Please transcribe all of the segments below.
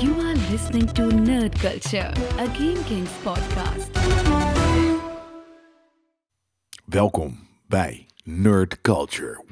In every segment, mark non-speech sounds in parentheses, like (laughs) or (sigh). You are listening to Nerd Culture, a Game Kings podcast. Welkom bij Nerd Culture.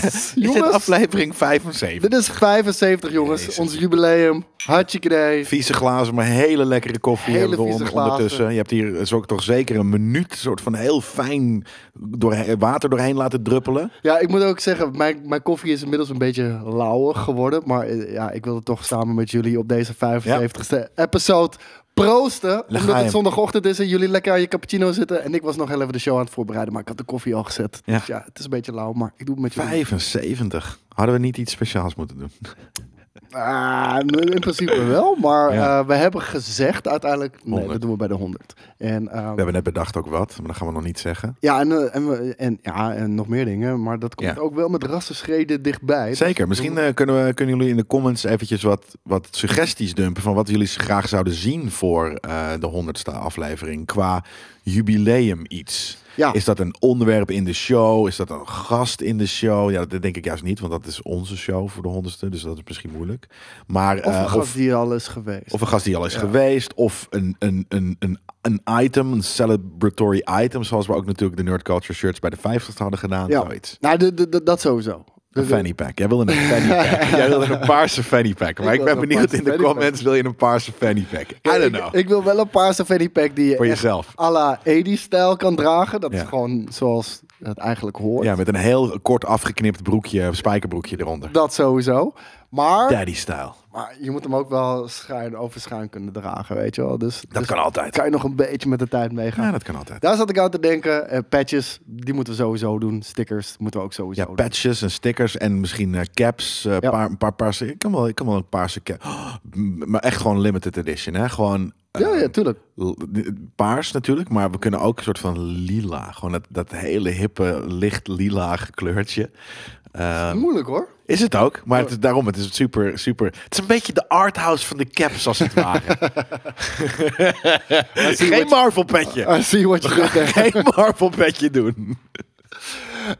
Is dit jongens. aflevering 75? Dit is 75, jongens. Jezus. Ons jubileum. Hartstikke idee. Vieze glazen, maar hele lekkere koffie Hele hebben we vieze on- glazen. ondertussen. Je hebt hier eh, zo, toch zeker een minuut soort van heel fijn door, water doorheen laten druppelen. Ja, ik moet ook zeggen, mijn, mijn koffie is inmiddels een beetje lauwer geworden. Maar eh, ja, ik wilde toch samen met jullie op deze 75ste episode proosten. ga omdat je. het zondagochtend is en jullie lekker aan je cappuccino zitten. En ik was nog heel even de show aan het voorbereiden, maar ik had de koffie al gezet. Ja. Dus ja, het is een beetje lauw, maar ik doe het met jullie. 75. Hadden we niet iets speciaals moeten doen? Oh. Ah, in principe wel, maar Ja. eh, we hebben gezegd uiteindelijk, nee, 100. dat doen we bij de 100. En, ehm, We hebben net bedacht ook wat, maar dat gaan we nog niet zeggen. Ja, en, eh, en, we- en, ja, en nog meer dingen. Maar dat komt Ja. ook wel met rassenschreden dichtbij. Zeker. Dus- Misschien eh, kunnen, we, kunnen jullie in de comments eventjes wat, wat suggesties dumpen van wat jullie graag zouden zien voor eh, de honderdste aflevering qua jubileum iets. Ja. Is dat een onderwerp in de show? Is dat een gast in de show? Ja, dat denk ik juist niet, want dat is onze show voor de honderdste, dus dat is misschien moeilijk. Maar Of eh, een gast die er al is geweest. of een gast die al is geweest. Of een, een, een, een, een item, een celebratory item. Zoals we ook natuurlijk de Nerd Culture shirts bij de 50 hadden gedaan. ja. Zoiets. Nou, de- de- de- dat sowieso. Dus, Een fanny pack. Jij (laughs) wilde een fanny pack. Jij wilde een paarse fanny pack. Maar Ik ik, ben wilde een benieuwd paarse in de fanny pack. comments. Wil je een paarse fanny pack? I eh, Ik- don't know. Ik, wil wel een paarse fanny pack die je Voor echt jezelf. à la 80 stijl kan dragen. Dat Ja. is gewoon zoals het eigenlijk hoort. Ja, met een heel kort afgeknipt broekje, spijkerbroekje eronder. Dat sowieso. Maar, Daddy style. maar je moet hem ook wel schuin over schuin kunnen dragen, weet je wel. Dus, Dat dus kan altijd. kan je nog een beetje met de tijd meegaan. Ja, dat kan altijd. Daar zat ik aan te denken. Eh, patches, die moeten we sowieso doen. Stickers moeten we ook sowieso Ja, doen. patches en stickers en misschien eh, caps. eh, Ja. paar, een paar paarse. Ik kan wel, ik kan wel een paarse cap. (gasps) maar echt gewoon limited edition. Hè? Gewoon eh, Ja, ja, tuurlijk. l- paars natuurlijk, maar we kunnen ook een soort van lila. Gewoon dat, dat hele hippe, licht lila kleurtje. Eh, Moeilijk hoor. is het ook, maar het is daarom, het is super, super. Het is een beetje de arthouse van de caps, als (laughs) het ware. Geen (laughs) Marvel-petje. I see what you did there. Geen Marvel-petje doen.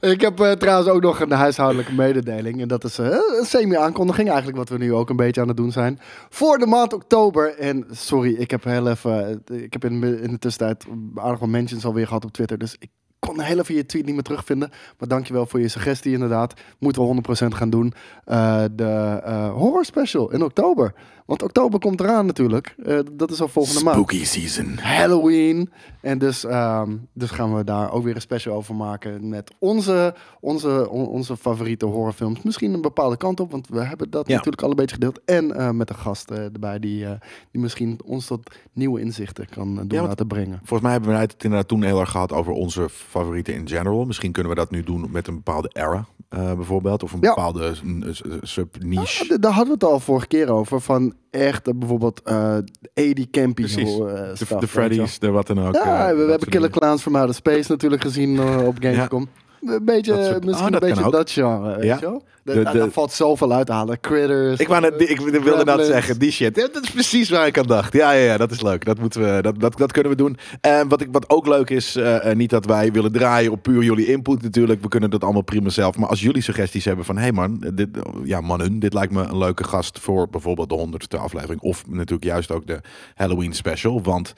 Ik heb eh, trouwens ook nog een huishoudelijke mededeling. En dat is eh, een semi-aankondiging eigenlijk, wat we nu ook een beetje aan het doen zijn. Voor de maand oktober. En sorry, ik heb heel even... eh, Ik heb in, de- in de tussentijd aardig wat mentions alweer gehad op Twitter. Dus ik kon heel even je tweet niet meer terugvinden. Maar dankjewel voor je suggestie inderdaad. Moeten we 100% gaan doen. Eh, de eh, horror special in oktober. Want oktober komt eraan natuurlijk. Eh, dat is al volgende maand. Spooky season. Halloween. En dus, ehm, dus gaan we daar ook weer een special over maken met onze, onze, on- onze favoriete horrorfilms. Misschien een bepaalde kant op, want we hebben dat Ja. natuurlijk al een beetje gedeeld. En eh, met een gast eh, erbij die, eh, die misschien ons tot nieuwe inzichten kan eh, doen want- laten brengen. Volgens mij hebben we het inderdaad toen heel erg gehad over onze favorieten in general. Misschien kunnen we dat nu doen met een bepaalde era eh, bijvoorbeeld. Of een Ja. bepaalde eh, s- sub-niche. Ah, d- daar hadden we het al vorige keer over. Van echt eh, bijvoorbeeld eh 80 campy Precies. eh, de, stuff, weet je de Freddy's, de wat dan ook. wel. eh, Ja, we, dat we hebben soort Killer dingen. Clowns from Outer Space natuurlijk gezien eh, op Gamescom. Een beetje, Dat soort- misschien Oh, dat kan een beetje ook. dat genre, weet Ja. je wel? De- Daar- de- daar valt zoveel uit te halen. Critters. eh, Ik, wou net, ik wilde dat Gremlins. zeggen, die shit. Ja, dat is precies waar ik aan dacht. Ja, ja, ja dat is leuk. Dat, moeten we, dat, dat, dat kunnen we doen. En wat, ik, wat ook leuk is, eh, eh, niet dat wij willen draaien op puur jullie input natuurlijk. We kunnen dat allemaal prima zelf. Maar als jullie suggesties hebben van, hé hey man, dit, ja mannen, dit lijkt me een leuke gast voor bijvoorbeeld de honderdste aflevering. Of natuurlijk juist ook de Halloween special. Want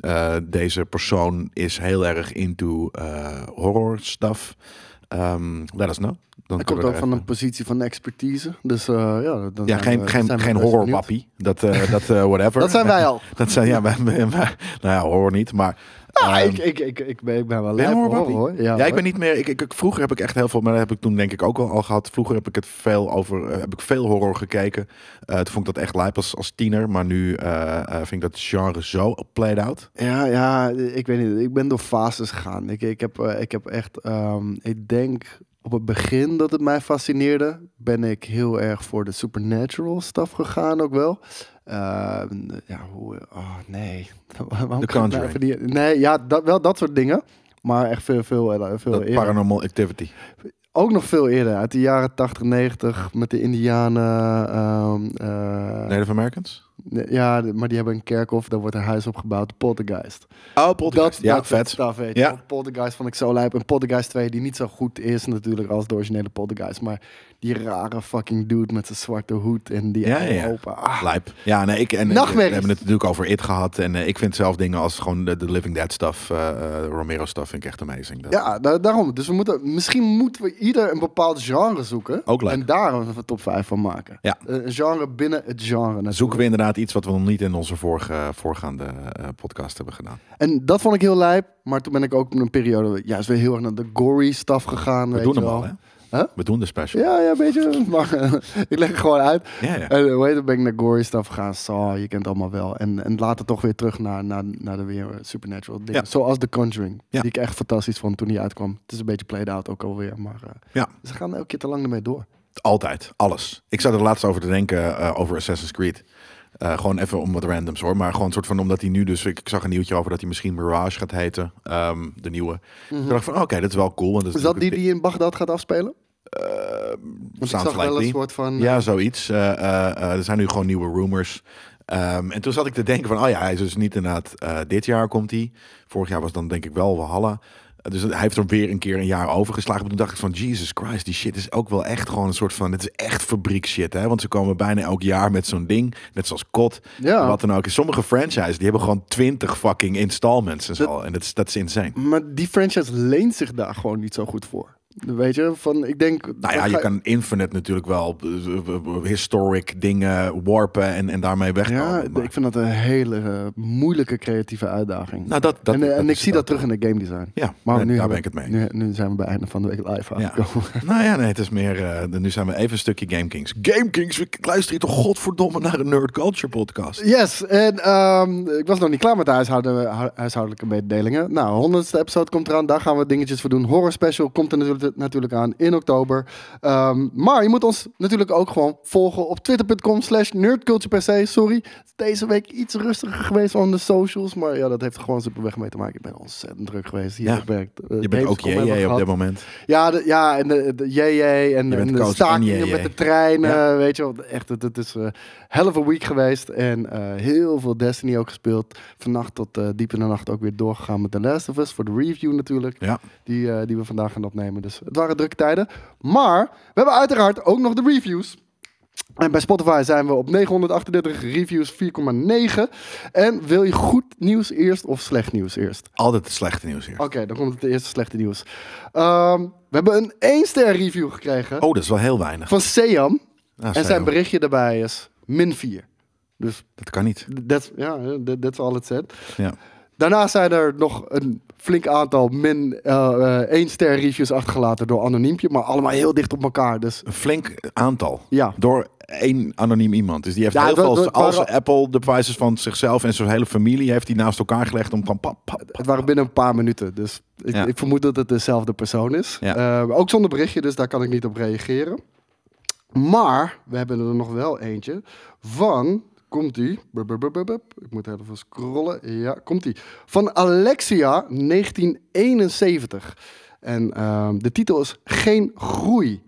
eh, deze persoon is heel erg into eh, horror stuff. Ehm let us know. Dan kunnen Dat komt we ook er van even- een positie van expertise. Dus eh, ja, ja, dan zijn geen, we- zijn geen, we geen best horrorwappie. Dat, eh, (laughs) dat eh, whatever. Dat zijn wij al. (laughs) Dat zijn, ja, wij, wij- wij- nou ja, horror niet, maar... benieuwd. Ah, ehm, ik, ik, ik, ik, ben, ik ben ben wel lijp je hoor, horrorwappie? hoor. Ja, ik hoor. ben niet meer... Ik, ik, ik- vroeger heb ik echt heel veel... Maar dat heb ik toen denk ik ook al, al gehad. Vroeger heb ik het veel over... eh, heb ik veel horror gekeken. Eh, toen vond ik dat echt lijp als, als tiener. Maar nu eh, eh, vind ik dat genre zo played out. Ja, ja, ik weet niet. Ik ben door fases gegaan. Ik, ik, heb, eh, ik heb echt, ehm, ik denk op het begin dat het mij fascineerde, ben ik heel erg voor de supernatural stuff gegaan ook wel. Ehm, ja, hoe, oh nee. (laughs) Waarom kan ik nou Conjuring. even die- nee, ja, dat, wel dat soort dingen. Maar echt veel, veel, eh, veel Dat eerder. paranormal activity. Ook nog veel eerder, uit de jaren 80, 90, met de Indianen. ehm, eh, Native Americans? nee, Ja, maar die hebben een kerkhof, daar wordt een huis opgebouwd, de Poltergeist. Oh, podcast. ja, dat soort vet. stuff, weet je. Ja. Want Poltergeist vond ik zo lijp. En Poltergeist 2, die niet zo goed is natuurlijk als de originele Poltergeist. Maar die rare fucking dude met zijn zwarte hoed en die Ja, oude ja. opa. Ah, Lijp. Ja, nee, ik, en, en we Nachtmerries. hebben het natuurlijk over It gehad. En eh, ik vind zelf dingen als gewoon de, de Living Dead stuff, eh, eh, Romero stuff, vind ik echt amazing. Dat- Ja, da- daarom. Dus we moeten, misschien moeten we ieder een bepaald genre zoeken. Ook leuk. En daar een top 5 van maken. Eh, Ja. Een een genre binnen het genre. natuurlijk. Zoeken we inderdaad iets wat we nog niet in onze vorige, voorgaande eh, podcast hebben gedaan. En dat vond ik heel lijp. Maar toen ben ik ook in een periode juist weer heel erg naar de gory stuff gegaan. We weet doen je hem wel. al, hè? Huh? We doen de special. Ja, ja, een beetje. Maar (laughs) ik leg het gewoon uit. Ja, ja. En eh, hoe heet het, ben ik naar gory stuff gegaan. Saw, je kent het allemaal wel. En, en later toch weer terug naar, naar, naar de weer eh, supernatural dingen. Ja. Zoals The Conjuring. Ja. Die ik echt fantastisch vond toen die uitkwam. Het is een beetje played out ook alweer. Maar eh, Ja. ze gaan elke keer te lang ermee door. Altijd, alles. Ik zat er laatst over te denken eh, over Assassin's Creed. Eh, gewoon even om wat randoms hoor. Maar gewoon soort van omdat hij nu dus... Ik, ik zag een nieuwtje over dat hij misschien Mirage gaat heten. ehm, de nieuwe. Ik dacht van oké, dat is wel cool. Want Mhm. Is dat die natuurlijk- die in Bagdad gaat afspelen? Want ik Eh, sounds zag wel likely. een soort van... eh, Ja, zoiets. Eh, eh, eh, er zijn nu gewoon nieuwe rumors. Ehm, en toen zat ik te denken van, oh ja, hij is dus niet inderdaad, eh, dit jaar komt hij. Vorig jaar was dan denk ik wel Walhalla. Eh, Dus hij heeft er weer een keer een jaar overgeslagen. Maar toen dacht ik van, Jesus Christ, die shit is ook wel echt gewoon een soort van, het is echt fabriek shit. Hè? Want ze komen bijna elk jaar met zo'n ding. Net zoals COD. Ja. en Wat dan ook. Sommige franchises, die hebben gewoon twintig fucking installments en zo. en dat is, dat is insane. eh, Maar die franchise leent zich daar gewoon niet zo goed voor. Weet je, van ik denk... Nou ja, je kan Infinite natuurlijk wel eh, eh, eh, historic dingen warpen en, en daarmee wegkomen. Ja, maar- ik vind dat een hele eh, moeilijke creatieve uitdaging. Nou, dat, dat, en eh, en ik is het zie dat ook. terug in de game design. Ja, maar nee, nu daar ben ik hebben- het mee. Nu, nu zijn we bij einde van de week live Ja. aangekomen. Nou ja, nee, het is meer. eh, de- nu zijn we even een stukje Game Kings. Game Kings, we luisteren hier toch godverdomme naar een Nerd Culture podcast. Yes, en ehm, ik was nog niet klaar met de huishouden- hu- huishoudelijke mededelingen. Nou, honderdste episode komt eraan, daar gaan we dingetjes voor doen. Horror Special komt er natuurlijk, natuurlijk aan in oktober. Ehm, maar je moet ons natuurlijk ook gewoon volgen op twitter.com slash nerdculturepc. Sorry, het is deze week iets rustiger geweest van de socials. Maar ja, dat heeft er gewoon superweg mee te maken. Ik ben ontzettend druk geweest hier Ja. op werk. Eh, Je bent ook Gamescom hebben we jij op gehad. dit moment. Ja, de- ja, en de, de JJ en, Je bent en de coach en stakingen JJ. met de treinen, Ja. weet je wel. Echt, het, het is eh hell of a week geweest. En eh, heel veel Destiny ook gespeeld. Vannacht tot eh, diep in de nacht ook weer doorgegaan met The Last of Us. Voor de review natuurlijk, Ja. die, eh, die we vandaag gaan opnemen. Dus het waren drukke tijden. Maar we hebben uiteraard ook nog de reviews. En bij Spotify zijn we op 938 reviews, 4,9. En wil je goed nieuws eerst of slecht nieuws eerst? Altijd het slechte nieuws hier. Oké, dan komt het eerste slechte nieuws. Ehm, we hebben een 1-ster review gekregen Oh, dat is wel heel weinig. van Seam. Ah, en sorry, zijn hoor. berichtje daarbij is min 4. Dus Dat kan niet. dat ja, dat is al het set. Ja. Daarna zijn er nog een flink aantal min eh, 1-ster reviews achtergelaten door Anoniempje. Maar allemaal heel dicht op elkaar. Dus Een flink aantal. Ja. Door één anoniem iemand. Dus die heeft Ja, heel dat- veel dat als, als waren- Apple devices van zichzelf en zijn hele familie heeft die naast elkaar gelegd om van pap, pap, pap. het waren binnen een paar minuten. Dus ik, Ja. ik vermoed dat het dezelfde persoon is. Ja. Eh, ook zonder berichtje, dus daar kan ik niet op reageren. Maar we hebben er nog wel eentje van. Komt die? Bup, bup, bup, bup, bup. Ik moet even scrollen. Ja, komt die? Van Alexia 1971. En ehm, de titel is Geen Groei.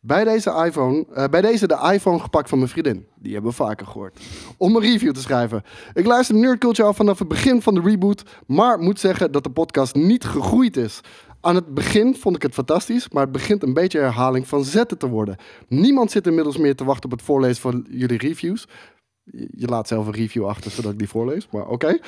Bij deze, iPhone, eh, bij deze de iPhone gepakt van mijn vriendin. Die hebben we vaker gehoord. Om een review te schrijven. Ik luister Nerd Culture al vanaf het begin van de reboot. Maar moet zeggen dat de podcast niet gegroeid is. Aan het begin vond ik het fantastisch. Maar het begint een beetje herhaling van zetten te worden. Niemand zit inmiddels meer te wachten op het voorlezen van jullie reviews. Je je laat zelf een review achter zodat ik die voorlees. Maar oké.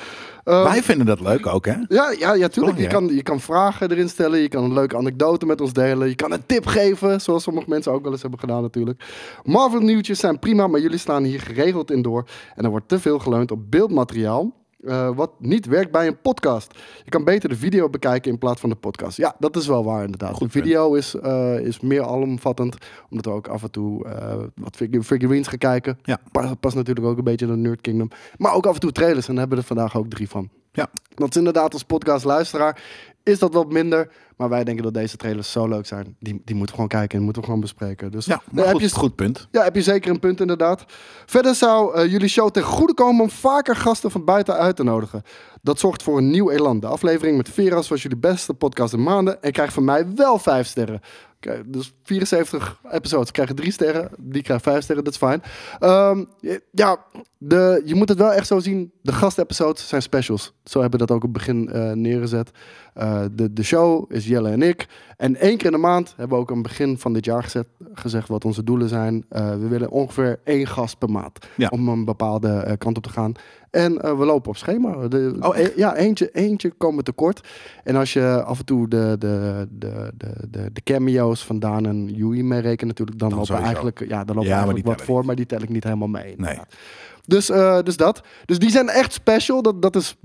Ehm, Wij vinden dat leuk ook, hè? ja, ja, ja tuurlijk. Je Belangrijk. kan, je kan vragen erin stellen. Je kan een leuke anekdote met ons delen. Je kan een tip geven, zoals sommige mensen ook wel eens hebben gedaan natuurlijk. Marvel nieuwtjes zijn prima, maar jullie slaan hier geregeld in door. En er wordt te veel geleund op beeldmateriaal. eh, wat niet werkt bij een podcast. Je kan beter de video bekijken in plaats van de podcast. Ja, dat is wel waar inderdaad. Goed de video is, eh, is meer alomvattend. Omdat we ook af en toe eh, wat fig- figurines gaan kijken. Ja. Pas, past natuurlijk ook een beetje in de Nerd Kingdom. Maar ook af en toe trailers. En daar hebben we er vandaag ook drie van. Ja. Dat is inderdaad als podcastluisteraar is dat wat minder. Maar Maar wij denken dat deze trailers zo leuk zijn. Die, die moeten we gewoon kijken en moeten we gewoon bespreken. Dus Ja, daar maar heb goed, je is goed punt. ja, heb je zeker een punt inderdaad. Verder zou eh, jullie show ten goede komen om vaker gasten van buiten uit te nodigen. Dat zorgt voor een nieuw elan. De aflevering met Veras was jullie beste podcast in maanden en krijgt van mij wel vijf sterren. Oké, dus 74 episodes krijgen drie sterren, die krijgen vijf sterren, dat is fijn. Ehm, je- ja, de, je moet het wel echt zo zien. De gastepisodes zijn specials. Zo hebben we dat ook op het begin eh, neergezet. Eh, de, de show is Jelle en ik. En één keer in de maand hebben we ook aan het begin van dit jaar gezet, gezegd wat onze doelen zijn. Eh, we willen ongeveer één gast per maand Ja. om een bepaalde eh, kant op te gaan. En eh, we lopen op schema. De, Oh, echt? e- ja, eentje, eentje komen tekort. En als je af en toe de, de, de, de, de, de cameo's van Daan en Yui meerekent natuurlijk, dan, Dan lopen we sowieso. eigenlijk, ja, Ja, dan lopen we maar eigenlijk die wat tellen voor, niet. maar die tel ik niet helemaal mee. inderdaad. Dus, eh, dus dat. Dus die zijn echt special. Dat, dat is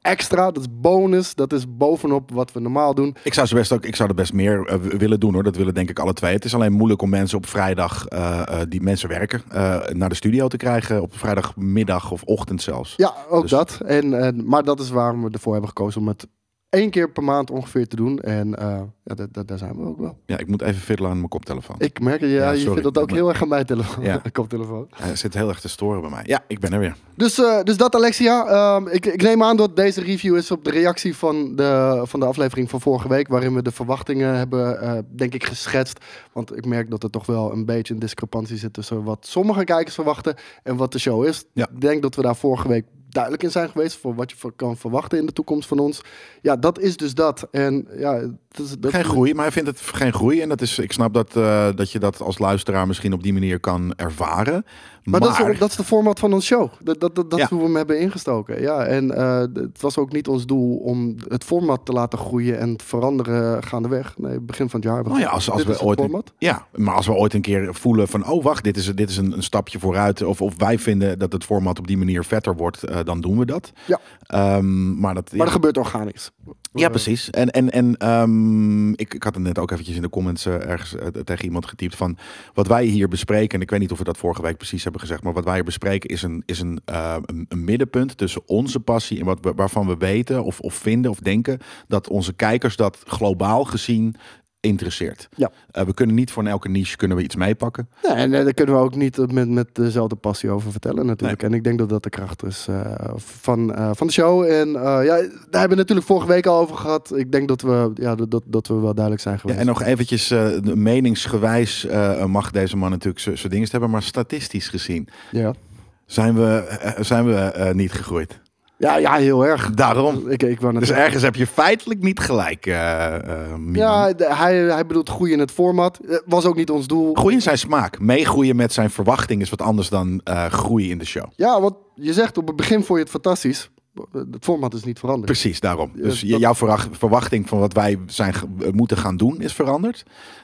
extra, dat is bonus, dat is bovenop wat we normaal doen. Ik zou, ze best ook, ik zou er best meer eh, w- willen doen hoor. Dat willen denk ik alle twee. Het is alleen moeilijk om mensen op vrijdag, eh, eh, die mensen werken, eh, naar de studio te krijgen. Op vrijdagmiddag of ochtend zelfs. Ja, ook Dus- dat. En, en, maar dat is waarom we ervoor hebben gekozen om het één keer per maand ongeveer te doen. En eh, ja, da- da- daar zijn we ook wel. Ja, ik moet even fiddelen aan mijn koptelefoon. Ik merk, ja, ja Ja, je sorry. vindt dat ook Maar- heel erg aan mijn telefoon. Ja. (laughs) koptelefoon. Hij zit heel erg te storen bij mij. Ja, ik ben er weer. Dus, eh, dus dat, Alexia. Ehm, ik, ik neem aan dat deze review is op de reactie van de, van de aflevering van vorige week. Waarin we de verwachtingen hebben, eh, denk ik, geschetst. Want ik merk dat er toch wel een beetje een discrepantie zit tussen wat sommige kijkers verwachten en wat de show is. Ja. Ik denk dat we daar vorige week duidelijk in zijn geweest voor wat je voor- kan verwachten in de toekomst van ons. Ja, dat is dus dat. En ja, het is, dat, Geen groei, maar hij vindt het geen groei. En dat is, ik snap dat, eh, dat je dat als luisteraar misschien op die manier kan ervaren. Maar, Maar, Dat, is, dat is de format van ons show. Dat, dat, dat, dat Ja. is hoe we hem hebben ingestoken. Ja, en eh, d- het was ook niet ons doel om het format te laten groeien en te veranderen gaandeweg. Nee, begin van het jaar. hebben we Nou ja, als, als dit we is het ooit format. ja, maar als we ooit een keer voelen van, oh wacht, dit is, dit is een, een stapje vooruit. Of, of wij vinden dat het format op die manier vetter wordt, eh, dan doen we dat. Ja. Ehm, maar dat, Maar ja. dat gebeurt organisch. Ja, eh, precies. En, en, en ehm, ik, ik had het net ook eventjes in de comments eh, ergens eh, tegen iemand getypt van wat wij hier bespreken. En ik weet niet of we dat vorige week precies hebben gezegd, maar wat wij hier bespreken is een, is een, eh, een, een middenpunt tussen onze passie en wat we, waarvan we weten of, of vinden of denken dat onze kijkers dat globaal gezien interesseert. Ja. Eh, we kunnen niet voor elke niche kunnen we iets meepakken. Nee, en eh, daar kunnen we ook niet eh, met, met dezelfde passie over vertellen natuurlijk. En ik denk dat dat de kracht is eh, van, eh, van de show. En eh, ja, daar hebben we natuurlijk vorige week al over gehad. Ik denk dat we, ja, dat, dat, dat we wel duidelijk zijn Ja, geweest. en nog eventjes eh, meningsgewijs eh, mag deze man natuurlijk zijn dingen hebben, maar statistisch gezien ja. zijn we, eh, zijn we eh, niet gegroeid. Ja, ja, heel erg. Daarom. Ik, ik wou net Dus zeggen. ergens heb je feitelijk niet gelijk, eh eh, Milan. Ja, de- hij, hij bedoelt groei in het format. Eh, Was ook niet ons doel. Groei in zijn smaak. Meegroeien met zijn verwachting is wat anders dan eh groei in de show. Ja, want je zegt op het begin vond je het fantastisch. Het format is niet veranderd. Precies, daarom. Dus Ja, j- dat- jouw verwacht- verwachting van wat wij zijn ge- eh, moeten gaan doen is veranderd.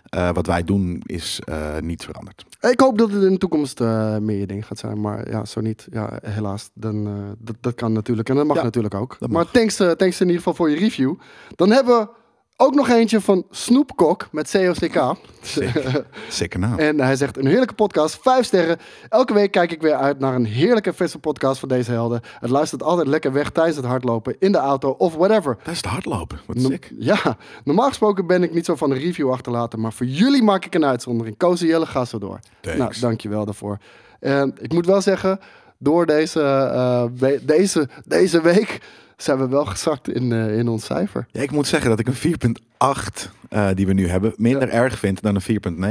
Eh, wat wij doen is eh, niet veranderd. Ik hoop dat het in de toekomst eh, meer je ding gaat zijn. Maar ja, zo niet. Ja, helaas. Dan, eh, dat, dat kan natuurlijk. En dat mag Ja, natuurlijk ook. dat Maar thanks, eh, thanks in ieder geval voor je review. Dan hebben we ook nog eentje van Snoepkok met COCK. Zeker naam. (laughs) En hij zegt, een heerlijke podcast, vijf sterren. Elke week kijk ik weer uit naar een heerlijke verse podcast van deze helden. Het luistert altijd lekker weg tijdens het hardlopen, in de auto of whatever. Dat is het hardlopen. Wat No- sick. Ja, normaal gesproken ben ik niet zo van een review achterlaten, maar voor jullie maak ik een uitzondering. Koos en Jelle, ga zo door. Thanks. Nou, dankjewel daarvoor. En ik moet wel zeggen, door deze, eh, we- deze, deze week zijn we wel gezakt in, eh, in ons cijfer. Ja, ik moet zeggen dat ik een 4.8 eh, die we nu hebben minder erg vind dan een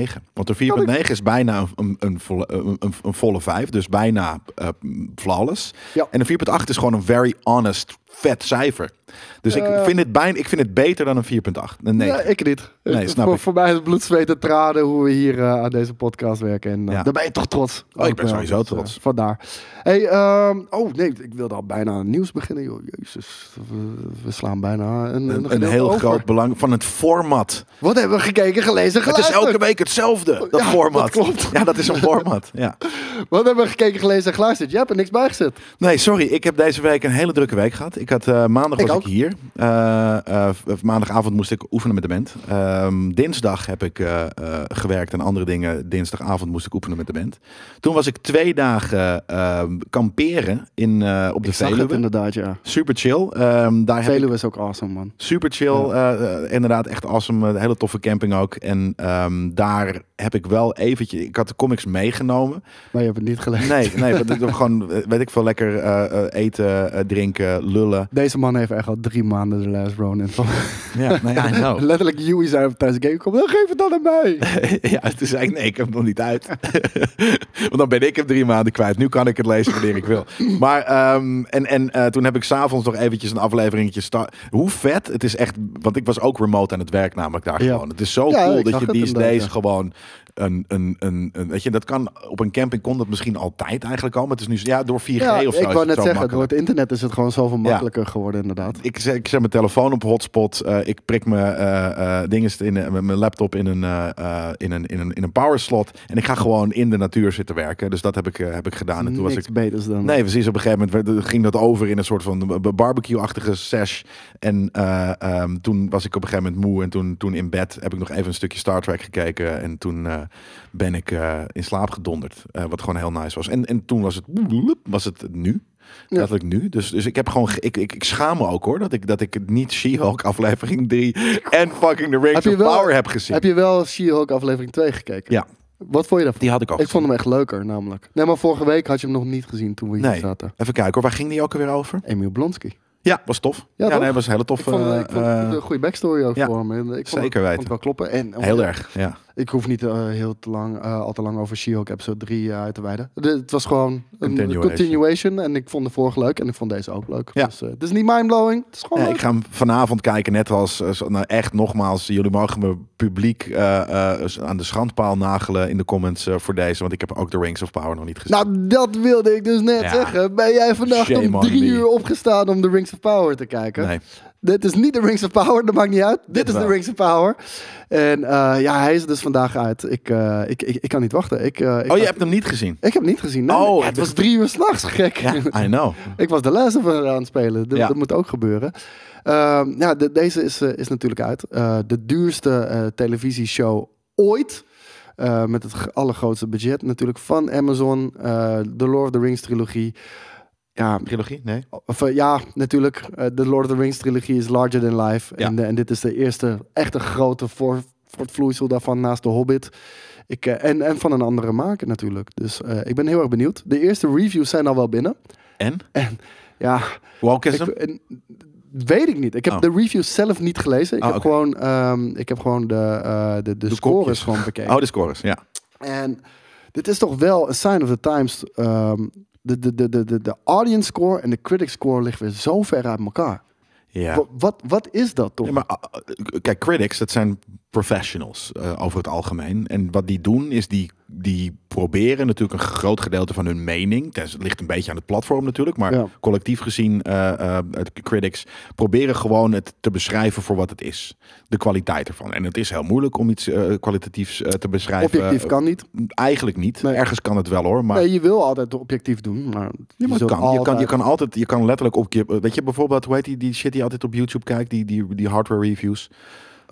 4.9. Want een 4.9 is bijna een, een, een, volle, eh, een, een- een volle 5, dus bijna eh, flawless. Ja. En een 4.8 is gewoon een very honest, vet cijfer. Dus ik, vind het bijna, ik vind het beter dan een 4.8. Een 9. Eh. Ja, ik niet. (laughs) Nee, snap voor, ik. voor mij is het bloed, zweet en tranen hoe we hier eh, aan deze podcast werken. En eh, Ja. daar ben je toch trots. Oh, ik Ook ben wel. sowieso Dus, eh, trots. vandaar. Hey, ehm, oh nee, ik wilde al bijna aan nieuws beginnen. Joh. Jezus, we, we slaan bijna een, een, een, een gedeelte heel over. groot belang van het format. Wat hebben we gekeken, gelezen, Het is geluisterd? elke week hetzelfde, dat Ja, format. dat klopt. Ja, dat is een format. Ja. Wat hebben we gekeken, gelezen en geluisterd? Jij hebt er niks bij gezet. Nee, sorry. Ik heb deze week een hele drukke week gehad. Ik had, eh, maandag Ik was ook. ik hier. Eh, eh, v- maandagavond moest ik oefenen met de band. Ehm, dinsdag heb ik eh, eh, gewerkt en andere dingen. Dinsdagavond moest ik oefenen met de band. Toen was ik twee dagen eh, kamperen in, eh, op de Ik zag het Veluwe. inderdaad, ja. Super chill. Ehm, daar heb ik Veluwe is ook awesome, man. Super chill. eh, eh, inderdaad, echt awesome. Een hele toffe camping ook. En ehm, daar heb ik wel eventjes... Ik had de comics meegenomen. Maar je hebt het niet gelezen. Nee, nee want ik doe gewoon, eh, weet ik veel, lekker eh, eh, eten, eh, drinken, lullen. Deze man heeft echt al drie maanden de Last Ronin van. Ja, nou ja, I (laughs) know. (laughs) Letterlijk, Yui zei op tijdens de game, kom, dan geef het dan aan (laughs) mij. ja, toen zei ik, nee, ik heb hem nog niet uit. (laughs) Want dan ben ik hem drie maanden kwijt. Nu kan ik het lezen wanneer ik wil. Maar, ehm, en, en eh, toen heb ik s'avonds nog eventjes een afleveringetje start. Hoe vet, het is echt, want ik was ook remote aan het werk namelijk daar Ja. gewoon. Het is zo Ja, cool ik dat zag je het these inderdaad, days ja. gewoon een, een, een, een, weet je, dat kan, op een camping kon dat misschien altijd eigenlijk al. Maar het is nu, ja, door 4G Ja, of zo ik is het wou net zo zeggen, makkelijk. door het internet is het gewoon zoveel makkelijker geworden, inderdaad. Ik zet, ik zet mijn telefoon op hotspot. eh, ik prik mijn eh, eh, dinges in, eh, mijn mijn laptop in een, eh, eh, in, een, in, een, in een powerslot. En ik ga gewoon in de natuur zitten werken. Dus dat heb ik, eh, heb ik gedaan. En toen was Niks ik. beters dan. Nee, precies. Op een gegeven moment werd- ging dat over in een soort van b- barbecue-achtige sesh. En eh, ehm, toen was ik op een gegeven moment moe. En toen, toen in bed heb ik nog even een stukje Star Trek gekeken. En toen eh, ben ik eh, in slaap gedonderd. Eh, wat gewoon heel nice was. En, en toen was het, was het nu. Ja. Letterlijk nu. Dus, dus ik heb gewoon. ge- Ik, ik, ik schaam me ook hoor. Dat ik, dat ik het niet She-Hulk aflevering 3 en fucking The Heb Rings je of wel- Power heb gezien. Heb je wel She-Hulk aflevering 2 gekeken? Ja. Wat vond je daarvan? Die had ik al. Ik vond hem echt leuker, namelijk. Nee, maar vorige week had je hem nog niet gezien toen we hier Nee. zaten. Even kijken hoor. Waar ging die ook alweer over? Emiel Blonsky. Ja, was tof. Ja, toch? nee, was een hele tof. ik vond, ik vond het een goede backstory ook eh, ja, voor hem. En Ik vond het- zeker ik vond weten. het wel kloppen. En, heel erg. Ja. Ik hoef niet eh, heel te lang, eh, al te lang over She-Hulk episode 3 eh, uit te wijden. De- het was gewoon een Continuation. continuation. En ik vond de vorige leuk en ik vond deze ook leuk. Ja. Dus, eh, het is niet mindblowing. Het is gewoon Ja, Oh, leuk. ik ga hem vanavond kijken, net als eh, zo- nou echt nogmaals, jullie mogen me publiek eh, eh, aan de schandpaal nagelen in de comments eh, voor deze, want ik heb ook de Rings of Power nog niet gezien. Nou, dat wilde ik dus net Ja. zeggen. Ben jij vannacht Shame om on drie me. uur opgestaan om de Rings of Power te kijken? nee. Dit is niet de Rings of Power, dat maakt niet uit. Dit, is de wel. Rings of Power. En eh, ja, hij is er dus vandaag uit. Ik, eh, ik, ik, ik kan niet wachten. Ik, eh, ik, Oh, je had- hebt hem niet gezien? ik heb hem niet gezien. nee. Oh, het dus- was drie uur s'nachts, gek. Ja, I know. (laughs) Ik was de Last of Us aan het spelen. Dat, Ja. dat moet ook gebeuren. Ehm, ja, de- deze is, eh, is natuurlijk uit. Eh, de duurste eh, televisieshow ooit. Eh, met het g- allergrootste budget natuurlijk van Amazon. eh, de Lord of the Rings trilogie. Ja, Trilogie? Nee. of, eh, ja natuurlijk. eh, de Lord of the Rings trilogie is larger than life. Ja. En, eh, en dit is de eerste echte grote voor, voortvloeisel daarvan naast The Hobbit. Ik, eh, en, en van een andere maker natuurlijk. Dus eh, ik ben heel erg benieuwd. De eerste reviews zijn al wel binnen. (laughs) En? Ja, Wokeism? ik- en- weet ik niet. Ik heb Oh. de reviews zelf niet gelezen. Ik, Ah, heb, oké. gewoon, ehm, ik heb gewoon de, eh, de, de, scores kopjes. gewoon bekeken. (laughs) Oh, de scores, ja. En dit is toch wel een sign of the times. ehm, de, de, de, de, de, de audience score en de critic score liggen weer zo ver uit elkaar. Ja. Wa- Wat, wat is dat toch? Ja, maar ah, ah, kijk, critics, dat zijn professionals eh, over het algemeen. En wat die doen, is die, die proberen natuurlijk een groot gedeelte van hun mening. tenzij- Het ligt een beetje aan het platform natuurlijk, maar Ja. collectief gezien, eh, eh, het- critics proberen gewoon het te beschrijven voor wat het is. De kwaliteit ervan. En het is heel moeilijk om iets eh, kwalitatiefs eh, te beschrijven. Objectief kan niet. Eigenlijk niet. Nee. Ergens kan het wel hoor, maar Nee, je wil altijd objectief doen. Maar ja, maar je het zult kan. Je, kan, je altijd- kan altijd, je kan letterlijk op je, weet je bijvoorbeeld, hoe heet die, die shit die je altijd op YouTube kijkt, die, die, die hardware reviews.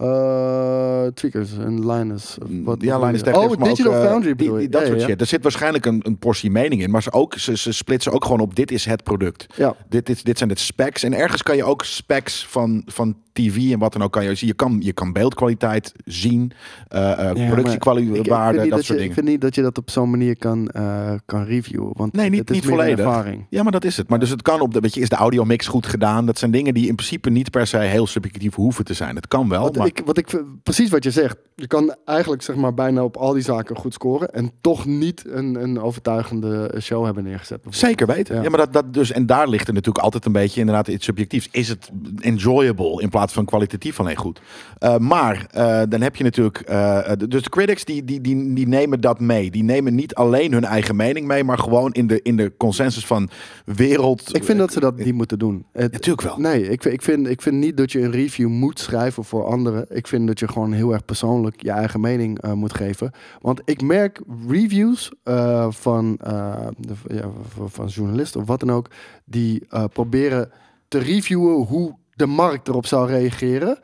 Eh, tweakers en Linus. of Wat, Mm, ja, wat- Linus Tech Tips, Oh, maar ook, Digital eh, Foundry die, bedoel je. die- Dat Ja, soort ja, ja. shit. Er zit waarschijnlijk een, een portie mening in. Maar ze, ook, ze, ze splitsen ook gewoon op dit is het product. Ja. Dit, is, dit zijn de specs. En ergens kan je ook specs van, van tv en wat dan ook kan je zien. Je kan, je kan beeldkwaliteit zien, eh Ja, maar ik- ik vind productiewaarde, niet dat soort je, Ik dingen. vind niet dat je dat op zo'n manier kan, eh, kan reviewen. Want Nee, niet- het is niet meer een volledig. ervaring. Ja, maar dat is het. Maar dus het kan op de, weet je, is de audiomix goed gedaan? Dat zijn dingen die in principe niet per se heel subjectief hoeven te zijn. Het kan wel, Wat maar ik, wat ik, vind- precies wat je zegt. Je kan eigenlijk zeg maar, bijna op al die zaken goed scoren. En toch niet een, een overtuigende show hebben neergezet. Zeker weten. Ja. Ja, maar dat, dat dus, en daar ligt er natuurlijk altijd een beetje inderdaad iets subjectiefs. Is het enjoyable in plaats plaats van kwalitatief alleen goed. Eh, maar eh, dan heb je natuurlijk. eh, de- dus de critics die, die, die, die nemen dat mee. Die nemen niet alleen hun eigen mening mee, maar gewoon in de, in de consensus van wereld. Ik vind dat ze dat niet moeten doen. Het- Natuurlijk wel. Oh. Nee, ik, vind- ik, vind, ik vind niet dat je een review moet schrijven voor anderen. Ik vind dat je gewoon heel erg persoonlijk je eigen mening eh, moet geven. Want ik merk reviews eh, van, eh, de- ja, van, van journalisten of wat dan ook, die eh, proberen te reviewen hoe de markt erop zou reageren.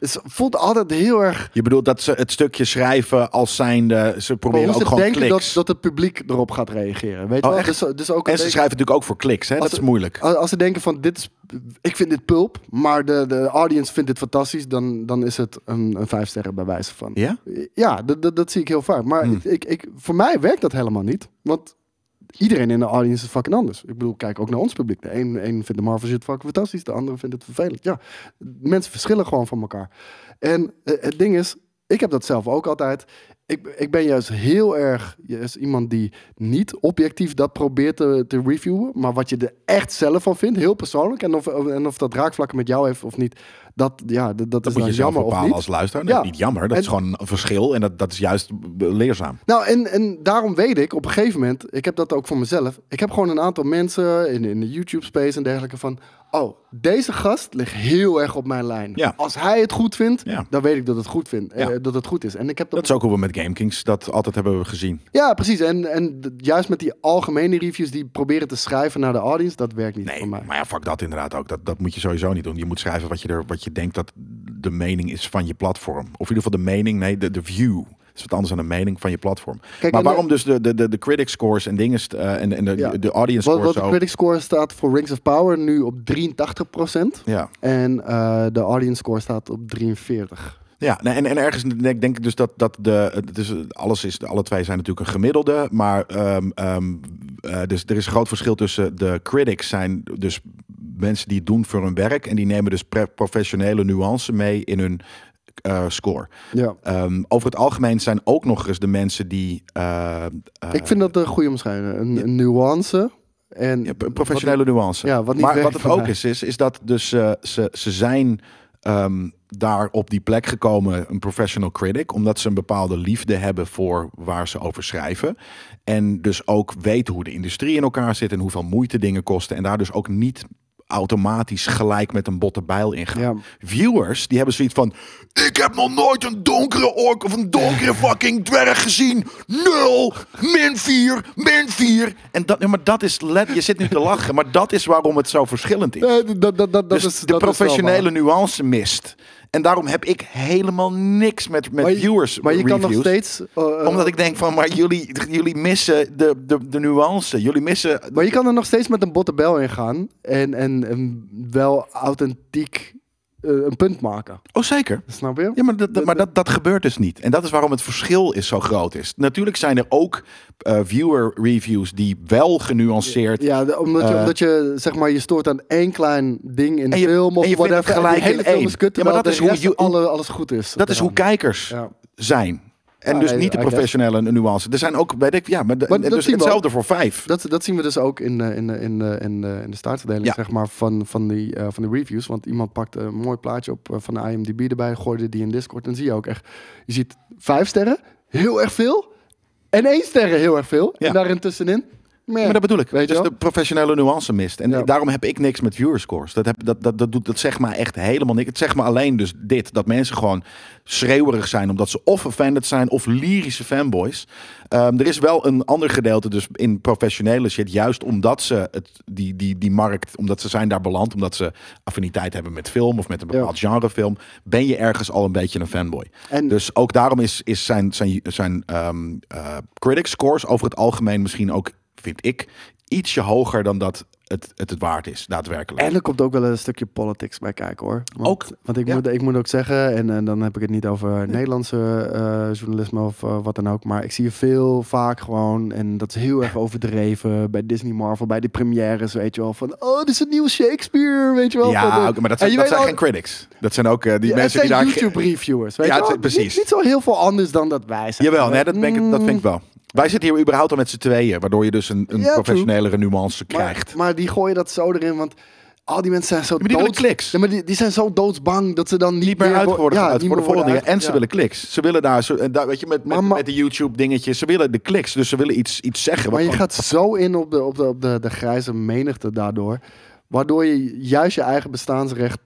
Het voelt altijd heel erg. Je bedoelt dat ze het stukje schrijven als zijnde. Ze proberen Hoe ook ze gewoon denken dat, kliks. dat het publiek erop gaat reageren. Weet je Oh, wel? echt? Dus, dus ook en een ze beetje- schrijven natuurlijk ook voor kliks, hè? Dat Als- is moeilijk. Als, als ze denken van dit is, ik vind dit pulp, maar de, de audience vindt dit fantastisch, dan, dan is het een, een vijf sterren bij wijze van. Ja? Ja, dat- dat- dat zie ik heel vaak. Maar Hmm. ik, ik, ik- voor mij werkt dat helemaal niet. Want iedereen in de audience is fucking anders. Ik bedoel, kijk ook naar ons publiek. De een, een vindt de Marvel shit fucking fantastisch, de andere vindt het vervelend. Ja, mensen verschillen gewoon van elkaar. En eh, het ding is, ik heb dat zelf ook altijd. Ik, ik ben juist heel erg juist iemand die niet objectief dat probeert te, te reviewen. Maar wat je er echt zelf van vindt, heel persoonlijk. En of, en of dat raakvlakken met jou heeft of niet, dat, ja, dat, dat, Dat is moet dan je zelf jammer of bepalen niet. als luisteraar. Nee, Ja. niet jammer. Dat En- is gewoon een verschil. En dat, dat is juist leerzaam. Nou, en, en daarom weet ik op een gegeven moment, ik heb dat ook voor mezelf. Ik heb gewoon een aantal mensen in, in de YouTube-space en dergelijke van. Oh, deze gast ligt heel erg op mijn lijn. Ja. Als hij het goed vindt, Ja. dan weet ik dat het goed, vindt, eh, Ja. dat het goed is. En ik heb dat, Dat is ook hoe we met GameKings dat altijd hebben gezien. Ja, precies. En, en d- juist met die algemene reviews die proberen te schrijven naar de audience, dat werkt niet Nee, voor mij. maar ja, fuck dat inderdaad ook. Dat, dat moet je sowieso niet doen. Je moet schrijven wat je, er, wat je denkt dat de mening is van je platform. Of in ieder geval de mening, nee, de, de view. Dat is wat anders dan de mening van je platform. maar en de- waarom dus de, de, de, de critic scores en dingen eh, en, en de, Ja. de audience Wat, scores wat de ook? critic score staat voor Rings of Power nu op 83%. Ja, En eh, de audience score staat op 43. ja nee, en, en ergens denk, denk ik dus dat, dat de, het is, alles is, alle twee zijn natuurlijk een gemiddelde, maar ehm, ehm, eh, dus er is een groot verschil tussen de critics zijn dus mensen die het doen voor hun werk en die nemen dus pre- professionele nuance mee in hun eh, score. Ja. Ehm, over het algemeen zijn ook nog eens de mensen die eh, eh, Ik vind dat een goede omschrijving. Een, een nuance. En ja, p- professionele nuance. ja, wat niet maar werkt wat het voor ook mij. is, is, is dat dus eh, ze, ze zijn ehm, daar op die plek gekomen, een professional critic, omdat ze een bepaalde liefde hebben voor waar ze over schrijven. En dus ook weten hoe de industrie in elkaar zit en hoeveel moeite dingen kosten. En daar dus ook niet automatisch gelijk met een botte bijl in gaan. Ja. Viewers, die hebben zoiets van... Ik heb nog nooit een donkere ork of een donkere (laughs) fucking dwerg gezien. Nul, min vier, min vier. En dat, ja, maar dat is... Let, je zit nu te lachen, maar dat is waarom het zo verschillend is. Eh, dat, dat, dat, dat dus is de dat is wel professionele waar. nuance mist. En daarom heb ik helemaal niks met, met Maar je- viewers Maar je kan nog reviews. steeds. eh, eh, Omdat ik denk van, maar jullie, jullie missen de, de, de nuance. Jullie missen... Maar je kan er nog steeds met een botte bel in gaan. En, en, en wel authentiek eh, een punt maken. Oh, zeker. Snap je? Ja, maar, dat, dat- maar dat, dat gebeurt dus niet. En dat is waarom het verschil is zo groot is. Natuurlijk zijn er ook eh, viewer reviews die wel genuanceerd. Ja, de- omdat, je, Eh. omdat je zeg maar je stoort aan één klein ding in de En je- film of en je vindt whatever. het gelijk en die hele in film één. is kut, Ja, maar terwijl dat is de hoe rest you- alle, alles goed is. Dat is hoe eraan. kijkers Ja. zijn. En Ja, dus nee, niet de I guess. professionele nuance. Er zijn ook, weet ik, ja, maar, de- Maar en dat dus zien we hetzelfde voor vijf. Dat, dat zien we dus ook in, eh, in, eh, in, eh, in, eh, in de staatsverdeling Ja. zeg maar, van, van, die, eh, van de reviews. Want iemand pakt een mooi plaatje op eh, van de IMDb erbij, gooide die in Discord. En zie je ook echt, je ziet vijf sterren, heel erg veel. En één sterren, heel erg veel. Ja. En daartussenin, meh. Maar dat bedoel ik. Weet je dus wel? de professionele nuance mist. En Ja. daarom heb ik niks met viewerscores. Dat, heb, dat, dat, dat, doet, dat zegt mij echt helemaal niks. Het zegt me alleen dus dit. Dat mensen gewoon schreeuwerig zijn. Omdat ze of offended zijn of lyrische fanboys. Ehm, er is wel een ander gedeelte dus in professionele shit. Juist omdat ze het, die, die, die markt, omdat ze zijn daar beland. Omdat ze affiniteit hebben met film of met een bepaald genrefilm. Ben je ergens al een beetje een fanboy. En- Dus ook daarom is, is zijn, zijn, zijn ehm eh, critic scores over het algemeen misschien ook, vind ik, ietsje hoger dan dat het het, het waard is, daadwerkelijk. En er komt ook wel een stukje politics bij kijken hoor. Want, Ook, Want ik, ja. moet, ik moet ook zeggen, en, en dan heb ik het niet over Nederlandse eh, journalisme of eh, wat dan ook. Maar ik zie je veel vaak gewoon, en dat is heel (laughs) erg overdreven bij Disney Marvel, bij die premières, weet je wel. Van oh, dit is een nieuw Shakespeare, weet je wel. van, ja, eh, oké, maar dat zijn, en je dat weet zijn al- geen critics. Dat zijn ook eh, die ja, het mensen die zijn daar... YouTube reviewers, weet Ja, je het wel. zijn- precies. Niet, niet zo heel veel anders dan dat wij zijn. Jawel, nee, dat, ben ik, dat vind ik wel. Wij zitten hier überhaupt al met z'n tweeën, waardoor je dus een, een Mm. Ja, true. professionelere nuance Maar- krijgt. Maar, die gooien dat zo erin, want al die mensen zijn zo Maar die willen dood. kliks. Ja, maar die, die zijn zo doodsbang dat ze dan niet, niet meer uit wo- worden ja, geuit niet voor de meer worden volgende. uit- en ze ja. willen kliks. Ze willen daar, zo, en daar weet je, met, met, Maar- maar- met de YouTube dingetjes, ze willen de kliks. Dus ze willen iets, iets zeggen. Maar wat je gewoon- gaat zo in op de, op de, op de, de grijze menigte daardoor. Waardoor je juist je eigen bestaansrecht.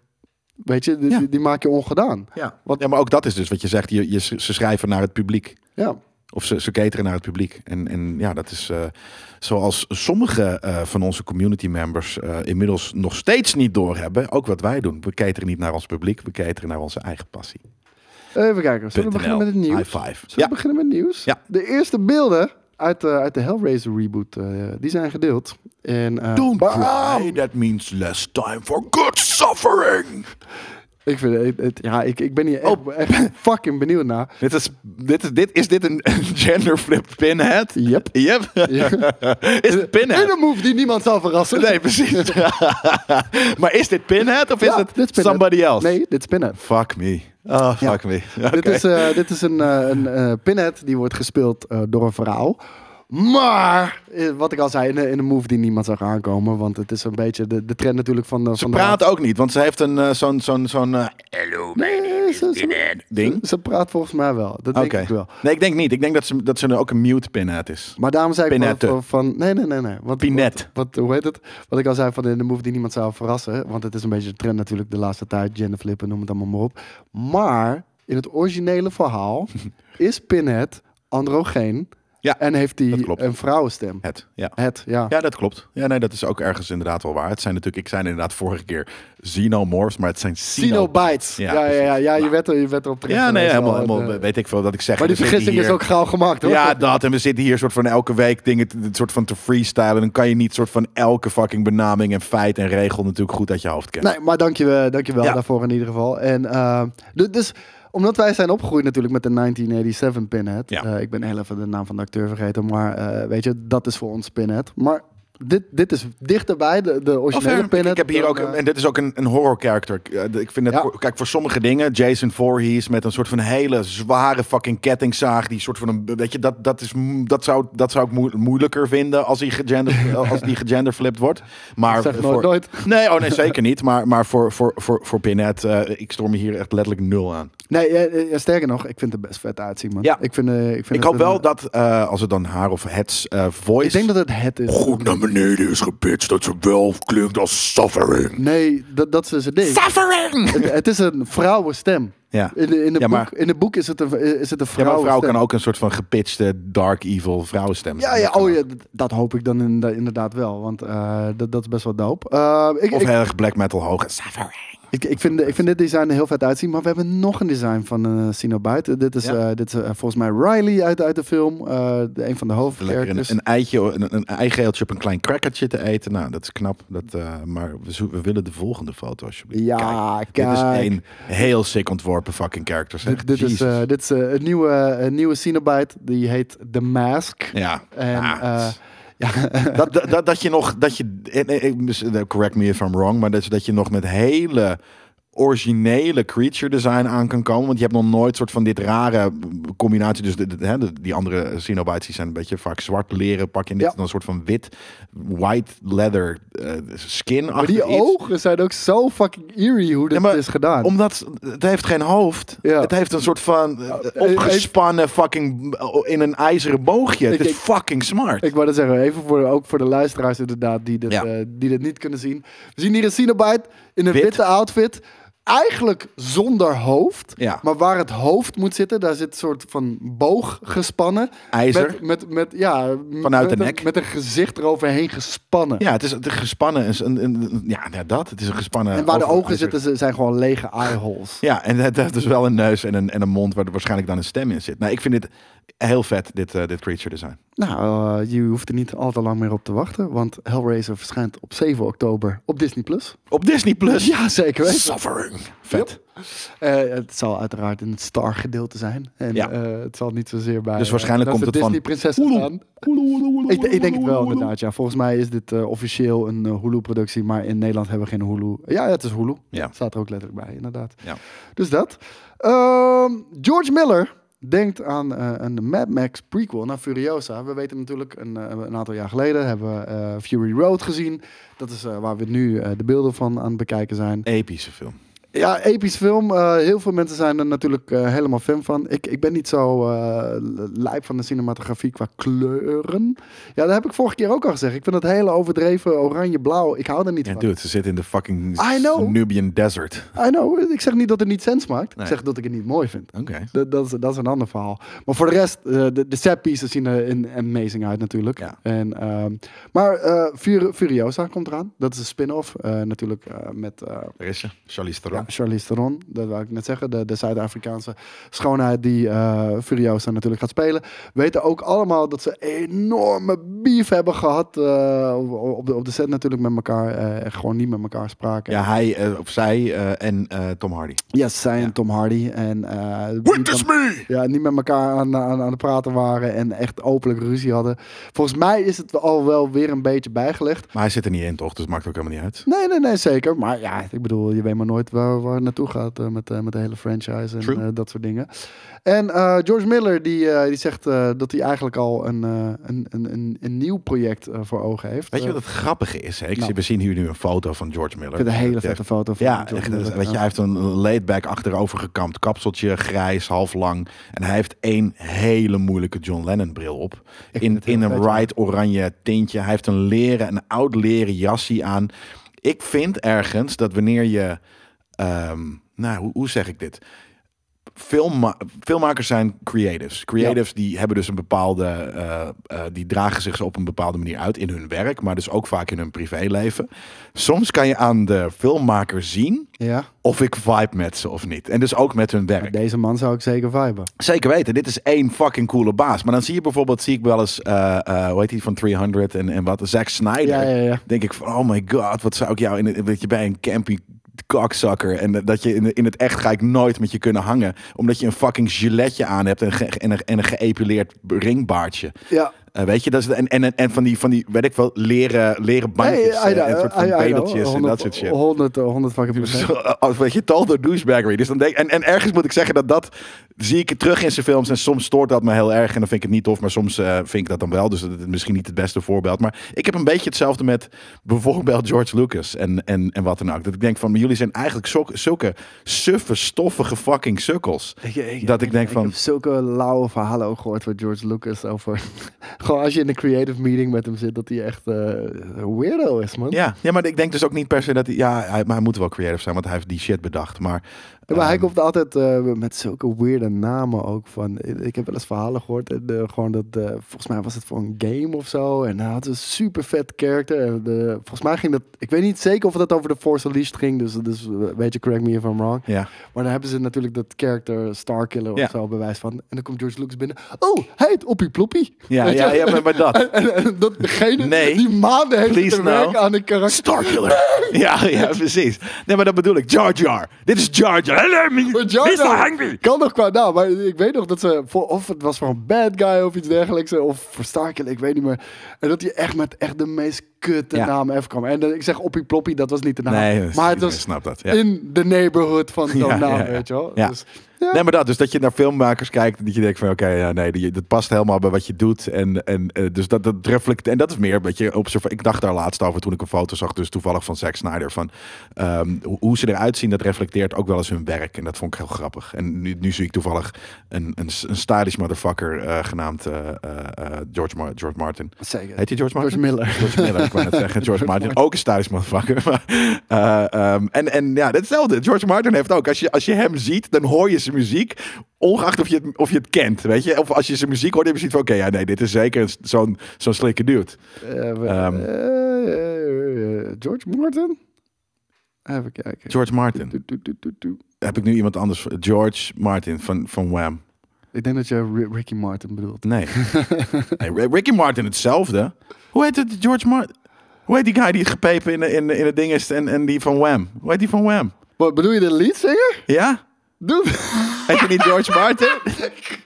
Weet je, die, Ja. die, die maak je ongedaan. ja. wat- ja, maar ook dat is dus wat je zegt. Je, je, ze schrijven naar het publiek. Ja. Of ze, ze cateren naar het publiek. En, en ja, dat is eh, zoals sommige eh, van onze community members eh, inmiddels nog steeds niet doorhebben. Ook wat wij doen. We cateren niet naar ons publiek, we cateren naar onze eigen passie. Even kijken. Zullen we beginnen met het NL. nieuws? High five. Ja. Zullen we beginnen met het nieuws? Ja. De eerste beelden uit, eh, uit de Hellraiser reboot, eh, die zijn gedeeld. En, eh, Don't bam! cry, that means less time for good suffering. Ik, vind, het- het- ja, ik, ik ben hier echt, Oh. echt fucking benieuwd naar. Dit is, dit is, dit, is dit een genderflip pinhead? Yep. Yep. (laughs) (laughs) is het In pinhead? een move die niemand zal verrassen. Nee, precies. (laughs) maar is dit pinhead of is Ja, het dit Pinhead. somebody else? Nee, dit is Pinhead. Fuck me. Oh, fuck me. (laughs) Dit is, eh, dit is een, eh, een eh, pinhead die wordt gespeeld eh, door een vrouw. Maar, eh, wat ik al zei, in, een- in een move die niemand zag aankomen. Want het is een beetje de, de trend natuurlijk van... eh, Ze van praat ook niet, want ze heeft een eh, zo'n zo'n zo'n eh, hello my Nee, name is Eh, ze- ze- pinhead de, ding. Ze praat volgens mij wel. Dat Oké. denk ik wel. Nee, ik denk niet. Ik denk dat ze dat ze ook een mute pinhead is. Maar daarom zei ik Pinhette. wel van, van... Nee, nee, nee. nee. Want, Pinet. Wat, wat- hoe heet het? Wat ik al zei van in de move die niemand zou verrassen. Want het is een beetje de trend natuurlijk de laatste tijd. Genderflippen, noem het allemaal maar op. Maar in het originele (laughs) verhaal is Pinhead androgeen. Ja, en heeft dat hij klopt. een vrouwenstem. Het. Ja. Het, ja. Ja, dat klopt. Ja, nee, dat is ook ergens inderdaad wel waar. Het zijn natuurlijk, ik zei inderdaad vorige keer xenomorphs, maar het zijn Xenobites. Ja, ja, ja, ja, je, werd er, je werd erop terecht. Ja, nee, geweest helemaal, al. helemaal De- weet ik veel dat ik zeg. maar die We zitten vergissing is hier- ook gauw gemaakt, hoor. Ja, dat. En we zitten hier soort van elke week dingen te- soort van te freestylen. Dan kan je niet soort van elke fucking benaming en feit en regel natuurlijk goed uit je hoofd kennen. Nee, maar dankjewel, dankjewel Ja. daarvoor in ieder geval. En eh, du- dus omdat wij zijn opgegroeid natuurlijk met de 1987 Pinhead. Ja. Eh, ik ben heel even de naam van de acteur vergeten, maar eh, weet je, dat is voor ons Pinhead. Maar dit, dit is dichterbij, de, de Of, originele eh, Pinhead. ik heb hier dan, ook, eh, en dit is ook een, een horror character. Eh, d- Ik vind het, Ja. voor- kijk, voor sommige dingen, Jason Voorhees met een soort van hele zware fucking kettingzaag, die soort van een, weet je, dat, dat, is, mo- dat, zou, dat zou ik moe- moeilijker vinden als die, (laughs) gegender, als die genderflipped wordt. Maar zeg nooit voor- nooit. Nee, oh nee, zeker niet. Maar, maar voor, voor, voor, voor Pinhead, eh, ik storm me hier echt letterlijk nul aan. Nee, eh, eh, sterker nog, ik vind het best vet uitzien, man. Ja. Ik, vind, eh, ik, vind Ik het hoop een- wel dat, eh, als het dan haar of het eh, voice... Ik denk dat het het is. goed naar beneden is gepitcht, dat ze wel klinkt als suffering. Nee, dat, dat is dus het ding. Suffering! Het, het is een vrouwenstem. Ja. In, de, in, de Ja, boek, maar- in de boek is het een, is het Ja, maar een een vrouwenstem. vrouw kan ook een soort van gepitchte dark evil vrouwenstem. Ja, zijn. ja, Dat kan oh, ook. ja, d- dat hoop ik dan inderda- inderdaad wel. Want eh, dat, dat is best wel dope. Eh, ik, Of ik, heel erg black metal hoog. Suffering. ik, ik, vind, ik vind dit design er heel vet uitzien. Maar we hebben nog een design van eh Cenobite. Dit is, Ja. eh, dit is eh, volgens mij Riley uit, uit de film. eh, de, een van de Lekker een, hoofdcharacters. een eitje, een, een eigeeltje op een klein crackertje te eten. Nou, dat is knap. Dat, eh, maar we, zo- we willen de volgende foto alsjeblieft. Ja, Dit is kijk. één heel sick ontworpen fucking character. zeg. Dit, dit is, Jezus. eh, dit is eh, een nieuwe, een nieuwe Cenobite. Die heet The Mask. ja. En, Ah, eh, ja, (laughs) dat, dat, dat, dat je nog, dat je, eh, eh, eh, mis- eh, correct me if I'm wrong, maar dat, dat je nog met hele originele creature design aan kan komen. Want je hebt nog nooit soort van dit rare combinatie. Dus de, de- hè, de- die andere Cenobites die zijn een beetje vaak zwart leren pak. En dit Ja. is dan een soort van wit, white leather eh, skin. maar die ogen zijn ook zo fucking eerie hoe dit Ja, maar is gedaan. Omdat het heeft geen hoofd. Ja. Het heeft een soort van eh, eh, opgespannen fucking eh, in een ijzeren boogje. Het Ik- is ik- fucking smart. Ik wou dat zeggen, even voor, ook voor de luisteraars inderdaad die dit, Ja. eh, die dit niet kunnen zien. We zien hier een Cenobite in een Wit. witte outfit. Eigenlijk zonder hoofd. Ja. Maar waar het hoofd moet zitten, daar zit een soort van boog gespannen. IJzer. Met, met, met, ja, Vanuit met de een- nek. Met een gezicht eroverheen gespannen. Ja, het is het is gespannen. Een, een, een- ja, ja, dat. Het is een gespannen. en waar de overgang. ogen zitten, ze- zijn gewoon lege eyeholes. Ja, en het heeft dus wel een neus en een, en een mond waar er waarschijnlijk dan een stem in zit. Nou, ik vind dit heel vet, dit, eh, dit creature design. Nou, eh, je hoeft er niet al te lang meer op te wachten. Want Hellraiser verschijnt op 7 oktober op Disney+. Plus. Op Disney Plus. Ja, zeker weten. Suffering. Vet. Eh, het zal uiteraard in het star gedeelte zijn. En Ja. eh, het zal niet zozeer bij. Dus waarschijnlijk eh, dat komt ze het van Disney prinsessen aan. Ik, ik denk het wel, inderdaad. Ja. Volgens mij is dit eh, officieel een eh, Hulu-productie. Maar in Nederland hebben we geen Hulu. Ja, het is Hulu. Ja. Staat er ook letterlijk bij, inderdaad. Ja. Dus dat. Ehm, George Miller Denkt aan eh, een Mad Max prequel naar Furiosa. We weten natuurlijk, een, eh, een aantal jaar geleden hebben we eh, Fury Road gezien. Dat is eh, waar we nu eh, de beelden van aan het bekijken zijn. Epische film. Ja, episch film. Eh, heel veel mensen zijn er natuurlijk eh, helemaal fan van. Ik, ik ben niet zo eh lijp van de cinematografie qua kleuren. Ja, dat heb ik vorige keer ook al gezegd. Ik vind dat hele overdreven oranje-blauw. Ik hou er niet Ja, van. dude, ze zitten in de fucking I know. Nubian desert. I know. Ik zeg niet dat het niet sens maakt. Nee. Ik zeg dat ik het niet mooi vind. Oké. Dat, dat, is, dat is een ander verhaal. Maar voor de rest, eh, de, de set pieces zien er in, amazing uit natuurlijk. Ja. En, ehm, maar eh, Fur- Furiosa komt eraan. Dat is een spin-off. eh, natuurlijk eh, met eh, Daar is ze. Charlize Theron. ja, Charlize Theron. Dat wou ik net zeggen. De, de Zuid-Afrikaanse schoonheid die eh, Furiosa natuurlijk gaat spelen. We weten ook allemaal dat ze enorme beef hebben gehad. eh, op- op, de, op de set natuurlijk met elkaar. eh, en gewoon niet met elkaar spraken. Ja, hij eh, of zij eh, en eh, Tom Hardy. Yes, zij en Tom Hardy. En, eh, niet met- me! ja, niet met elkaar aan, aan, aan het praten waren en echt openlijk ruzie hadden. Volgens mij is het al wel weer een beetje bijgelegd. Maar hij zit er niet in, toch? Dus maakt ook helemaal niet uit. Nee, nee, nee, zeker. Maar ja, ik bedoel, je weet maar nooit waar, waar het naartoe gaat eh, met, eh, met de hele franchise en True. eh, dat soort dingen. En eh, George Miller, die, eh, die zegt eh, dat hij eigenlijk al een, eh, een, een, een, een nieuw project eh, voor ogen heeft. Weet je Eh, wat het grappige is? Hè? Ik nou. zie- we zien hier nu een foto van George Miller. ik vind een hele Dat vette foto van Ja, George echt, Miller. weet je, hij heeft een laidback achterover gekamd kapseltje, grijs, half lang. En hij heeft één hele moeilijke John Lennon bril op. In, het heel in een vet, ja. bright oranje tintje. Hij heeft een leren, een oud leren jasje aan. Ik vind ergens dat wanneer je, ehm, nou, hoe, hoe zeg ik dit? Filmma- filmmakers zijn creatives. Creatives die hebben dus een bepaalde, eh, eh, die dragen zich op een bepaalde manier uit in hun werk, maar dus ook vaak in hun privéleven. Soms kan je aan de filmmaker zien Ja, of ik vibe met ze of niet. En dus ook met hun maar werk. deze man zou ik zeker viben. Zeker weten, dit is één fucking coole baas. Maar dan zie je bijvoorbeeld, zie ik wel eens, eh, eh, hoe heet die van 300 en, en wat, Zack Snyder. Ja, ja, ja. Denk ik van, oh my god, wat zou ik jou, in, het- dat je bij een campy kakzakker en dat je in, in het echt ga ik nooit met je kunnen hangen. Omdat je een fucking giletje aan hebt en, ge- en, een, en een geëpileerd ringbaardje. Ja, Eh, weet je, dat is de- en, en, en van die, van die, weet ik wel, leren, leren bandjes Nee, I eh, en know, soort van I know, bedeltjes en 100, dat soort shit. 100, 100 fucking procent. Zo, eh, als weet je, tal door douchebaggery. Dus dan denk, en, en ergens moet ik zeggen dat dat zie ik het terug in zijn films. En soms stoort dat me heel erg. En dan vind ik het niet tof. Maar soms eh, vind ik dat dan wel. Dus dat is misschien niet het beste voorbeeld. Maar ik heb een beetje hetzelfde met bijvoorbeeld George Lucas en, en, en wat dan ook. Dat ik denk van, maar jullie zijn eigenlijk zulke, zulke suffe, stoffige fucking sukkels. dat ik denk Ik van, heb zulke lauwe verhalen ook gehoord van George Lucas over... (laughs) gewoon als je in een creative meeting met hem zit, dat hij echt eh, een weirdo is, man. ja, ja, maar ik denk dus ook niet per se dat hij, ja, hij, maar hij moet wel creative zijn. Want hij heeft die shit bedacht. Maar, Ja, maar hij ehm, komt altijd eh, met zulke weirde namen ook van... Ik heb wel eens verhalen gehoord. En, eh, gewoon dat, eh, volgens mij was het voor een game of zo. En hij had een super vet karakter. En, eh, volgens mij ging dat... Ik weet niet zeker of dat over de Force Unleashed ging. Dus, dus eh, weet je, correct me if I'm wrong. ja. Maar dan hebben ze natuurlijk dat character Starkiller of Ja. zo bewijs van. En dan komt George Lucas binnen. Oh, hij heet Oppie Ploppie. Ja, Weet je? ja, ja, maar- maar (laughs) dat. En, en dat degene Nee. die maanden heeft Please te no. werken aan een karakter. (laughs) Starkiller. Ja, ja, precies. Nee, maar dat bedoel ik. Jar Jar. Dit is Jar Jar. Hello, me. Maar Jar Mr. Jar Hungry. nou. kan nog qua naam, maar ik weet nog dat ze, voor, of het was voor een bad guy of iets dergelijks, eh, of voor Starkiller, ik weet niet meer. En dat hij echt met echt de meest kutte Ja. naam even kwam. En eh, ik zeg Oppie Ploppie, dat was niet de naam. Nee, maar iedereen het was snapt dat, ja. in de neighborhood (laughs) van zo'n Ja, naam, ja, ja. weet je wel. Ja. Dus, ja. Nee, maar dat. Dus dat je naar filmmakers kijkt en dat je denkt van... Oké, ja, nee, die- dat past helemaal bij wat je doet. En, en eh, dus dat, dat reflect... En dat is meer wat je observa- Ik dacht daar laatst over toen ik een foto zag. Dus toevallig van Zack Snyder. Van ehm, hoe, hoe ze eruit zien, dat reflecteert ook wel eens hun werk. En dat vond ik heel grappig. En nu, nu zie ik toevallig een, een, een stylish motherfucker eh, genaamd eh, eh, eh, George, Mar- George Martin. Zeker. Heet hij George Martin? George Miller. George Miller, ik wou net (laughs) zeggen. George Martin, ook een stylish motherfucker. (laughs) Maar, eh, ehm, en, en ja, hetzelfde. George Martin heeft ook. Als je, als je hem ziet, dan hoor je zijn muziek. Ongeacht of je het, of je het kent, weet je. Of als je zijn muziek hoort, dan heb je zoiets van... Oké, ja, nee, dit is zeker een- zo'n zo'n slikke dude. Eh, we- Ehm. eh, eh, George Martin? Even kijken. George Martin. Doe, doe, doe, doe, doe. Heb ik nu iemand anders? voor- George Martin van, van Wham. Ik denk dat je Ri- Ricky Martin bedoelt. (laughs) Nee. nee. Ri- Ricky Martin hetzelfde. Hoe heet het? George Martin? Hoe heet die guy die gepepen in, de- in, de- in het ding is en, en die van Wham? Hoe heet die van Wham? Wat bedoel je de leadzanger? Ja? Doe. Ah, Heet je niet George Martin?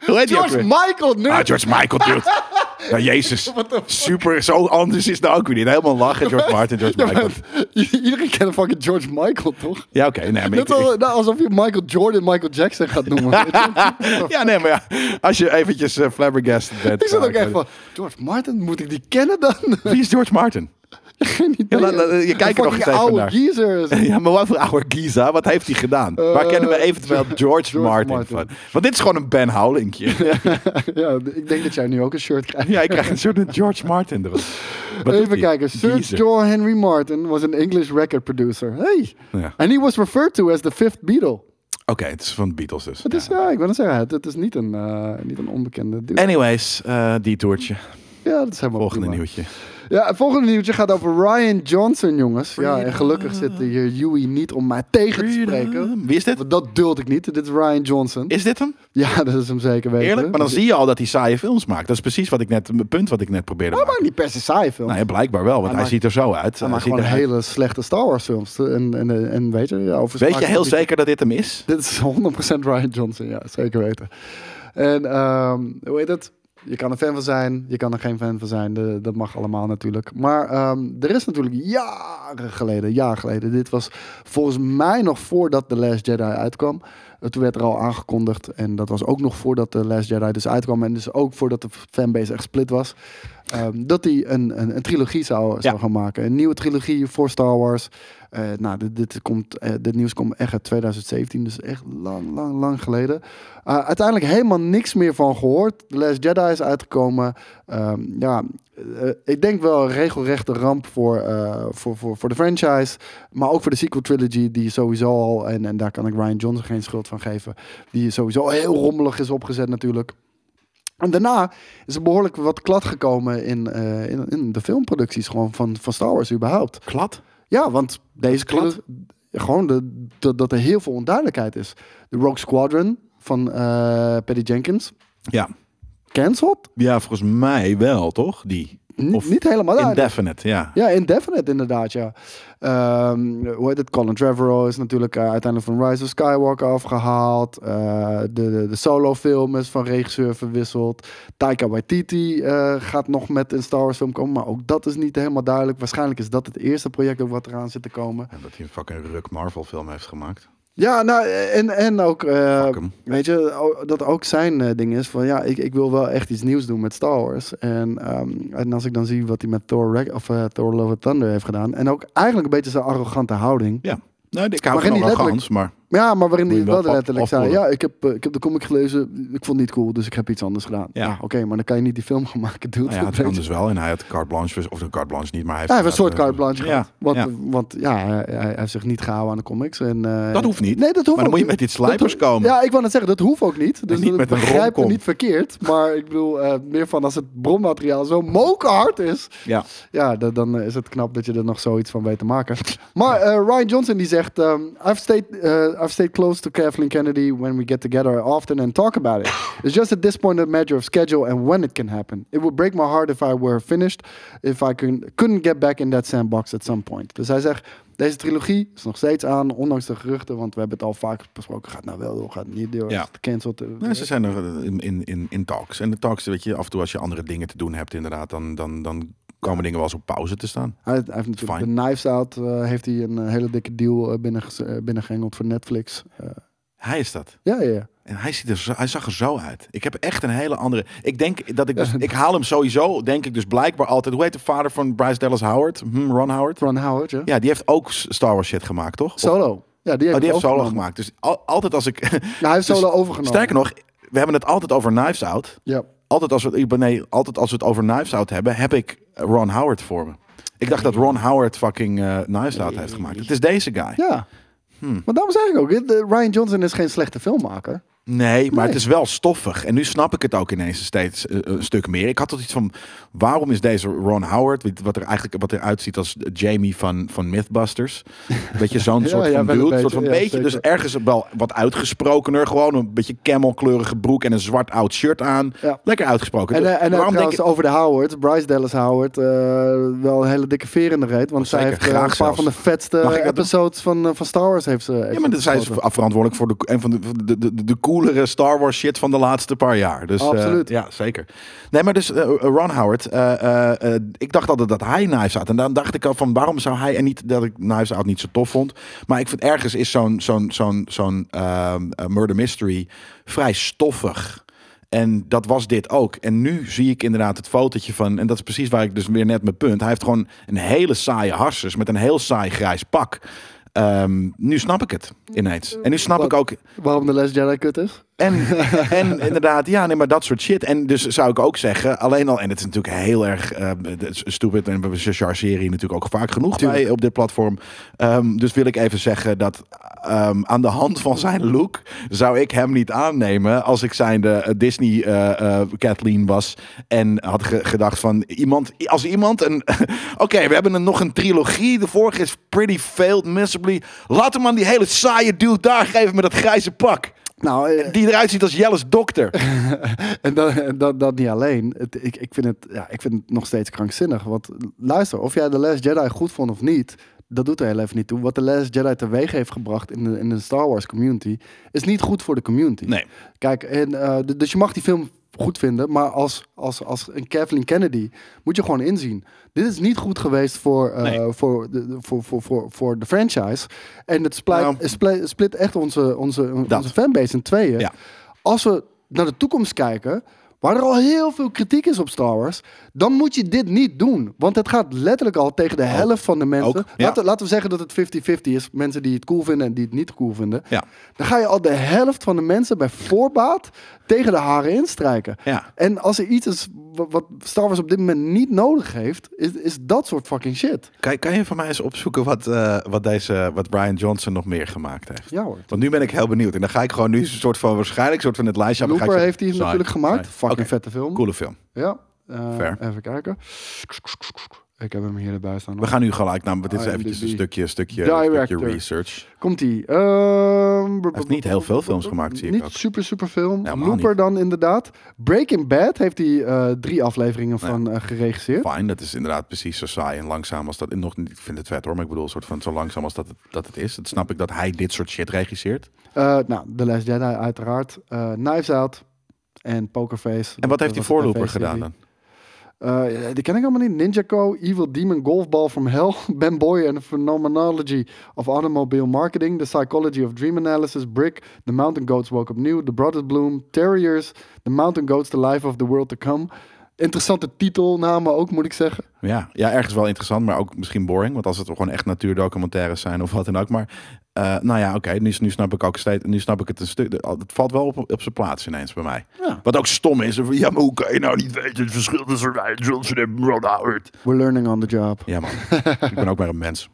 Hoe heet die ook (laughs) George weer? Michael, nu. Ah, George Ah, Michael, dude. Ja, (laughs) jezus. Super, zo anders is het nou ook weer niet. Helemaal lachen, George Martin, George Ja, Michael. maar i- (laughs) iedereen kent fucking George Michael, toch? Ja, oké. nee, maar Net ik- al, nou, alsof je Michael Jordan Michael Jackson gaat (laughs) noemen. ik- (laughs) ja, nee, maar ja. Als je eventjes eh, flabbergasted bent. (laughs) ik zat ook eh, echt van, George Martin, moet ik die (laughs) kennen dan? Wie is George (laughs) Martin? Geen idee. Ja, laat- laat- eh, je kijkt er nog eens Fucking even oude naar. geezer. (laughs) Ja, maar wat voor oude Giza? Wat heeft hij gedaan? Waar kennen we (laughs) eventueel George, Eh, George Martin, Martin. van? Want dit is gewoon een Ben (laughs) Howlinkje. ja, ik denk dat jij nu ook een shirt krijgt. ja, ik krijg een soort George Martin erop. Wat doet Even hij? kijken. Sir Geezer. John Henry Martin was an English record producer. Hey. Ja. And he was referred to as the fifth Beatle. Oké, het is van de Beatles dus. Het is, ja, ik wil het zeggen, het, het is niet een, eh, niet een onbekende dude. Anyways, eh die toertje. ja, dat is helemaal Volgende prima. nieuwtje. Ja, het volgende nieuwtje gaat over Ryan Johnson, jongens. Ja, en gelukkig zit hier Huey niet om mij tegen te spreken. Wie is dit? Want dat duld ik niet. Dit is Ryan Johnson. Is dit hem? Ja, dat is hem zeker weten. Eerlijk? Maar dan zie je al dat hij saaie films maakt. Dat is precies wat ik net, het punt wat ik net probeerde. te Oh, Maar maken. niet per se saaie film. Nou ja, blijkbaar wel, want hij, maakt- ziet er zo uit. Hij Hij maakt ziet gewoon er- hele slechte Star Wars films. En, en, en, weet je, ja, over Weet je smaak- heel zeker dat dit hem is? (laughs) Dit is 100% Ryan Johnson, ja, zeker weten. En ehm, hoe heet het? Je kan er fan van zijn, je kan er geen fan van zijn. De- dat mag allemaal natuurlijk. Maar ehm, er is natuurlijk jaren geleden, jaren geleden. Dit was volgens mij nog voordat The Last Jedi uitkwam. Eh, Toen werd er al aangekondigd. En dat was ook nog voordat The Last Jedi dus uitkwam. En dus ook voordat de fanbase echt split was. Ehm, dat hij een, een, een trilogie zou, zou Ja. gaan maken. Een nieuwe trilogie voor Star Wars. Eh, nou, dit, dit, komt, eh, dit nieuws komt echt uit 2017, dus echt lang, lang, lang geleden. Eh, uiteindelijk helemaal niks meer van gehoord. The Last Jedi is uitgekomen. Ehm, ja, eh, ik denk wel een regelrechte ramp voor, eh, voor, voor, voor de franchise. Maar ook voor de sequel trilogy, die sowieso al, en, en daar kan ik Ryan Johnson geen schuld van geven, die sowieso heel rommelig is opgezet natuurlijk. En daarna is er behoorlijk wat klad gekomen in, eh, in, in de filmproducties gewoon van, van Star Wars überhaupt. Klad? Ja, want deze Klad? klad. Gewoon de, de- dat er heel veel onduidelijkheid is. De Rogue Squadron van eh Patty Jenkins. Ja. Cancelled? Ja, volgens mij wel, toch? Die. N- Of niet helemaal duidelijk. Indefinite, ja. Ja, indefinite inderdaad, ja. Ehm, hoe heet het? Colin Trevorrow is natuurlijk eh, uiteindelijk van Rise of Skywalker afgehaald. Eh, de, de, de solo-film is van regisseur verwisseld. Taika Waititi eh, gaat nog met een Star Wars film komen, maar ook dat is niet helemaal duidelijk. Waarschijnlijk is dat het eerste project ook wat eraan zit te komen. En dat hij een fucking ruk Marvel film heeft gemaakt. Ja, nou, en, en ook, eh, Fuck 'em. weet je, o- dat ook zijn eh, ding is van, ja, ik, ik wil wel echt iets nieuws doen met Star Wars. En, ehm, en als ik dan zie wat hij met Thor, Rag- of, eh, Thor Love and Thunder heeft gedaan, en ook eigenlijk een beetje zijn arrogante houding. Ja. Nou, ik Maar hou geen van letterlijk- arrogans, maar... Ja, maar waarin Moet hij je wel wel af- letterlijk zei, afvoeren. ja, ik heb, eh, ik heb de comic gelezen, ik vond het niet cool, dus ik heb iets anders gedaan. Ja, Ja. oké, maar dan kan je niet die film gaan maken, dude. Nou ja, het (laughs) Weet kan je. dus wel. En hij had carte blanche, of een carte blanche niet, maar hij heeft... Ja, hij heeft een soort carte blanche eh, Ja, gehad. Want, ja. want ja, hij, hij heeft zich niet gehouden aan de comics. En, eh, Dat hoeft niet. Nee, dat hoeft Maar dan ook moet je niet. met iets slijpers Dat- komen. Ja, ik wou net zeggen, dat hoeft ook niet. Dus niet dat met een begrijp me romcom. niet verkeerd. Maar ik bedoel, eh, meer van als het bronmateriaal zo mokerhard is... Ja. Ja, da- dan eh, is het knap dat je er nog zoiets van weet te maken. (laughs) Maar eh, Ryan Johnson die zegt... ehm, I've, stayed, eh, I've stayed close to Kathleen Kennedy when we get together often and talk about (coughs) it. It's just at this point a matter of schedule and when it can happen. It would break my heart if I were finished. If I could, couldn't get back in that sandbox at some point. Dus hij zegt... Deze trilogie is nog steeds aan, ondanks de geruchten. Want we hebben het al vaak besproken. Gaat nou wel door, gaat niet door. Ja. Is het gecanceld? Eh, Nee, ze zijn er eh, in, in, in, in talks. En de talks, weet je, af en toe als je andere dingen te doen hebt, inderdaad, dan, dan, dan komen dingen wel eens op pauze te staan. Hij, hij heeft natuurlijk Fine. de Knives Out, eh, heeft hij een eh, hele dikke deal eh, binnenge- eh, binnengehengeld voor Netflix. Eh, Hij is dat. ja, ja, ja. En hij, ziet er zo- hij zag er zo uit. Ik heb echt een hele andere. Ik denk dat ik. (laughs) Dus, ik haal hem sowieso, denk ik dus blijkbaar altijd. Hoe heet de vader van Bryce Dallas Howard? Hm, Ron Howard? Ron Howard, ja. Ja, die heeft ook s- Star Wars shit gemaakt, toch? Of- Solo. Ja, die heeft, oh, die heeft solo overgenomen. gemaakt. Dus al- altijd als ik. Nou, hij (laughs) heeft Dus Solo overgenomen. Sterker nog, we hebben het altijd over Knives Out. Ja. Altijd als we, het- ik ben- nee, altijd als we het over Knives Out hebben, heb ik Ron Howard voor me. Ik dacht dat Ron Howard fucking eh, Knives Out heeft gemaakt. Het is deze guy. Ja. Hmm. Maar daarom zeg ik ook, eh, de- Ryan Johnson is geen slechte filmmaker. Nee, maar Nee. het is wel stoffig. En nu snap ik het ook ineens steeds eh, een stuk meer. Ik had tot iets van, waarom is deze Ron Howard, wat- wat er eigenlijk wat eruit ziet als Jamie van, van Mythbusters. Weet je, zo'n (laughs) Ja, soort ja, van wel dude. een soort van beetje, ja, beetje, dus zeker. ergens wel wat uitgesprokener. Gewoon een beetje camelkleurige broek en een zwart oud shirt aan. Ja. Lekker uitgesproken. En, eh, Dus en eh, waarom denk trouwens ik, over de Howard, Bryce Dallas Howard, eh, wel een hele dikke veer in de reet. Want zij zeker, heeft eh, graag een paar zelfs. van de vetste Mag ik dat doen? episodes van, eh, van Star Wars heeft ze. heeft ja, maar ze dat zij is geschoten. verantwoordelijk voor de, en van de, de, de, de, de coolere Star Wars shit van de laatste paar jaar. Dus, eh, Absoluut. ja, zeker. Nee, maar dus eh, Ron Howard, eh, eh, eh, ik dacht altijd dat hij Knives Out. En dan dacht ik al van waarom zou hij, en niet dat ik Knives Out niet zo tof vond. Maar ik vind ergens is zo'n zo'n zo'n zo'n ehm, eh, murder mystery vrij stoffig. En dat was dit ook. En nu zie ik inderdaad het fotootje van... en dat is precies waar ik dus weer net mijn punt... hij heeft gewoon een hele saaie harses... met een heel saai grijs pak. Ehm, nu snap ik het ineens. En nu snap ik ook... Waarom de Les Jedi kut is? En, en inderdaad, ja, nee, maar dat soort shit. En dus zou ik ook zeggen, alleen al, en het is natuurlijk heel erg eh, het is stupid, en we chargeren hier natuurlijk ook vaak genoeg Tuurlijk. bij op dit platform. Ehm, dus wil ik even zeggen dat ehm, aan de hand van zijn look zou ik hem niet aannemen als ik zijnde eh, Disney eh, eh, Kathleen was en had ge- gedacht van iemand, als iemand een, (laughs) oké, we hebben een, nog een trilogie, de vorige is Pretty Failed Miserably, laat hem aan die hele saaie dude daar geven met dat grijze pak. Nou, eh, Die eruit ziet als Jelles dokter. en dat, en dat, dat niet alleen. Het, ik, ik, vind het, ja, ik vind het nog steeds krankzinnig. Want luister, of jij de Last Jedi goed vond of niet... Dat doet er heel even niet toe. Wat de Last Jedi teweeg heeft gebracht in de, in de Star Wars community... is niet goed voor de community. Nee. Kijk, en, eh, d- dus je mag die film goed vinden, maar als, als, als een Kathleen Kennedy moet je gewoon inzien. Dit is niet goed geweest voor, eh, Nee. voor, de, de- voor, voor, voor, voor de franchise. En het splijt, Nou. eh, splijt- split echt onze, onze, Dat. onze fanbase in tweeën. Ja. Als we naar de toekomst kijken, waar er al heel veel kritiek is op Star Wars, dan moet je dit niet doen. Want het gaat letterlijk al tegen de helft van de mensen. Ook, ja. laten, laten we zeggen dat het 50-50 is. Mensen die het cool vinden en die het niet cool vinden. Ja. Dan ga je al de helft van de mensen bij voorbaat tegen de haren instrijken. Ja. En als er iets is wat, wat Star Wars op dit moment niet nodig heeft, is, is dat soort fucking shit. Kan, kan je voor mij eens opzoeken wat, eh, wat, deze, wat Brian Johnson nog meer gemaakt heeft? Ja hoor. Want nu ben ik heel benieuwd. En dan ga ik gewoon nu een soort van waarschijnlijk een soort van het lijstje. af en ga ik Looper heeft zeggen, hij saai, natuurlijk gemaakt. saai. Fucking Oké, vette film. Coole film. Ja. Eh, Fair. Even kijken. Ik heb hem hier erbij staan. We gaan nu gelijk naar. Dit is IMDb. eventjes een stukje, stukje, Director. stukje research. Komt ie. Ehm, heeft niet heel veel films gemaakt, zie ik Niet ook. super, super film. helemaal Looper niet. dan inderdaad. Breaking Bad heeft hij eh, drie afleveringen van eh, geregisseerd. Fine, dat is inderdaad precies zo saai en langzaam als dat. en Nog, niet- ik vind het vet hoor, maar ik bedoel, een soort van zo langzaam als dat het, dat het is. Dat snap ik dat hij dit soort shit regisseert. Eh, nou, The Last Jedi uiteraard. eh Knives Out en Pokerface. En wat heeft die die voorloper gedaan dan? Eh, die ken ik allemaal niet. Ninjago, Evil Demon, Golfball from Hell, (laughs) Ben Boy and the Phenomenology of Automobile Marketing, The Psychology of Dream Analysis, Brick, The Mountain Goats Woke Up New, The Brothers Bloom, Terriers, The Mountain Goats, The Life of the World to Come. Interessante titelnamen ook, moet ik zeggen. Ja, ja, ergens wel interessant, maar ook misschien boring. Want als het gewoon echt natuurdocumentaires zijn of wat dan ook. Maar eh, nou ja, oké, nu, nu snap ik ook steeds. Nu snap ik het een stuk. Het valt wel op, op zijn plaats ineens bij mij. Ja. Wat ook stom is. van, Ja, maar hoe kan je nou niet weten het verschil tussen Ryan Johnson en Ron Howard? We're learning on the job. Ja, man. (laughs) ik ben ook maar een mens.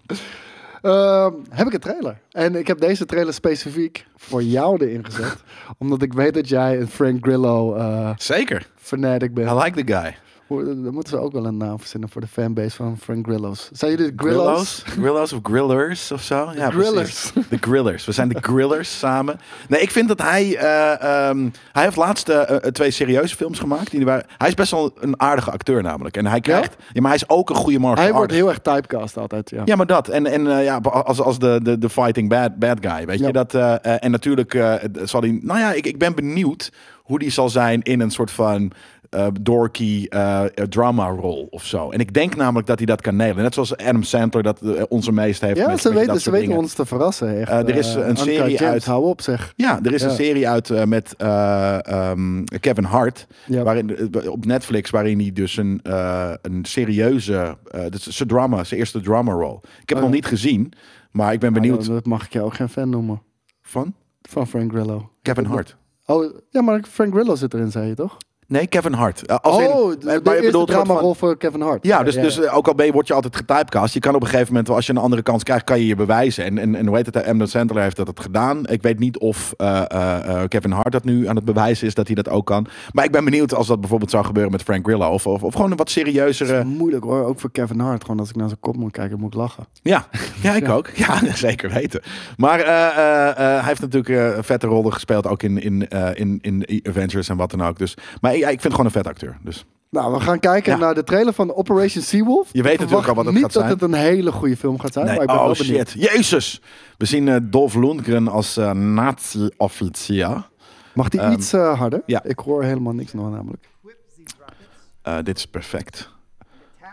Ehm, heb ik een trailer. En ik heb deze trailer specifiek voor jou erin gezet. omdat ik weet dat jij een Frank Grillo eh Zeker. fanatic bent. I like the guy. Hoe- Dan moeten ze ook wel een naam verzinnen voor de fanbase van Frank Grillo's. Zijn jullie de Grillo's? Grillo's? Grillo's of grillers of zo? Ja, grillers. precies. De grillers. We zijn de grillers samen. Nee, ik vind dat hij... eh, ehm, hij heeft laatst eh, eh, twee serieuze films gemaakt. Die waren, hij is best wel een aardige acteur namelijk. En hij krijgt... Ja, maar hij is ook een goede martial Hij wordt artist. heel erg typecast altijd, ja. Ja, maar dat. En, en eh, ja, als, als de, de, de fighting bad, bad guy, weet je. Ja. Dat, eh, eh, en natuurlijk eh, zal hij... Nou ja, ik, ik ben benieuwd hoe die zal zijn in een soort van eh dorky eh, drama-rol of zo. En ik denk namelijk dat hij dat kan nelen. Net zoals Adam Sandler dat eh, onze meest heeft. Ja, met- ze met dat weten, ze soort weten dingen. ons te verrassen. Echt. Eh, er is Eh, een Uncut serie Gems, uit- hou op zeg. Ja, er is Ja. een serie uit eh, met eh, ehm, Kevin Hart Ja. waarin, eh, op Netflix, waarin hij dus een, eh, een serieuze, eh dat is zijn drama, zijn eerste drama rol. Ik heb het Oh nog niet gezien, maar ik ben benieuwd dat mag ik jou ook geen fan noemen. van Van Frank Grillo. Kevin Hart. Oh, ja, maar Frank Grillo zit erin, zei je toch? Nee, Kevin Hart. Eh, Als in- oh, de, maar je de bedoelt eerste een soort drama van- rol voor Kevin Hart. Ja, dus, dus eh, ook al ben je, word je altijd getypecast. Je kan op een gegeven moment, wel, als je een andere kans krijgt, kan je je bewijzen. En, en, en hoe heet het, Emden Sandler heeft dat het gedaan. Ik weet niet of eh, eh, eh, Kevin Hart dat nu aan het bewijzen is dat hij dat ook kan. Maar ik ben benieuwd als dat bijvoorbeeld zou gebeuren met Frank Grillo. Of, of, of gewoon een wat eh, serieuzere... Moeilijk hoor, ook voor Kevin Hart. Gewoon als ik naar zijn kop moet kijken, moet ik lachen. Ja, (laughs) ja ik ook. Ja, zeker weten. Maar eh, eh, eh, hij heeft natuurlijk eh, vette rollen gespeeld, ook in, in, eh, in, in Avengers en wat dan ook. Dus, maar ja, ik vind het gewoon een vet acteur. Dus. Nou, we gaan kijken Ja. naar de trailer van Operation Seawolf. Je weet Ik natuurlijk verwacht al wat het niet gaat zijn. dat het een hele goede film gaat zijn, maar Nee, ik ben oh wel benieuwd. shit, jezus. We zien eh, Dolph Lundgren als eh nazi-officier. Mag die Ehm, iets eh, harder? ja. Ik hoor helemaal niks nog namelijk. Eh, dit is perfect.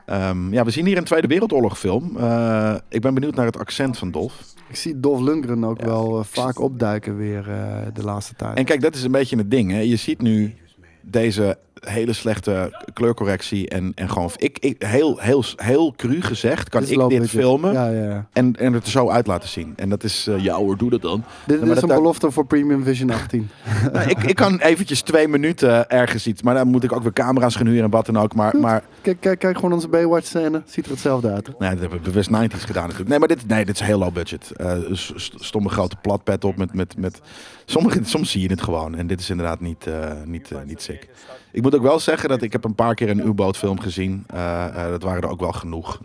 Ehm, ja, we zien hier een Tweede Wereldoorlog film. Eh, ik ben benieuwd naar het accent van Dolf. Ik zie Dolph Lundgren ook Ja. wel eh, vaak opduiken weer eh, de laatste tijd. En kijk, dat is een beetje het ding. Hè. Je ziet nu deze hele slechte kleurcorrectie. En, en gewoon, ik, ik, heel, heel, heel cru gezegd, kan Dit is ik low dit Dus budget. filmen Ja, ja, ja. en, en het er zo uit laten zien. En dat is, eh, ja hoor, doe dat dan. Dit maar is een dat- belofte voor Premium Vision 18. Nou, ik, ik kan eventjes twee minuten ergens iets. Maar dan moet ik ook weer camera's gaan huren en wat dan ook. Maar, maar kijk, kijk, kijk gewoon onze Baywatch-scène. Ziet er hetzelfde uit. hè? Nee, dat hebben we bewust 90s gedaan natuurlijk. Nee, maar dit, nee, dit is heel low budget. Eh, s- s- stomme grote platpet op met... met, met sommige, soms zie je het gewoon. En dit is inderdaad niet, eh, niet, eh, niet sick. Ik moet ook wel zeggen dat ik heb een paar keer een U-bootfilm gezien. Eh, eh, dat waren er ook wel genoeg.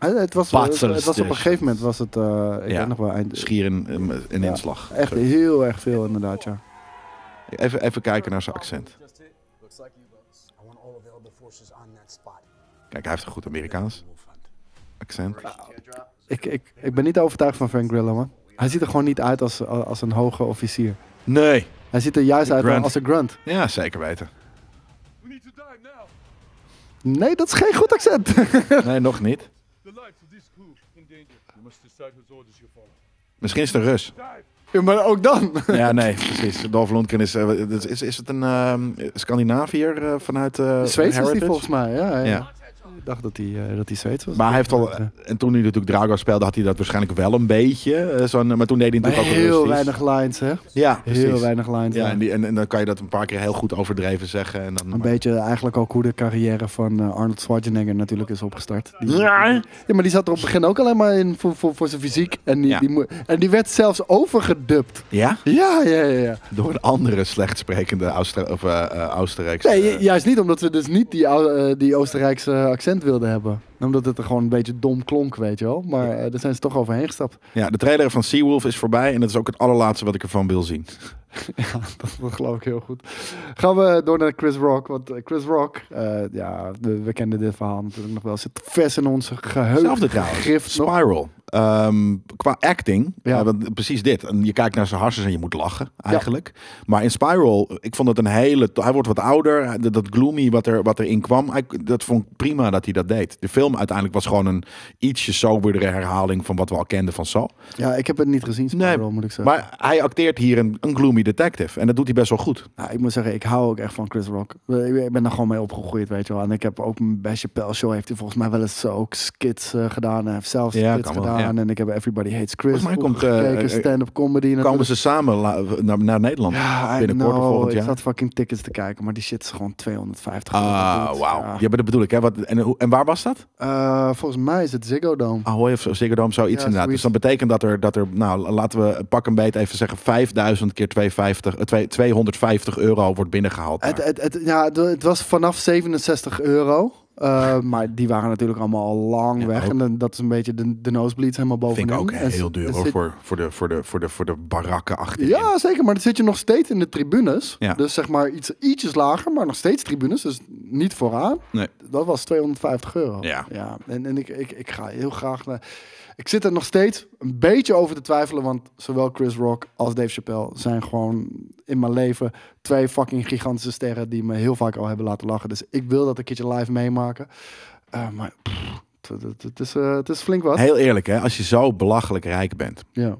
Eh, Het was, het, Patser het was op station. een gegeven moment, was het, eh, ik dus. Ja. weet nog wel, eind, Schier een, een, een Ja, inslag. echt Sorry. heel erg veel inderdaad, ja. Even, even kijken naar zijn accent. Looks like U-boats. I want all available forces on that spot. Kijk, hij heeft een goed Amerikaans Wolf Hunt. accent. Ik, ik, ik ben niet overtuigd van Frank Grillo, man. Hij ziet er gewoon niet uit als, eh, als een hoge officier. Nee. Hij ziet er juist uit grunt. als een grunt. Ja, zeker weten. We need to die now. Nee, dat is geen goed accent. (laughs) Nee, nog niet. The lives of this crew in danger. You must decide whose orders you follow. Misschien is het een Rus. Dive! Ja, maar ook dan. Ja, nee, precies. Dolph Lundgren is... eh, is, is, is het een ehm, Scandinaviër eh, vanuit eh Zweeds is die Heritage? volgens mij, ja. ja. Ja. Ik dacht dat hij eh, dat hij Zweeds was. Maar hij heeft al, en toen hij natuurlijk Drago speelde, had hij dat waarschijnlijk wel een beetje. eh, Zo'n, maar toen deed hij Maar natuurlijk ook heel Russisch. weinig lines, hè? Ja, precies. Heel weinig lines. Ja, ja. en, die, en, en dan kan je dat een paar keer heel goed overdreven zeggen. En dan, Een beetje eigenlijk ook hoe de carrière van eh, Arnold Schwarzenegger natuurlijk is opgestart. Die- Ja. Ja, maar die zat er op het begin ook alleen maar in voor, voor, voor zijn fysiek. En die, Ja. die mo- en die werd zelfs overgedubt. Ja? Ja, ja, ja. ja. Door een andere slechtsprekende Austra- of, eh, eh, Oostenrijkse. Nee, ju- eh, juist niet omdat ze dus niet die, ou- eh, die Oostenrijkse accent wilden hebben. Omdat het er gewoon een beetje dom klonk, weet je wel. Maar eh, daar zijn ze toch overheen gestapt. ja, de trailer van Seawolf is voorbij en dat is ook het allerlaatste wat ik ervan wil zien. (laughs) Dat, dat geloof ik heel goed. Gaan we door naar Chris Rock. Want eh, Chris Rock, eh, ja, we, we kennen dit verhaal natuurlijk nog wel. Zit vers in onze geheugen. Hetzelfde trouwens. Grift nog. Spiral. Ehm, qua acting, Ja. eh, want precies dit. En je kijkt naar zijn harsjes en je moet lachen, eigenlijk. Maar in Spiral, ik vond het een hele... to- Hij wordt wat ouder, hij- dat, dat gloomy wat, er, wat erin kwam. Hij, dat vond ik prima dat hij dat deed. De film uiteindelijk was gewoon een ietsje soberdere herhaling... van wat we al kenden van Saw. Ja, ik heb het niet gezien, Spiral, moet ik zeggen. maar hij acteert hier een, een gloomy detective. En dat doet hij best wel goed. Nou, ik moet zeggen, ik hou ook echt van Chris Rock. Ik ik ben daar gewoon mee opgegroeid, weet je wel. En ik heb ook mijn Best Chappelle Show heeft hij volgens mij wel eens ook skits eh, gedaan. Hij heeft zelf Ja, skits kan wel, gedaan. ja. En ik heb Everybody Hates Chris Volgens mij komt, eh, gekeken, eh, stand-up comedy. natuurlijk. Komen ze samen la- naar, naar Nederland Ja, I binnenkort of know. volgend Ik jaar? zat fucking tickets te kijken, maar die shit is gewoon 250 euro. Ah, dude. wauw. Ja. Ja, maar dat bedoel ik. Hè. Wat, en, hoe- en waar was dat? Eh, volgens mij is het Ziggo Dome. Ahoy of zo, Ziggo Dome, zoiets Ja, inderdaad. zoiets. Dus dan betekent dat er, dat er, nou laten we pak een beet even zeggen, 5000 keer 250, eh, twee- 250 euro wordt binnengehaald. daar. Het, het, het, ja, de- het was vanaf 67 euro. (laughs) Eh, maar die waren natuurlijk allemaal al lang Ja, weg. ook. En dan, dat is een beetje de, de nosebleeds helemaal bovenin. Vind ik ook En heel s- duur en hoor, zit- voor, voor, de, voor, de, voor, de, voor de barakken achterin. Ja, zeker. Maar dan zit je nog steeds in de tribunes. Ja. Dus zeg maar iets, ietsjes lager, maar nog steeds tribunes. Dus niet vooraan. Nee. Dat was 250 euro. Ja. En, en ik, ik, ik ga heel graag naar... Ik zit er nog steeds een beetje over te twijfelen. Want zowel Chris Rock als Dave Chappelle zijn gewoon in mijn leven twee fucking gigantische sterren die me heel vaak al hebben laten lachen. Dus ik wil dat een keertje live meemaken. Eh, maar pff, het- het- het is, eh, het is flink wat. Heel eerlijk hè, als je zo belachelijk rijk bent, Ja.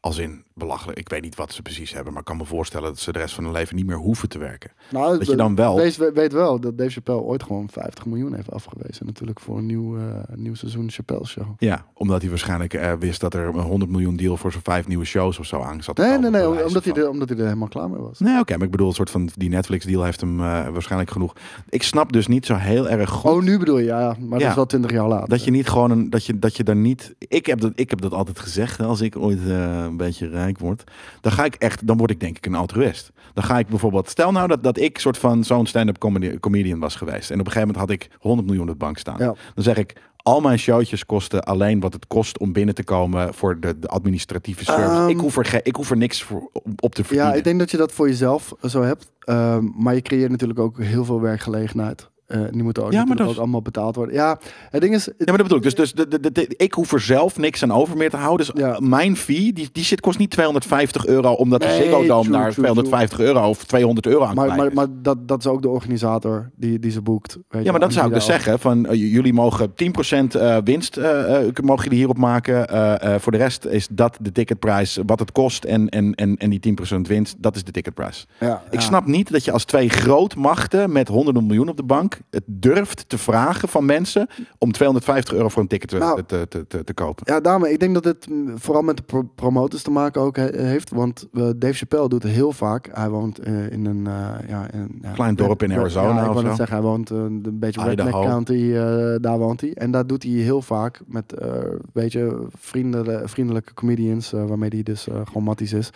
als in belachelijk, ik weet niet wat ze precies hebben, maar ik kan me voorstellen dat ze de rest van hun leven niet meer hoeven te werken. Nou, Dat je dan wel- Wees, we- weet wel dat Dave Chappelle ooit gewoon 50 miljoen heeft afgewezen. Natuurlijk voor een nieuw, eh, nieuw seizoen Chappelle Show. Ja, omdat hij waarschijnlijk eh, wist dat er een 100 miljoen deal voor zijn vijf nieuwe shows of zo aan zat. Nee, Al nee, nee. bewijzen Omdat hij, van- er, omdat hij er helemaal klaar mee was. Nee, oké, maar ik bedoel, een soort van die Netflix-deal heeft hem eh, waarschijnlijk genoeg. Ik snap dus niet zo heel erg goed Oh, nu bedoel je, ja. ja, Ja. Maar dat is wel 20 jaar later. dat je niet gewoon een, dat je, dat je daar niet. Ik heb dat, ik heb dat altijd gezegd. hè, Als ik ooit eh, een beetje rijk word, dan ga ik echt, dan word ik denk ik een altruïst. Dan ga ik bijvoorbeeld, stel nou dat, dat ik soort van zo'n stand-up comedy, comedian was geweest. En op een gegeven moment had ik 100 miljoen op de bank staan. Ja. Dan zeg ik, al mijn showtjes kosten alleen wat het kost om binnen te komen voor de, de administratieve service. Ehm. ik, hoef er ge- ik hoef er niks voor, op- op te verdienen. Ja, ik denk dat je dat voor jezelf zo hebt. Ehm, maar je creëert natuurlijk ook heel veel werkgelegenheid. eh, die moeten ook, Ja, maar natuurlijk dat ook is- allemaal betaald worden. Ja, het ding is... Ja, maar dat bedoel ik. Dus, dus de, de, de- de- ik hoef er zelf niks aan over meer te houden. Dus Ja. eh, mijn fee, die, die shit kost niet 250 euro... omdat de Nee, Ziggo Dome true, daar true, 250 euro of 200 euro aan Maar, kwijt maar, is. maar dat, dat is ook de organisator die, die ze boekt. Weet je Ja, maar wel, dat zou ik die dus daar- zeggen. Van, eh, j- jullie mogen 10% eh, winst eh, eh, mogen jullie hierop maken. Eh, eh, voor de rest is dat de ticketprijs, wat het kost. En, en, en, en die 10% winst, dat is de ticketprijs. Ja, Ik ja. snap niet dat je als twee grootmachten met honderden miljoen op de bank... het durft te vragen van mensen om 250 euro voor een ticket te, Nou. te, te, te, te kopen. Ja, daarmee. Ik denk dat het mm, vooral met de pro- promoters te maken ook he- heeft. Want eh, Dave Chappelle doet heel vaak. Hij woont eh, in een... eh, ja, in, ja, Klein dorp in ja, Arizona Ja, ik of wou net zo. zeggen. Hij woont eh, een beetje Idaho. redneck county. eh, daar woont hij. En daar doet hij heel vaak met, eh weet je, vriendelijke, vriendelijke comedians. eh, waarmee hij dus eh, gewoon matties is.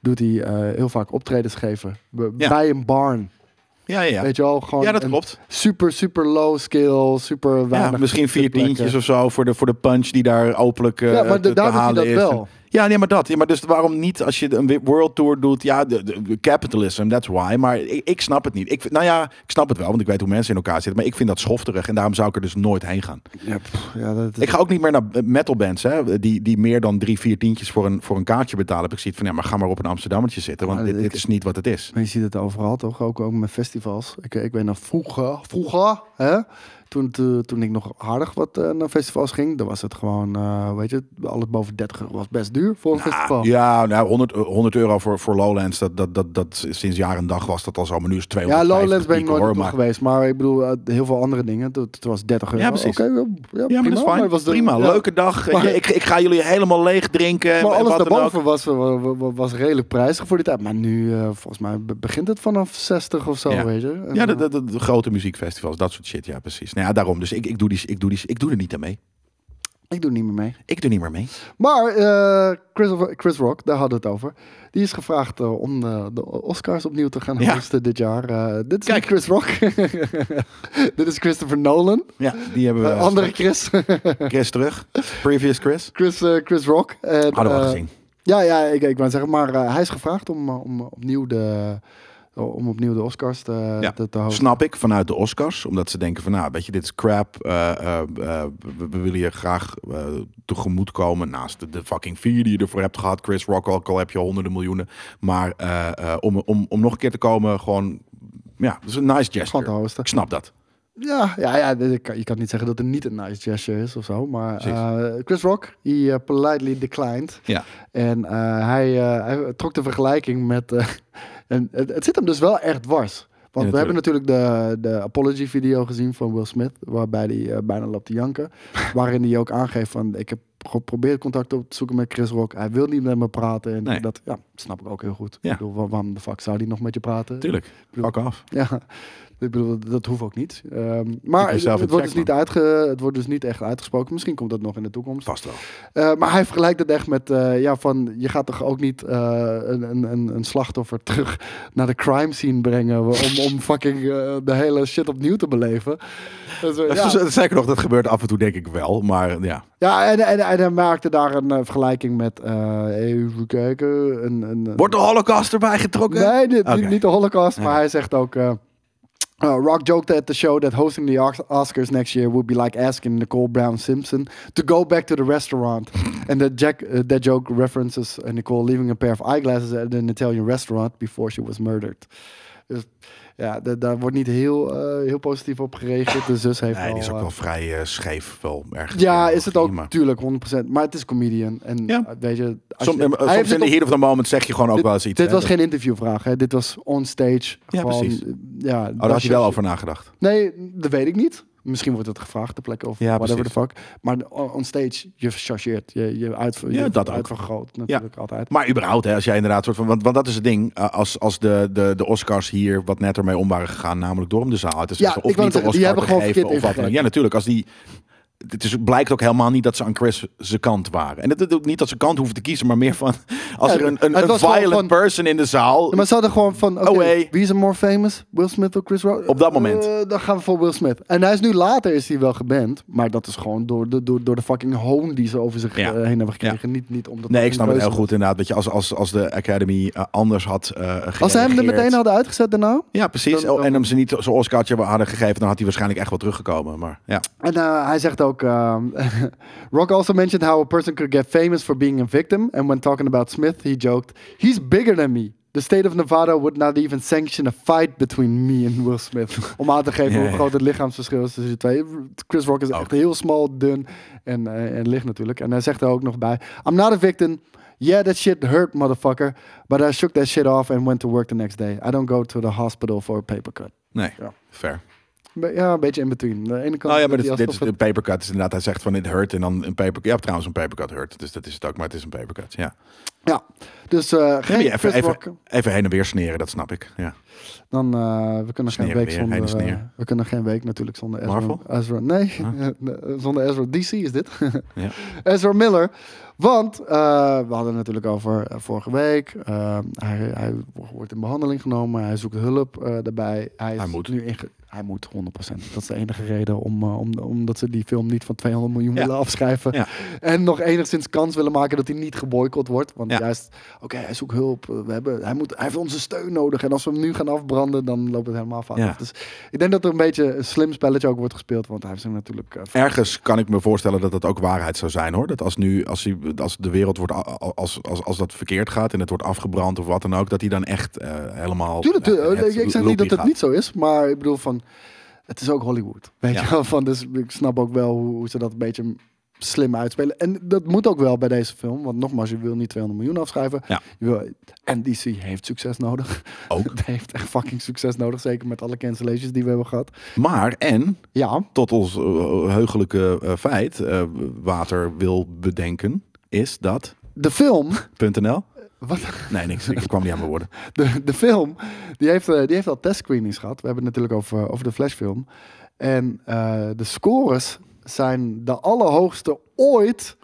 Doet hij eh, heel vaak optredens geven. B- Ja. Bij een barn. Ja, ja, ja. Weet je wel? Gewoon ja dat een klopt. Super, super low skill. Super Ja, weinig. misschien vier zitplekken. tientjes of zo voor de, voor de punch die daar openlijk eh, Ja, maar te- de- te, daar doet hij halen dat is. wel. Ja, nee, maar dat. Ja, maar dus waarom niet als je een wi- world tour doet? Ja, de, de- capitalism, that's why. Maar ik, ik snap het niet. Ik, vind- nou ja, ik snap het wel, want ik weet hoe mensen in elkaar zitten. Maar ik vind dat schofterig en daarom zou ik er dus nooit heen gaan. Ja, pff, ja, dat Ik ga ook niet meer naar eh, metal bands, hè, die, die meer dan drie, vier tientjes voor een, voor een kaartje betalen. Heb ik zoiets van, ja, maar ga maar op een Amsterdammetje zitten, want Maar dit, ik- dit is niet wat het is. Maar je ziet het overal toch? Ook, ook met festivals. Ik, ik weet nog vroeger, vroeger hè? Toen, toen, toen ik nog harder wat eh, naar festivals ging, dan was het gewoon, eh, weet je, alles boven 30 euro was best duur voor een festival. Ah, ja, nou, 100, eh, 100 euro voor, voor Lowlands, dat, dat, dat, dat sinds jaar en dag was dat al zo. Maar nu is het Ja, 250 Lowlands ben ik piek, nooit hoor, naartoe maar- geweest, maar ik bedoel, eh, heel veel andere dingen. Het het was 30 euro. precies. Oké, ja, ja, Ja, maar prima, dat is fijn. het was de- prima, ja. leuke dag. Maar- ik, ik ga jullie helemaal leeg drinken. en Maar alles wat dan ook. daarboven was, eh, wa- wa- wa- was redelijk prijzig voor die tijd. Maar nu, eh, volgens mij, be- begint het vanaf 60 of zo, Ja. weet je. En, Ja, de, eh, de- de- de grote muziekfestivals, dat soort shit. Ja, precies. Nou ja, daarom. Dus ik, ik, doe, die, ik, doe, die, ik doe er niet aan mee. eh, Ik doe niet meer mee. Ik doe niet meer mee. Maar eh, Chris, Chris Rock, daar hadden we het over. Die is gevraagd eh, om eh, de Oscars opnieuw te gaan Ja. hosten dit jaar. Eh, dit is Kijk. niet Chris Rock. (laughs) dit is Christopher Nolan. Ja, die hebben we. Eh, andere Chris. (laughs) Chris terug. Previous Chris. Chris, eh, Chris Rock. En, Hadden we al eh, gezien. Ja, ja ik, ik wou zeggen. Maar eh, hij is gevraagd om, eh, om, opnieuw de, om opnieuw de Oscars te, Ja. eh, te, te hosten. Snap ik vanuit de Oscars, omdat ze denken van, nou, weet je, dit is crap. eh, eh, eh, we, we willen je graag eh, tegemoetkomen naast de, de fucking vier die je ervoor hebt gehad. Chris Rock, ook al heb je honderden miljoenen. Maar eh, eh, om, om, om nog een keer te komen, gewoon, ja, dat is een nice Gewoon te gesture. hosten. Ik snap dat. Ja, ja, ja dit- ik kan- je kan niet zeggen dat het niet een nice gesture is of zo. Maar Precies. eh, Chris Rock, he eh, politely declined. Ja. En eh, hij, eh, hij trok de vergelijking met. eh, (laughs) en het, het zit hem dus wel echt dwars. Want Ja, we hebben natuurlijk de, de apology video gezien van Will Smith, waarbij hij eh, bijna loopt te (laughs) janken. waarin hij ook aangeeft van ik heb geprobeerd contact op te zoeken met Chris Rock. Hij wil niet met me praten. En Nee. dat ja, snap ik ook heel goed. Ja. Ik bedoel, wa- waarom de fuck zou hij nog met je praten? Tuurlijk. Fuck af. Ja, ik bedoel, dat hoeft ook niet. Ehm, Ik maar ben het, zelf een wordt dus checkman. niet uitge, het wordt dus niet echt uitgesproken. Misschien komt dat nog in de toekomst. Vast wel. Eh, maar hij vergelijkt het echt met, eh, ja, van je gaat toch ook niet eh, een, een- een, een slachtoffer (laughs) terug naar de crime scene brengen om, om fucking eh, de hele shit opnieuw te beleven. Dat is, eh, Dat is- ja, dat- (laughs) Zeker nog, dat gebeurt af en toe denk ik wel. Maar ja, ja en, en, en hij maakte daar een eh, vergelijking met, eh, even kijken, een, een, een- wordt de holocaust erbij getrokken? Nee, dit- Oké. niet, niet de Holocaust, maar Ja. hij zegt ook. eh, uh, Rock joked at the show that hosting the Os- Oscars next year would be like asking Nicole Brown Simpson to go back to the restaurant. (laughs) and that, Jack, uh, that joke references uh, Nicole leaving a pair of eyeglasses at an Italian restaurant before she was murdered. Dus ja, da- daar wordt niet heel, eh, heel positief op gereageerd. De zus heeft Nee, die is ook al, eh, wel vrij eh, scheef, wel erg. ja, is het ook, Maar natuurlijk, 100%. Maar het is comedian. En Ja. eh, weet je, als Som, je- eh, hij heeft soms het in de op- heat of the moment zeg je gewoon ook dit, wel eens iets. dit hè. was geen interviewvraag, hè? dit was onstage. Ja, gewoon, precies. eh, Ja, Oh, daar had je wel over nagedacht. Nee, dat weet ik niet. Misschien wordt het gevraagd ter plekke of Ja, whatever the fuck. Maar on- onstage, je chargeert, je, je, uit, je Ja, dat ook. uitvergroot natuurlijk altijd. Maar überhaupt, hè, als jij inderdaad soort van. Want, want dat is het ding. eh, Als, als de, de, de Oscars hier wat netter mee om waren gegaan, namelijk door om de zaal uit te zetten. ik wou of niet net de Oscar zeggen, die hebben te gewoon geven verkeerd of wat dan ook. ingegrepen. Ja, natuurlijk. Als die. het is, blijkt ook helemaal niet dat ze aan Chris zijn kant waren. En het is ook niet dat ze kant hoeven te kiezen, maar meer van (laughs) als Ja, er een, een, het een was gewoon violent van- person in de zaal. Ja, maar ze hadden gewoon van, oké, Oh, hey. wie is er more famous? Will Smith of Chris Rock? Op dat moment. Eh, dan gaan we voor Will Smith. En hij is nu later is hij wel geband, maar dat is gewoon door de, door, door de fucking hoon die ze over zich Ja. eh, heen hebben gekregen. Niet, niet omdat Nee, het ik een snap het keuze heel was. goed inderdaad. Dat je als, als, als de Academy eh, anders had eh gereageerd. Als ze hem er meteen hadden uitgezet daarna. Ja, precies. Oh, Dan- dan- en hem ze niet zo'n Oscartje hadden gegeven, dan had hij waarschijnlijk echt wel teruggekomen. Maar ja. En eh, hij zegt ook, ehm, (laughs) Rock also mentioned how a person could get famous for being a victim. And when talking about Smith, he joked, he's bigger than me. The state of Nevada would not even sanction a fight between me and Will Smith. (laughs) Om aan te geven Ja, hoe ja. groot het lichaamsverschil is tussen de twee. Chris Rock is echt heel smal, dun en, eh, en licht natuurlijk. En hij zegt er ook nog bij, I'm not a victim. Yeah, that shit hurt, motherfucker. But I shook that shit off and went to work the next day. I don't go to the hospital for a paper cut. Nee, Ja. fair. Be- ja, een beetje in between. De ene kant Nou ja, doet maar hij dit, dit is alsof een papercut. Dus inderdaad, hij zegt van dit hurt en dan een papercut. Ja, trouwens, een papercut hurt. Dus dat is het ook, maar het is een papercut. Ja. Ja, dus eh, geen Nee, maar even, Chris even, Rock. even heen en weer sneren, dat snap ik. Ja. Dan, eh, we kunnen Sneer geen week weer, zonder... heen en sneer. eh, we kunnen geen week natuurlijk zonder Ezra. Marvel? Ezra nee, (laughs) zonder Ezra. DC is dit. (laughs) Ja. Ezra Miller. Want eh, we hadden het natuurlijk over eh, vorige week. Eh, hij, hij wordt in behandeling genomen. Hij zoekt hulp eh, daarbij. Hij, is Hij moet. Nu inge- hij moet, 100%. Dat is de enige reden om, eh, om, omdat ze die film niet van 200 miljoen Ja. willen afschrijven. Ja. En nog enigszins kans willen maken dat hij niet geboycott wordt. Want Ja. juist, oké, hij zoekt hulp. eh, We hebben, hij, moet, hij heeft onze steun nodig. En als we hem nu gaan afbranden, dan loopt het helemaal fout. Ja. af. Dus ik denk dat er een beetje een slim spelletje ook wordt gespeeld. Want hij heeft hem natuurlijk... eh, Ergens kan ik me voorstellen dat dat ook waarheid zou zijn hoor. Dat als nu, als, hij, als de wereld wordt, a- a- als, als, als dat verkeerd gaat en het wordt afgebrand of wat dan ook, dat hij dan echt eh, helemaal. Tuurlijk, eh, tuurlijk. het ik, ik zeg loopie niet dat het gaat. niet zo is, maar ik bedoel van, het is ook Hollywood. Weet Ja. je wel, van, dus ik snap ook wel hoe, hoe ze dat een beetje slim uitspelen. En dat moet ook wel bij deze film, want nogmaals, je wil niet 200 miljoen afschrijven. Ja. Je wil, en DC heeft succes nodig. Ook. (laughs) Het heeft echt fucking succes nodig, zeker met alle cancellations die we hebben gehad. Maar en Ja, tot ons eh, heugelijke eh, feit, eh, water wil bedenken, is dat. de film, (laughs) .nl? wat, Nee, niks. Ik kwam niet aan mijn woorden. de, de film, die heeft, eh, die heeft al testscreenings gehad. We hebben het natuurlijk over, eh, over de flashfilm. En eh, de scores zijn de allerhoogste ooit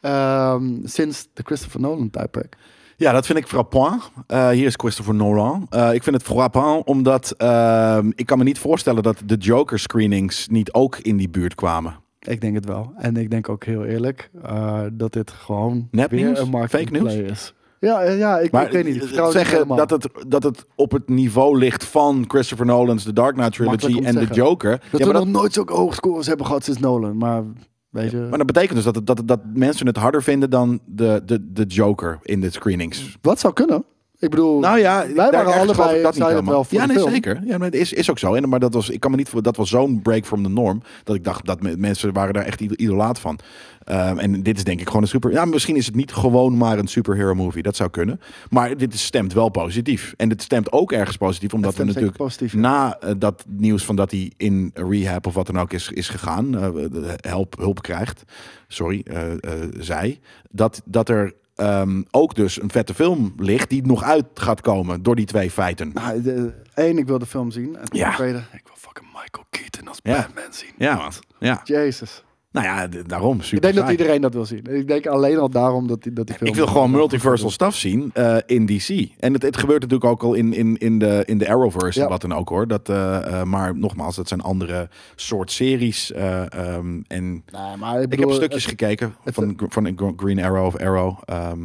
ehm, sinds de Christopher Nolan tijdperk. Ja, dat vind ik frappant. Eh, hier is Christopher Nolan. Eh, ik vind het frappant omdat ehm, ik kan me niet voorstellen dat de Joker screenings niet ook in die buurt kwamen. Ik denk het wel. En ik denk ook heel eerlijk eh, dat dit gewoon Nepnieuws? weer een Fake nieuws? marketingplay is. Ja, eh, ja ik, ik weet niet. Ik eh, vertrouw het niet zeggen helemaal. dat het, dat het op het niveau ligt van Christopher Nolan's The Dark Knight Makkelijk Trilogy om te en The zeggen. Joker. Dat ja, we maar, dat, nog nooit zulke hoge scores hebben gehad sinds Nolan. Maar weet je, maar dat betekent dus dat, het- dat, het- dat mensen het harder vinden dan de, de, de Joker in de screenings. wat zou kunnen? Ik bedoel, Nou ja, daar- wij waren ergens geloof ik allebei, niet zeiden het helemaal. wel voor Ja, de nee, film. zeker. Ja, maar het is, is ook zo. En, maar dat was, ik kan me niet voor, dat was zo'n break from the norm. Dat ik dacht dat me- mensen waren daar echt ido- idolaat van. Ehm, en dit is denk ik gewoon een super. Ja, misschien is het niet gewoon maar een superhero movie. Dat zou kunnen. Maar dit is- stemt wel positief. En dit stemt ook ergens positief, omdat we stemt zeker natuurlijk positief, ja. na eh, dat nieuws van dat hij in rehab of wat dan ook is, is gegaan, eh, de help, hulp krijgt, sorry, eh, eh, zij, dat, dat er ehm, ook dus een vette film ligt die nog uit gaat komen door die twee feiten. Nou, de- één, ik wil de film zien. En Ja. ten tweede, ik wil fucking Michael Keaton als Ja. Batman zien. Ja, want ja. Jezus. Nou ja, d- daarom. Super Ik denk dat saai. iedereen dat wil zien. Ik denk alleen al daarom dat die, dat die film... Ik wil gewoon multiversal stuff zien eh, in DC. En het, het gebeurt natuurlijk ook al in, in, in, de, in de Arrowverse Ja. en wat dan ook hoor. Dat, eh, eh, maar nogmaals, dat zijn andere soort series. eh, ehm, en Nee, maar ik, ik bedoel, heb stukjes gekeken het- van, Gr- van Gr- Green Arrow of Arrow. ehm,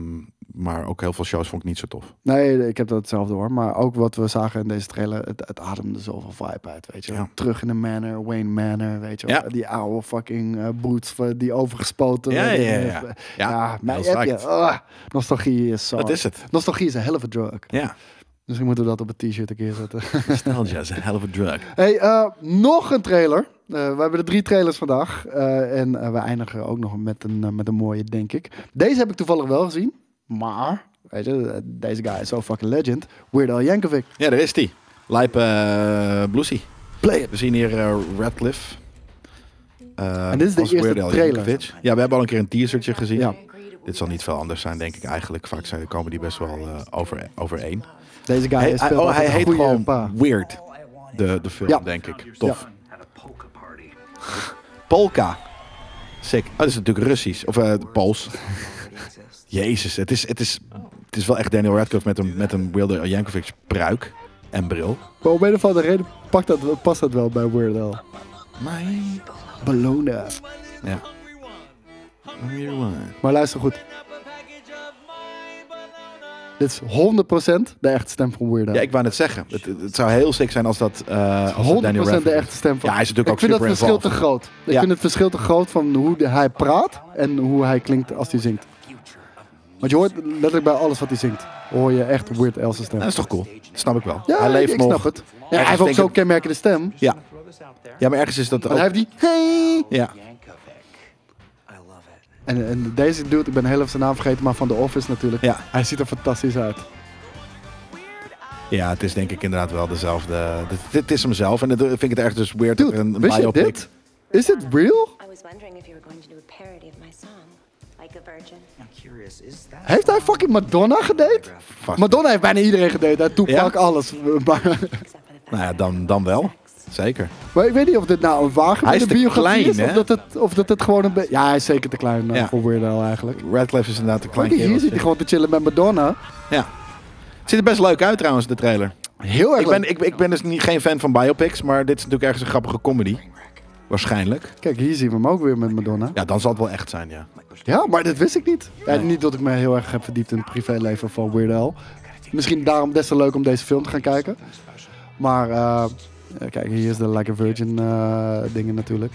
maar ook heel veel shows vond ik niet zo tof. Nee, ik heb dat hetzelfde hoor. Maar ook wat we zagen in deze trailer, het, het ademde zoveel vibe uit, weet je. wel. Ja. Terug in de manor, Wayne Manor, weet je. wel. Ja. Die oude fucking eh boots eh, die overgespoten. Ja, werden. ja, ja, ja. Ja, maar heel heb je, psyched. ah, nostalgie is zo. Dat is het. Nostalgie is een hell of a drug. Ja, Misschien moeten we dat op een t-shirt een keer zetten. nostalgia is een hell of a drug. Hey, eh, nog een trailer. Eh, we hebben er drie trailers vandaag. Eh, en eh, we eindigen ook nog met een, eh, met een mooie, denk ik. Deze heb ik toevallig wel gezien. Maar, weet je, eh, deze guy is zo fucking legend. Weird Al Yankovic. Ja, daar is die. Lijp eh Bluesy. Play it. We zien hier eh, Radcliffe. Eh, En dit is de als eerste Weird Al trailer. Yankovic. Ja, we hebben al een keer een teasertje gezien. Ja. Dit zal niet veel anders zijn, denk ik eigenlijk. Vaak zijn, komen die best wel eh, over, overeen. Deze guy Hij, is speelt hij- oh, hij een heet goede gewoon pa. Weird, de, de film, Ja. denk ik. Tof. At a polka party. (laughs) Polka. Sick. Oh, dat is natuurlijk Russisch. Of eh (laughs) Pools. Jezus, het is, het, is, het is wel echt Daniel Radcliffe met een, met een Wilder Jankovic pruik en bril. Maar om een of andere reden pakt dat, past dat wel bij Weird Al. My Bellona. Ja. Maar luister goed. Dit is 100% de echte stem van Weird Al. Ja, ik wou net zeggen. Het, het zou heel sick zijn als dat... eh als dat Daniel 100% de Radcliffe- echte stem van. Ja, hij is natuurlijk ik ook vind dat super verschil te involved. groot. Ik Ja. vind het verschil te groot van hoe de- hij praat en hoe hij klinkt als hij zingt. Want je hoort letterlijk bij alles wat hij zingt, hoor je echt Weird Al's stem. Dat is toch cool? Dat snap ik wel. Ja, hij leeft ik, ik nog. snap het. Ja, hij Ergens heeft ook denk zo'n ik- kenmerkende stem. Ja. ja, maar ergens is dat Maar ook... hij heeft die... Hey! Ja. En, en deze dude, ik ben heel even zijn naam vergeten, maar van The Office natuurlijk. Ja. Hij ziet er fantastisch uit. ja, het is denk ik inderdaad wel dezelfde... Dit, dit is hemzelf en dat vind ik het ergens dus weird. dat er Dude, een wist je biopic- dit? Is dit real? I was wondering if you were going to do a parody of my song, like a virgin. Heeft hij fucking Madonna gedate? Vast. Madonna heeft bijna iedereen gedate. Hij Tupac, Ja? alles. (laughs) Maar, Except for the fact Nou ja, that dan, dan wel. Zeker. maar ik weet niet of dit nou een Hij is waargebeurde te biografie klein, is. Of hè? dat, het, of dat het gewoon een beetje... Ja, hij is zeker te klein eh, Ja. voor Weird Al eigenlijk. Radcliffe is inderdaad een klein Kijk, hier kereltje. zit hij gewoon te chillen met Madonna. Ja. Het ziet er best leuk uit trouwens, de trailer. Heel erg Ik ben, leuk. ik, ik ben dus niet, geen fan van biopics, maar dit is natuurlijk ergens een grappige comedy. Waarschijnlijk. Kijk, hier zien we hem ook weer met Madonna. Ja, dan zal het wel echt zijn, ja. Ja, maar dat wist ik niet. Ja, niet dat ik me heel erg heb verdiept in het privéleven van Weird Al. Misschien daarom des te leuk om deze film te gaan kijken. Maar eh, eh, kijk, hier is de Like a Virgin eh, dingen natuurlijk.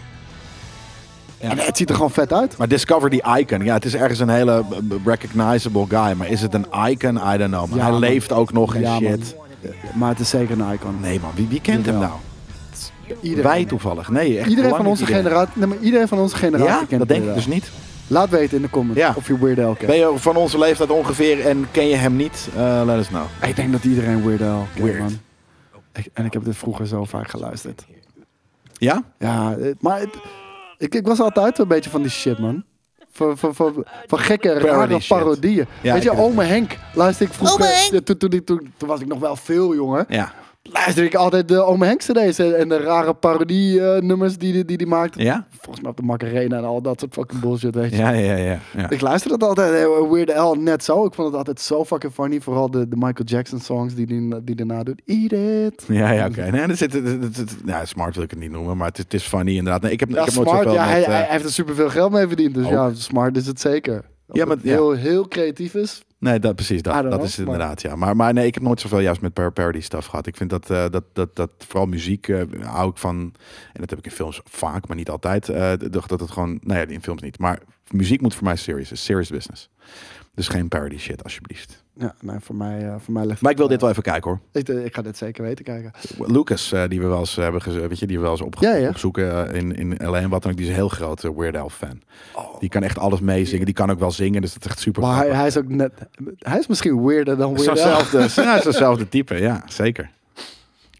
Ja. En het ziet er gewoon vet uit. Maar Discover the Icon. Ja, het is ergens een hele b- b- recognizable guy. Maar is het een icon? I don't know. Maar Ja, hij man. leeft ook nog en Ja, shit. man. Eh, Maar het is zeker een icon. Nee man, wie, wie kent hem Jawel. nou? Iedereen, Wij toevallig. Nee, echt iedereen, lang van niet onze generatie, nee, maar iedereen van onze generatie Ja, kent dat denk ik Weird dus Al. niet. Laat weten in de comments Ja. of je Weird Al kent. Ben je van onze leeftijd ongeveer en ken je hem niet? Eh let us know. Ik denk dat iedereen Weird Al kent, Weird. man. Ik- en ik heb dit vroeger zo vaak geluisterd. Ja? Ja, het- maar het- ik, ik was altijd een beetje van die shit, man. Van, van, van, van gekke, rare Parody shit. parodieën. Ja, Weet je, ik weet Ome Henk luisterde ik vroeger... Ome Henk! Ja, toen, toen, ik- toen, toen was ik nog wel veel jonger. Ja. Luisterde ik altijd de Ome Henk cd's en, en de rare parodie-nummers die hij die, die maakte. Ja? Volgens mij op de Macarena en al dat soort fucking bullshit, weet je. Ja, ja, ja. ja. Ik luisterde dat altijd, eh, Weird Al, net zo. Ik vond het altijd zo fucking funny. Vooral de, de Michael Jackson songs die die, die daarna doet. Eat it. Ja, ja, oké. Nee, dat zit, dat- dat- dat- nou, smart wil ik het niet noemen, maar het, is- het is funny inderdaad. Nee, ik heb, Ja, ik heb nooit smart. zoveel met, ja, hij, eh, hij heeft er superveel geld mee verdiend. Dus Ook. ja, smart is het zeker. Of Ja, maar- het ja. heel, heel creatief is. Nee, dat, precies I dat. don't Dat know, is het maar- inderdaad, ja. Maar, maar nee, ik heb nooit zoveel juist met par- parody stuff gehad. Ik vind dat, eh, dat, dat, dat vooral muziek eh, hou ik van... En dat heb ik in films vaak, maar niet altijd. eh, dat dat het gewoon... Nou ja, in films niet. Maar muziek moet voor mij serious. is serious business. Dus geen parody shit, alsjeblieft. Ja, nee, voor mij, eh, voor mij ligt Maar ik wil dit wel even kijken, hoor. Ik, eh, ik ga dit zeker weten kijken. Lucas, eh, die we wel eens hebben geze- weet je, die we wel eens opge- Ja, ja. opzoeken eh, in, in LA en wat dan ook, die is een heel groot eh, Weird Al fan. Die kan echt alles meezingen, die kan ook wel zingen, dus dat is echt super. Oh. Maar hij, grappig. hij is ook net... Hij is misschien weirder dan Weird Al. Zo'nzelfde- (laughs) ja, het is zo'nzelfde type, ja, zeker.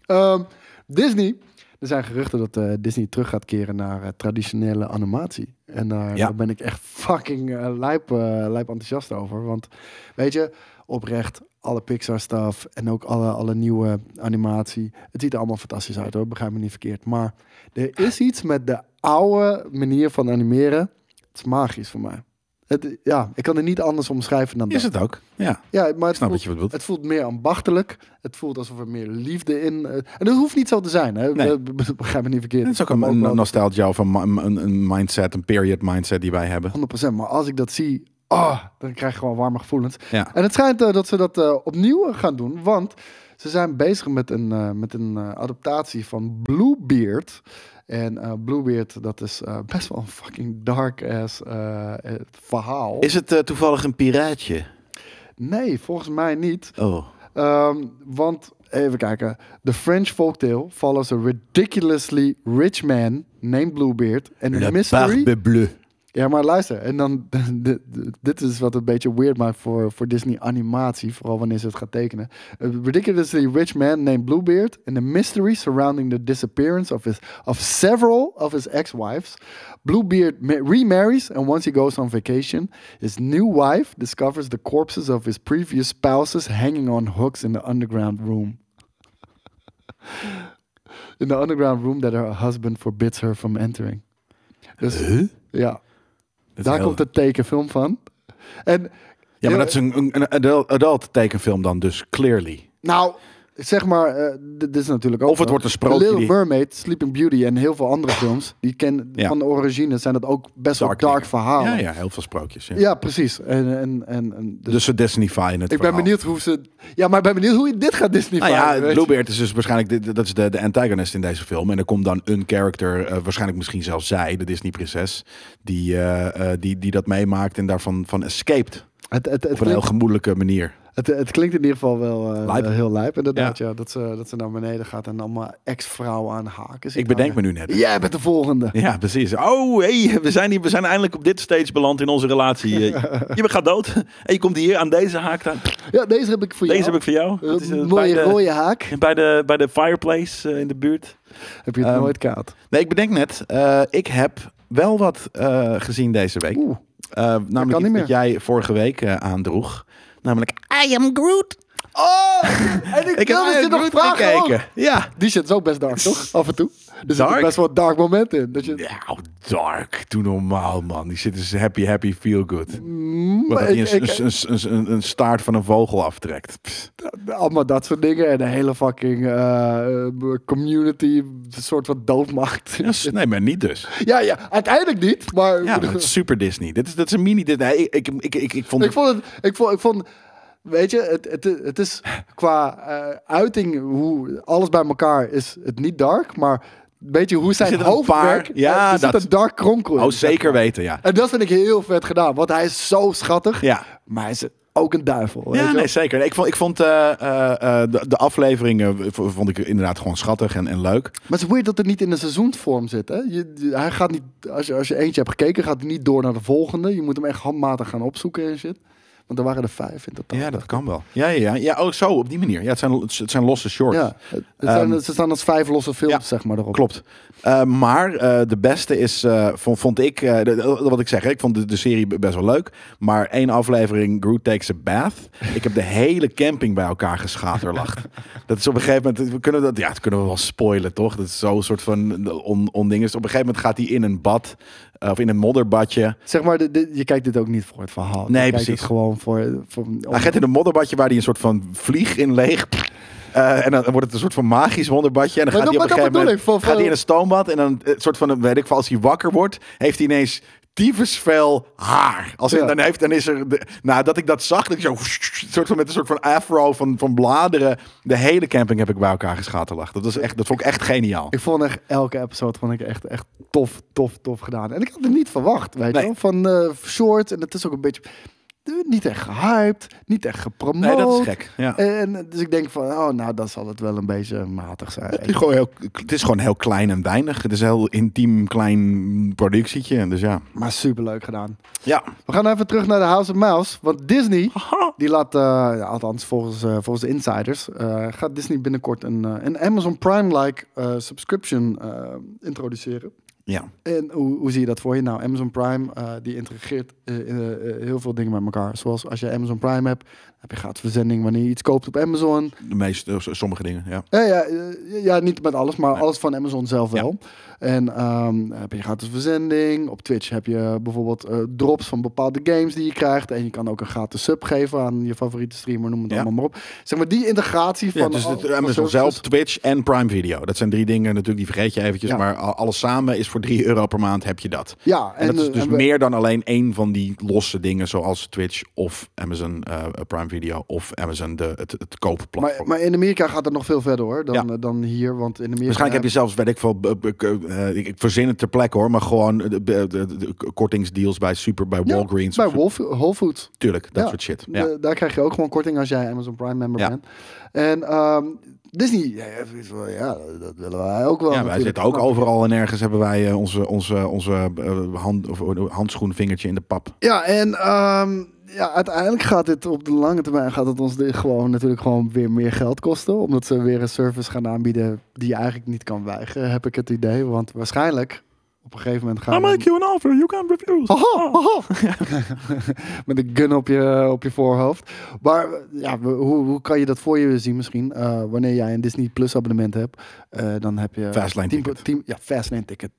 Ehm, Disney. Er zijn geruchten dat eh, Disney terug gaat keren naar eh, traditionele animatie. En daar, Ja. daar ben ik echt (laughs) fucking eh, lijp, eh, lijp enthousiast over. Want weet je, oprecht, alle Pixar-stuff en ook alle, alle nieuwe animatie. Het ziet er allemaal fantastisch uit hoor, begrijp me niet verkeerd. Maar er is iets met de oude manier van animeren. Het is magisch voor mij. Het, ja, ik kan het niet anders omschrijven dan dat. Is het ook? Ja. Ja, maar snap het voelt, wat je bedoelt. Het voelt meer ambachtelijk. Het voelt alsof er meer liefde in. eh, en dat hoeft niet zo te zijn. Hè? Nee. Be- be- Begrijp me niet verkeerd. Het is ook Kan een, me een wel- nostalgie of een, ma- een, een mindset, een period mindset die wij hebben. 100%. Maar als ik dat zie, ah, dan krijg ik gewoon warme gevoelens. Ja. En het schijnt eh, dat ze dat eh, opnieuw eh, gaan doen. Want ze zijn bezig met een, eh, met een eh, adaptatie van Bluebeard. En eh, Bluebeard, dat is eh, (laughs) best wel een fucking dark ass eh, eh, verhaal. Is het eh, toevallig een piraatje? Nee, volgens mij niet. Oh. Ehm, want, even kijken. The French folktale follows a ridiculously rich man named Bluebeard. And the mystery... Barbe Bleu. Ja, maar luister. En dan, (laughs) dit- dit is wat een beetje weird maakt voor, voor Disney animatie. Vooral wanneer ze het gaat tekenen. Eh, A ridiculously rich man named Bluebeard. And the mystery surrounding the disappearance of, his, of several of his ex-wives. Bluebeard ma- remarries and once he goes on vacation, his new wife discovers the corpses of his previous spouses hanging on hooks in the underground room. (laughs) In the underground room that her husband forbids her from entering. Dus, Ja. is Daar heel- komt de tekenfilm van. En, Ja, maar dat is een, een, een adult- adult tekenfilm dan dus, clearly. Nou, zeg maar, eh, d- dit is natuurlijk ook... Of het wel- wordt een sprookje The Little die- Mermaid, Sleeping Beauty en heel veel andere films... die (laughs) ken, Ja. van de origine zijn dat ook best wel Dark dark dingen. verhalen. Ja, ja, heel veel sprookjes. Ja. Ah. Ja, precies. En, en, en, en- dus Dus ze Disney-fyen het ik ben verhaal. benieuwd hoe ze... Ja, maar ik ben benieuwd hoe je dit gaat Disney Nou ja, Bluebeard is dus waarschijnlijk de, de- dat is de, de antagonist in deze film. En er komt dan een character, eh, waarschijnlijk misschien zelfs zij, de Disney-prinses, die, eh, eh, die, die dat meemaakt en daarvan van escaped. Het, het, Op het, een heel klinkt, gemoedelijke manier. het, het klinkt in ieder geval wel eh, Lijp. heel lijp, inderdaad. Ja. dat, ze, dat ze naar beneden gaat en allemaal ex-vrouwen aan haken. zit Ik bedenk me hangen. nu net. Jij bent de volgende. Ja, precies. Oh, hey, we, zijn hier, we zijn eindelijk op dit stage beland in onze relatie. (laughs) Eh, Je gaat dood. En je komt hier aan deze haak. aan. Ja, deze heb ik voor Deze jou. heb ik voor jou. Dat is, eh, mooie bij de- rode haak. Bij de, bij de fireplace eh, in de buurt. Heb je het Ehm, nooit koud? Nee, ik bedenk net. eh, ik heb wel wat eh, gezien deze week. Oeh, Eh, namelijk kan iets niet dat jij vorige week eh, aandroeg. Namelijk I Am Groot. (laughs) Oh! En ik, Ik heb wilde I je Am nog Groot vragen. gekeken. ook. Ja. Die shit is ook best dark, (laughs) toch? Af en toe. Er zit Dark? best wel dark moment in. Dat je, Nou, dark. Doe normaal, man. Die zit dus happy, happy, feel good. Mm, maar Maar dat hij ik- een, ik- een, een, een, een staart van een vogel aftrekt. Pst. Allemaal dat soort dingen. En een hele fucking eh, eh, community een soort van dood maakt. Ja, s- nee, maar niet dus. (laughs) Ja, ja. Uiteindelijk niet. Maar Ja, maar het is super Disney. Dit is, dat is een mini Disney. Nee, ik, ik, ik, ik, ik vond ik het... vond het... Ik vond, ik vond Weet je, het, het, het is qua eh, uiting, hoe alles bij elkaar is het niet dark, maar een beetje hoe zijn zitten een hoofdwerk, paar- ja, eh, er dat- zit een dark kronkel in. Oh, zeker weten, ja. En dat vind ik heel vet gedaan, want hij is zo schattig. Ja. Maar hij is ook een duivel. weet Ja, je? nee, zeker. Nee, Ik vond, ik vond eh, eh, eh, de, de afleveringen eh, v- vond ik inderdaad gewoon schattig en, en leuk. Maar het is weird dat het niet in een seizoensvorm zit. Hè? Je, je- hij gaat niet, als, je, als je eentje hebt gekeken, gaat hij niet door naar de volgende. Je moet hem echt handmatig gaan opzoeken en shit. Want er waren er vijf in totaal. Ja, dat kan wel. Ja, ja, ja. ja oh, zo, op die manier. Ja, het zijn, het zijn losse shorts. Ja, het het zijn, Ehm, ze staan als vijf losse films, ja, zeg maar, erop. Klopt. Eh, maar eh, de beste is, eh, vond, vond ik, eh, de- de- wat ik zeg, hè, ik vond de, de serie best wel leuk. Maar één aflevering, Groot Takes a Bath. Ik heb de hele camping bij elkaar geschaterlacht. dat is op een gegeven moment, we kunnen dat, ja, dat kunnen we wel spoilen, toch? Dat is zo'n soort van on, onding. Dus op een gegeven moment gaat hij in een bad, eh, of in een modderbadje. Zeg maar, dit- dit- je kijkt dit ook niet voor het verhaal. je Nee, kijkt precies. het gewoon voor... voor om- Hij gaat Nou, in een modderbadje waar hij een soort van vlieg in leeg. Eh, en dan wordt het een soort van magisch wonderbadje. En dan Maar gaat dat- hij op een maar gegeven moment dat bedoel ik, van- gaat hij in een stoombad. En dan een soort van, weet ik veel, als hij wakker wordt, heeft hij ineens tyfusvel haar. Als hij Ja. dan heeft, dan is er... De, nou, dat ik dat zag, dat ik zo... Soort van met een soort van afro van, van bladeren. De hele camping heb ik bij elkaar geschaterlacht. Dat, was echt, dat vond ik echt geniaal. Ik vond echt elke episode vond ik echt, echt tof, tof, tof gedaan. En ik had het niet verwacht, weet je Nee. wel. Van eh, short, en het is ook een beetje... eh, Niet echt gehyped, niet echt gepromoot. Nee, dat is gek, ja. En, dus ik denk van, oh, nou, dan zal het wel een beetje matig zijn. Het is, gewoon heel, het is gewoon heel klein en weinig. Het is een heel intiem, klein productietje. En Dus ja. Maar superleuk gedaan. Ja. We gaan even terug naar de House of Mouse. Want Disney, die laat, eh, ja, althans volgens, eh, volgens de insiders, eh, gaat Disney binnenkort een, eh, een Amazon Prime-like eh, subscription eh, introduceren. Ja. En hoe, hoe zie je dat voor je? Nou, Amazon Prime, eh, die integreert eh, eh, eh, heel veel dingen met elkaar. Zoals als je Amazon Prime hebt, heb je gratis verzending wanneer je iets koopt op Amazon. De meeste, sommige dingen, ja. Ja, ja, eh, ja, niet met alles, maar alles van Amazon zelf Ja. wel. En ehm, heb je gratis verzending. Op Twitch heb je bijvoorbeeld eh, drops van bepaalde games die je krijgt. En je kan ook een gratis sub geven aan je favoriete streamer, noem het Ja. allemaal maar op. Zeg maar, die integratie van... Ja, dus al- het, van Amazon services- zelf, Twitch en Prime Video. Dat zijn drie dingen natuurlijk, die vergeet je eventjes. Ja. Maar a- alles samen is voor 3 euro per maand heb je dat. Ja, En, dat eh, is dus en we- meer dan alleen één van die losse dingen... zoals Twitch of Amazon eh, Prime Video of Amazon de, het, het Maar, koopplatform. maar in Amerika gaat het nog veel verder hoor, dan, Ja. eh, dan hier. Want in Amerika... Waarschijnlijk heb je zelfs, weet ik veel, b- b- k- eh, ik ik verzin het ter plekke hoor... maar gewoon eh, de, de- de- de kortingsdeals bij Super, bij Ja, Walgreens. Bij of- Wolf, Whole Foods. Tuurlijk, dat Ja, soort shit. de- Ja. daar krijg je ook gewoon korting als jij Amazon Prime member Ja. bent. En ehm, Disney, ja, ja, zoiets van, ja, dat willen wij ook wel. Ja, wij natuurlijk. zitten ook Nou, overal en ergens hebben wij eh, onze, onze, onze eh, hand, of, eh, handschoenvingertje in de pap. Ja, en ehm, ja, uiteindelijk gaat dit op de lange termijn gaat het ons dit gewoon, natuurlijk gewoon weer meer geld kosten. Omdat ze weer een service gaan aanbieden die je eigenlijk niet kan weigeren, heb ik het idee. Want waarschijnlijk Op een gegeven moment I Nou, gaan. we- make you an offer you can't refuse. Haha, haha. (laughs) Met een gun op je, op je voorhoofd. Maar eh, ja, we- hoe, hoe kan je dat voor je zien misschien? Eh, wanneer jij een Disney Plus abonnement hebt, eh, dan heb je... Fastlane 10 pro- ticket. 10 ja, Fastlane ticket.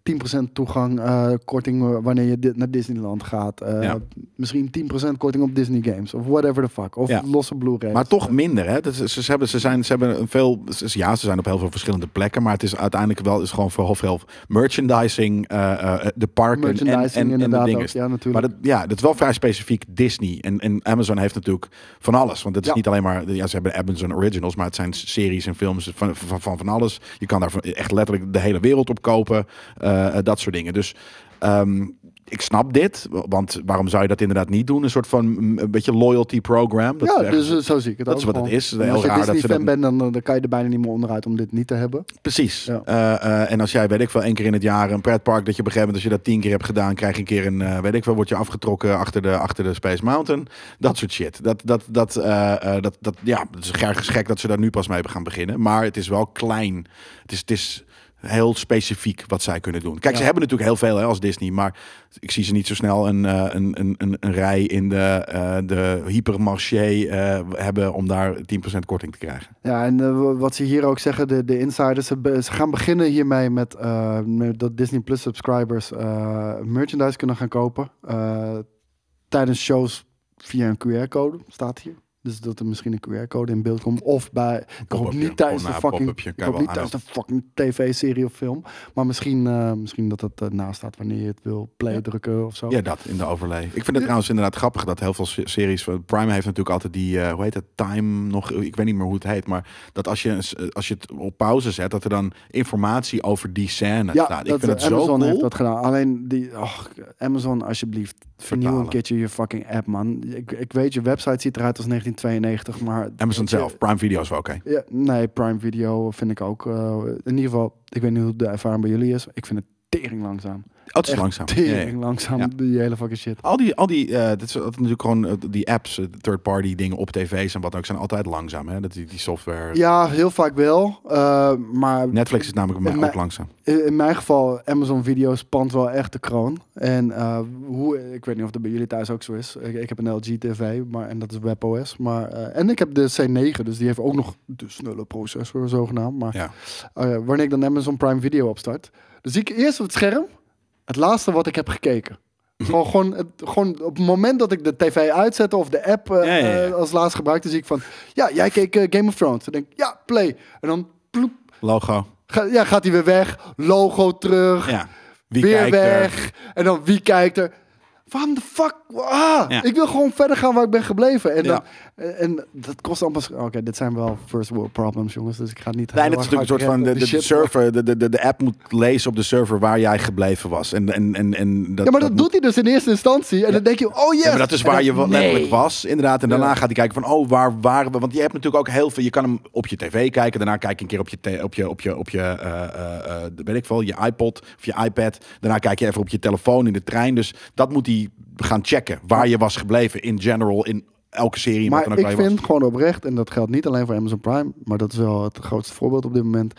10% toegang, eh, korting eh, wanneer je di- naar Disneyland gaat. Eh, Ja. Misschien 10% korting op Disney Games. Of whatever the fuck. Of Ja. losse Blu-rays. Maar toch minder, hè? Dat is- ze, ze hebben, ze, zijn, ze hebben een veel... ze- Ja, ze zijn op heel veel verschillende plekken. Maar het is uiteindelijk wel is gewoon voor heel veel merchandising, eh, eh, de parken en- Merchandising en, en, de inderdaad dingen. ook, ja, natuurlijk. Maar dat, ja, dat is wel vrij specifiek Disney. En, en Amazon heeft natuurlijk van alles. Want het is Ja. niet alleen maar... Ja, ze hebben Amazon Originals, maar het zijn series en films van van, van, van alles. Je kan daar echt letterlijk de hele wereld op kopen. eh, eh, dat soort dingen. Dus... ehm, ik snap dit, want waarom zou je dat inderdaad niet doen? Een soort van mm, een beetje loyalty program. Dat ja, is echt- dus eh, zo zie ik het dat ook is wat het gewoon. is. En Heel Als je raar dat ze Disney-fan dat- bent, dan, eh, dan kan je er bijna niet meer onderuit om dit niet te hebben. Precies. Ja. Eh, eh, en als jij, weet ik veel, één keer in het jaar een pretpark dat je op een gegeven moment, als je dat tien keer hebt gedaan, krijg je een keer een, eh, weet ik veel, word je afgetrokken achter de, achter de Space Mountain. Dat soort shit. Dat, dat, dat, eh, eh, dat, dat, ja, het is erg gek dat ze daar nu pas mee gaan beginnen. Maar het is wel klein. Het is, het is heel specifiek wat zij kunnen doen. Kijk, ze hebben natuurlijk heel veel hè, als Disney, maar ik zie ze niet zo snel een, eh, een, een, een, een rij in de, eh, de hypermarché eh, hebben om daar 10% korting te krijgen. Ja, en eh, wa- wat ze hier ook zeggen, de, de insiders, ze, be- ze gaan beginnen hiermee met eh, met dat Disney Plus subscribers eh, merchandise kunnen gaan kopen. eh, tijdens shows via een QR-code, staat hier. Dus dat er misschien een QR-code in beeld komt. Of bij. Ik hoop Pop-upje. niet tijdens de Gewoon een fucking. pop-upje, ik kan hoop je niet wel tijdens de fucking tv-serie of film. Maar misschien, eh, misschien dat het eh, naast staat wanneer je het wil play drukken of zo. Ja, dat in de overlay. Ik vind het trouwens inderdaad grappig dat heel veel se- series. van- Prime heeft natuurlijk altijd die, eh, hoe heet het, time nog. Ik weet niet meer hoe het heet. Maar dat als je, eens, eh, als je het op pauze zet, dat er dan informatie over die scène Ja, staat. nou, Ik dat, eh, vind het Amazon zo cool. heeft dat gedaan. Alleen die, ach, Amazon, alsjeblieft, vernieuw een Vertalen. keertje je fucking app, man. Ik, ik weet, je website ziet eruit als 1992, maar... Amazon weet je, zelf, Prime Video is wel oké. Oh, Ja, nee, Prime Video vind ik ook. eh, in ieder geval, ik weet niet hoe de ervaring bij jullie is. Ik vind het tering langzaam. Oh, het is Echt langzaam. Ja, ja. Tering langzaam, Ja. die hele fucking shit. Al die, al die eh, dit is altijd natuurlijk gewoon eh, die apps, eh, third-party dingen op tv's en wat ook, zijn altijd langzaam. Hè? Dat die, die software. Ja, heel vaak wel. eh, maar Netflix is namelijk bij mij Maar- ook langzaam. Eh, In in mijn geval, Amazon Video spant wel echt de kroon. En eh, hoe, ik weet niet of dat bij jullie thuis ook zo is. Ik, ik heb een LG TV, maar, en dat is WebOS. Maar, eh, en ik heb de C9, dus die heeft ook nog de snelle processor zogenaamd. Maar Ja. eh, wanneer ik dan Amazon Prime Video opstart, dan zie ik eerst op het scherm het laatste wat ik heb gekeken. gewoon, gewoon, het, gewoon op het moment dat ik de tv uitzet of de app eh, Ja, ja, ja. eh, als laatst gebruikte, zie ik van, ja, jij keek eh, Game of Thrones. Dan denk ik, ja, play. En dan ploep, Logo. Ga- ja, gaat hij weer weg. Logo terug. Ja. Wie weer kijkt er? weg. En dan wie kijkt er? Waarom de fuck? Ah, Ja. Ik wil gewoon verder gaan waar ik ben gebleven. En, Ja. dan, eh, en dat kost allemaal... Oké, dit zijn wel first world problems, jongens. Dus ik ga niet... Nee, heel dat is erg natuurlijk een soort hard van de, rennen de, op die shit, maar- server, de, de, de, de app moet lezen op de server waar jij gebleven was. En, en, en, en dat, Ja, maar dat, moet- doet hij dus in eerste instantie. En dan denk je, oh yes. Ja, maar dat is En waar dan- je wel nee. letterlijk was, inderdaad. En daarna Ja. gaat hij kijken van, oh, waar waren we? Want je hebt natuurlijk ook heel veel... Je kan hem op je tv kijken. Daarna kijk je een keer op je, te- op je, op je, op je eh, eh, eh, weet ik veel, je iPod of je iPad. Daarna kijk je even op je telefoon in de trein. Dus dat moet hij gaan checken. Waar je was gebleven in general, in elke serie. wat dan Maar ook ik waar je vind was. gewoon oprecht, en dat geldt niet alleen voor Amazon Prime, maar dat is wel het grootste voorbeeld op dit moment.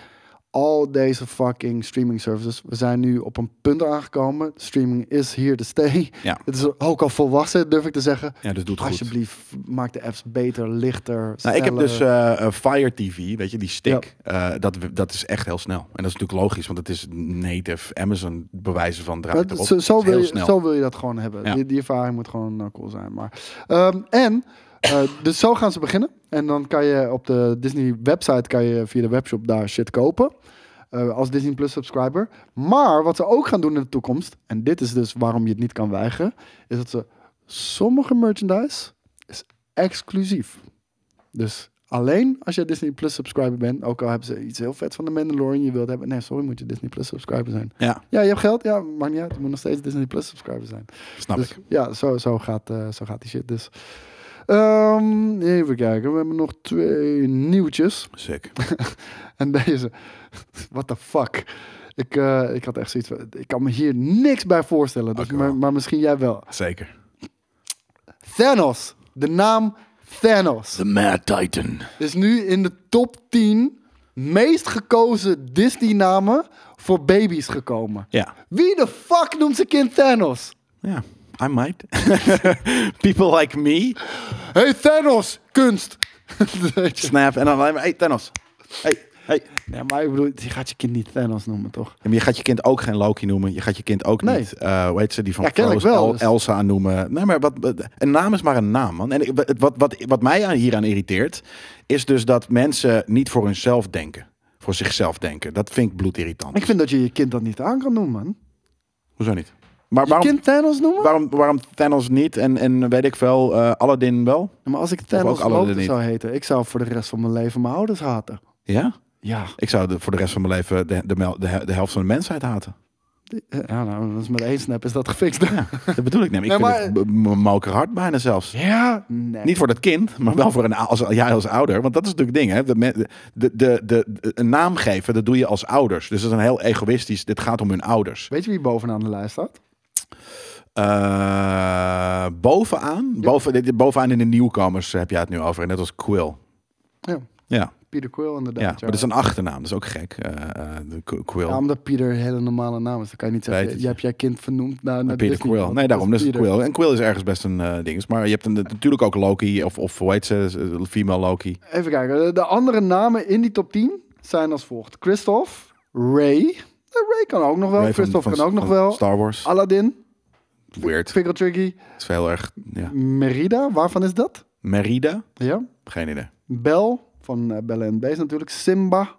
Al deze fucking streaming services. We zijn nu op een punt aangekomen. Streaming is here to stay. Ja. Het is ook al volwassen, durf ik te zeggen. Ja, dus doe het goed. Alsjeblieft, maak de apps beter, lichter, Nou, ik heb sneller. dus eh, eh, Fire TV, weet je, die stick. Eh, dat, dat is echt heel snel. En dat is natuurlijk logisch, want het is native Amazon bewijzen van Maar draait het- erop. zo, zo Het is wil heel je, snel. zo wil je dat gewoon hebben. Ja. Die, die ervaring moet gewoon eh, cool zijn. Maar, ehm, en, eh, dus zo gaan ze beginnen. En dan kan je op de Disney website, kan je via de webshop daar shit kopen. eh, als Disney Plus subscriber. Maar wat ze ook gaan doen in de toekomst, en dit is dus waarom je het niet kan weigeren, is dat ze sommige merchandise is exclusief. Dus alleen als je Disney Plus subscriber bent, ook al hebben ze iets heel vets van de Mandalorian je wilt hebben. Nee, sorry, moet je Disney Plus subscriber zijn. Ja, Ja, je hebt geld. Ja, maakt niet uit. Je moet nog steeds Disney Plus subscriber zijn. snap dus ik. ja, zo, zo, gaat, eh, zo gaat die shit dus. Ehm, even kijken. We hebben nog twee nieuwtjes. Sick. (laughs) En deze. (laughs) What the fuck? Ik, eh, ik had echt zoiets van... Ik kan me hier niks bij voorstellen. Dus, Oké. maar, maar misschien jij wel. Zeker. Thanos. De naam Thanos. The Mad Titan. Is nu in de top 10 meest gekozen Disney-namen voor baby's gekomen. Ja. Wie de fuck noemt zijn kind Thanos? Ja, I might. (laughs) People like me. Hey Thanos, kunst. Weet je. Snap. En dan alleen maar, hey Thanos. Hey, hey. (laughs) ja, maar ik bedoel, je gaat je kind niet Thanos noemen, toch? Ja, maar je gaat je kind ook geen Loki noemen. Je gaat je kind ook Nee. niet, eh, hoe heet ze, die van Ja, kennelijk Frozen, wel, El- dus- Elsa noemen. Nee, maar wat, wat- een naam is maar een naam, man. En ik- wat, wat, wat, wat mij aan- hieraan irriteert, is dus dat mensen niet voor hunzelf denken. Voor zichzelf denken. Dat vind ik bloedirritant. Ik vind dat je je kind dat niet aan kan noemen, man. Hoezo niet? Maar Je waarom, kind Thanos noemen? waarom, waarom Thanos niet en, en weet ik veel, eh Aladdin wel? Ja, Maar als ik Thanos ook alle Loki er niet. zou heten, ik zou voor de rest van mijn leven mijn ouders haten. Ja? Ja. Ik zou de- voor de rest van mijn leven de, de, mel- de, he- de helft van de mensheid haten. Ja, nou, dat is met één snap is dat gefixt. Ja. Dat bedoel ik. Nee, maar ik Nee, vind het m- m- mokerhard bijna zelfs. Nee. Niet voor dat kind, maar wel voor een, ou- als, jij als ouder. Want dat is natuurlijk het ding. Hè? De, men- de, de, de, de- een naam geven, dat doe je als ouders. Dus dat is een heel egoïstisch. Dit gaat om hun ouders. Weet je wie bovenaan de lijst staat? Eh, bovenaan, boven, dit- bovenaan in de nieuwkomers heb jij het nu over. Net als Quill. Ja. Ja, Pieter Quill inderdaad. ja. maar dat is een achternaam. Dat is ook gek. Eh, eh, de Qu- Quill. Ja, omdat Pieter een hele normale naam is. Dan kan je niet zeggen, Weet het, je, je ja. hebt jij kind vernoemd naar, naar Peter Disney. Quill. Want Nee, daarom. dat Dus is Peter. Quill. En Quill is ergens best een eh ding. Maar je hebt een, natuurlijk ook Loki. Of, of hoe heet ze? Female Loki. Even kijken. Eh, De- De andere namen in die top 10 zijn als volgt. Christophe, Ray. Ray kan ook nog wel. Ray van- Christophe van- kan ook nog van wel. Star Wars. Aladdin, Weird. Het Pickle Tricky, is heel erg... Ja. Merida. Waarvan is dat? Merida? Ja. Geen idee. Bel, van eh Belle and Beast natuurlijk. Simba.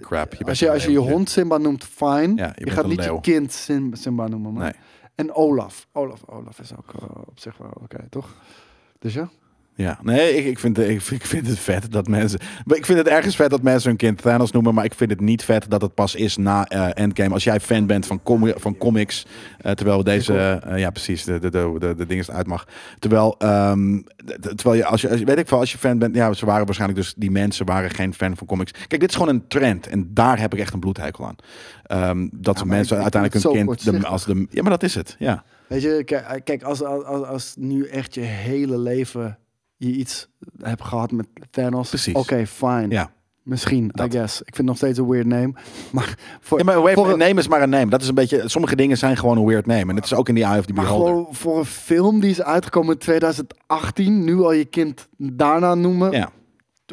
Crap. bent Als je, een als je je leeuw. hond Simba noemt, fine. Ja, je je bent gaat een niet leeuw. je kind Sim- Simba noemen. Man. Nee. En Olaf. Olaf. Olaf is ook eh, op zich wel oké, toch? Dus ja. Ja. Nee, ik, ik, vind, ik, vind- ik vind het vet dat mensen... Maar ik vind het ergens vet dat mensen hun kind Thanos noemen. Maar ik vind het niet vet dat het pas is na eh, Endgame. Als jij fan bent van, comi- van comics. eh, terwijl we deze... eh, ja, precies. De, de, de, de, de ding is uit mag. Terwijl... ehm, de- de- terwijl je als, je... als je... Weet ik veel. Als je fan bent... Ja, ze waren waarschijnlijk dus... Die mensen waren geen fan van comics. Kijk, dit is gewoon een trend. En daar heb ik echt een bloedhekel aan. Ehm, dat maar ik- ik mensen vind uiteindelijk hun het zo kind... De, kortzichtig. als de, ja, maar dat is het. Ja. Weet je, kijk, eh, kijk, als, als, als- als nu echt je hele leven je iets hebt gehad met Thanos. Precies. Oké, fine. Ja. Misschien, I guess. Ik vind het nog steeds een weird name. Maar voor, Ja, maar een, voor een een- name is maar een name. Dat is een beetje. Sommige dingen zijn gewoon een weird name. En het is ook in die eye of the maar beholder. gewoon voor een film die is uitgekomen in 2018, nu al je kind daarna noemen. Ja,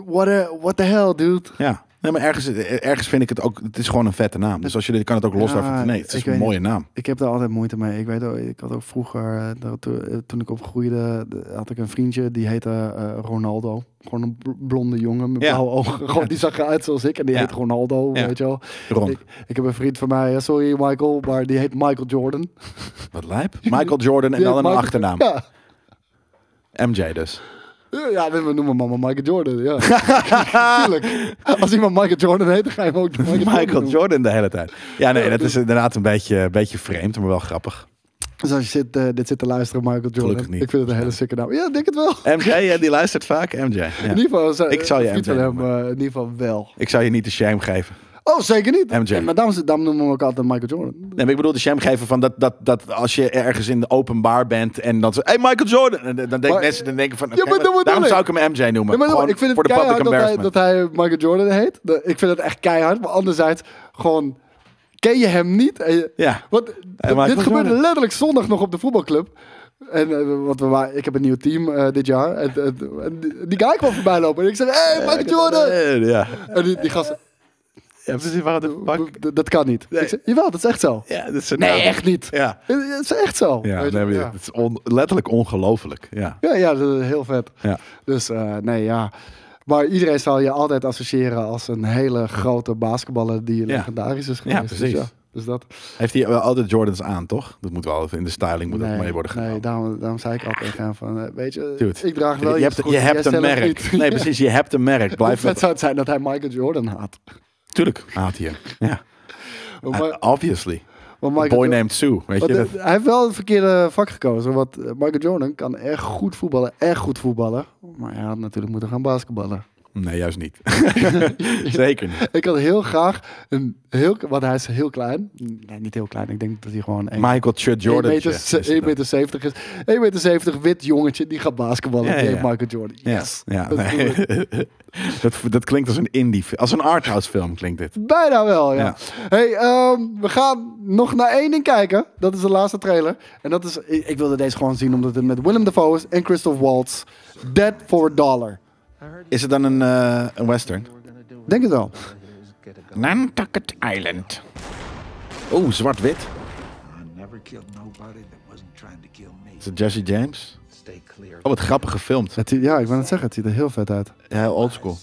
What, a, what the hell, dude? ja. Nee, maar ergens, ergens vind ik het ook. Het is gewoon een vette naam. Dus als je dit kan het ook los Ja, daarvan. Nee, het ik is een weet mooie naam. Ik heb daar altijd moeite mee. Ik weet ook, ik had ook vroeger, eh, dat- to- eh, toen ik opgroeide, de- had ik een vriendje die heette eh, Ronaldo. Gewoon een bl- blonde jongen met Ja. blauwe ogen. Gewoon, die zag eruit zoals ik en die Ja. heet Ronaldo, Ja. weet je wel. Ron. Ik, ik heb een vriend van mij, eh, sorry Michael, maar die heet Michael Jordan. Die Wat lijp. Michael Jordan en heet dan een Michael- achternaam. Ja, MJ dus. ja we noemen mama Michael Jordan, (laughs) ja. Tuurlijk. Als iemand Michael Jordan heet, dan ga je hem ook Michael, (laughs) Michael noemen. Jordan de hele tijd. Ja, nee, dat is inderdaad een beetje, een beetje vreemd, maar wel grappig. Dus als je zit, eh, dit zit te luisteren, Michael Jordan. Gelukkig niet. Ik vind het een hele sikke naam. Ja, ik denk het wel. MJ, ja, die luistert vaak. MJ. In Ja. ieder geval, zou- Ik zou je een vriend MJ van hem, eh, in ieder geval wel. Ik zou je niet de shame geven. Oh, zeker niet. MJ. Ja, maar daarom, daarom noemen we ook altijd Michael Jordan. Nee, maar ik bedoel de sham geven van dat, dat, dat als je ergens in de openbaar bent en dan zo, hey Michael Jordan, en dan denken Maar- mensen dan denken van, oké, Ja, maar dat maar bedoel daarom ik. zou ik hem MJ noemen. Ja, maar Gewoon ik vind voor het de public keihard dat hij, embarrassment. dat hij Michael Jordan heet. Dat- Ik vind het echt keihard. Maar anderzijds, gewoon... Ken je hem niet? En je- Ja. Want Michael dit gebeurde Jordan. letterlijk zondag nog op de voetbalclub. En, eh, want we waren, ik heb een nieuw team eh, dit jaar. En, en- en die- die guy kwam voorbij lopen. En ik zei, hey, Michael Jordan! Eh, Ja, En die, die gast, ja precies, waar de fuck. "D- dat kan niet. Nee. Ik zei, jawel, dat is echt zo. Ja, dat is een- Nee, echt niet. Ja, Het het is echt zo. ja, Weet je, nee, maar ja. het is on- letterlijk ongelooflijk. Ja. Ja, ja, dat is heel vet. Ja. Dus eh, nee, ja. Maar iedereen zal je altijd associëren als een hele grote basketballer die legendarisch is geweest. precies. Dus, dus dat. Heeft hij wel altijd Jordans aan, toch? Dat moet wel even in de styling moet dat mee worden gedaan. nee daarom, daarom zei ik altijd tegen hem van, eh, weet je, Dude, ik draag wel je, iets hebt, goed, je jij hebt een stelt het merk. niet. Nee, (laughs) precies, je hebt een merk. Hoe Blijf vet met... zou het zijn dat hij Michael Jordan (laughs) haat. Tuurlijk, haat hij hem. Ja, Maar- maar obviously. Michael Boy Jo- named Sue, weet want, je. eh, dat- Hij heeft wel het verkeerde vak gekozen. Want eh, Michael Jordan kan echt goed voetballen. Echt goed voetballen. Maar hij had natuurlijk moeten gaan basketballen. Nee, juist niet. (laughs) Zeker niet. Ik had heel graag een heel... Want hij is heel klein. Nee, niet heel klein. Ik denk dat hij gewoon... één- Michael Chud Jordan. 1,70 meter, 1 meter 70 is. 1,70 meter 70 wit jongetje die gaat basketballen. Ja, Die ja, heet ja. Michael Jordan. Yes. Ja, Dat nee. doen we. (laughs) dat, dat klinkt als een indie, fi- als een arthouse film klinkt dit. Bijna wel, ja. Ja. Hey, ehm, we gaan nog naar één ding kijken. Dat is de laatste trailer. En dat is... Ik, ik wilde deze gewoon zien omdat het met Willem Dafoe is en Christoph Waltz. Dead for a Dollar. Is het dan een, eh, een western? Denk het wel. Nantucket Island. Oh, zwart-wit. I never killed nobody that wasn't trying to kill me. Is het Jesse James? Stay clear. Oh, wat grappig gefilmd. Het, ziet- ja, ik wou net zeggen. Het ziet er heel vet uit. Heel oldschool.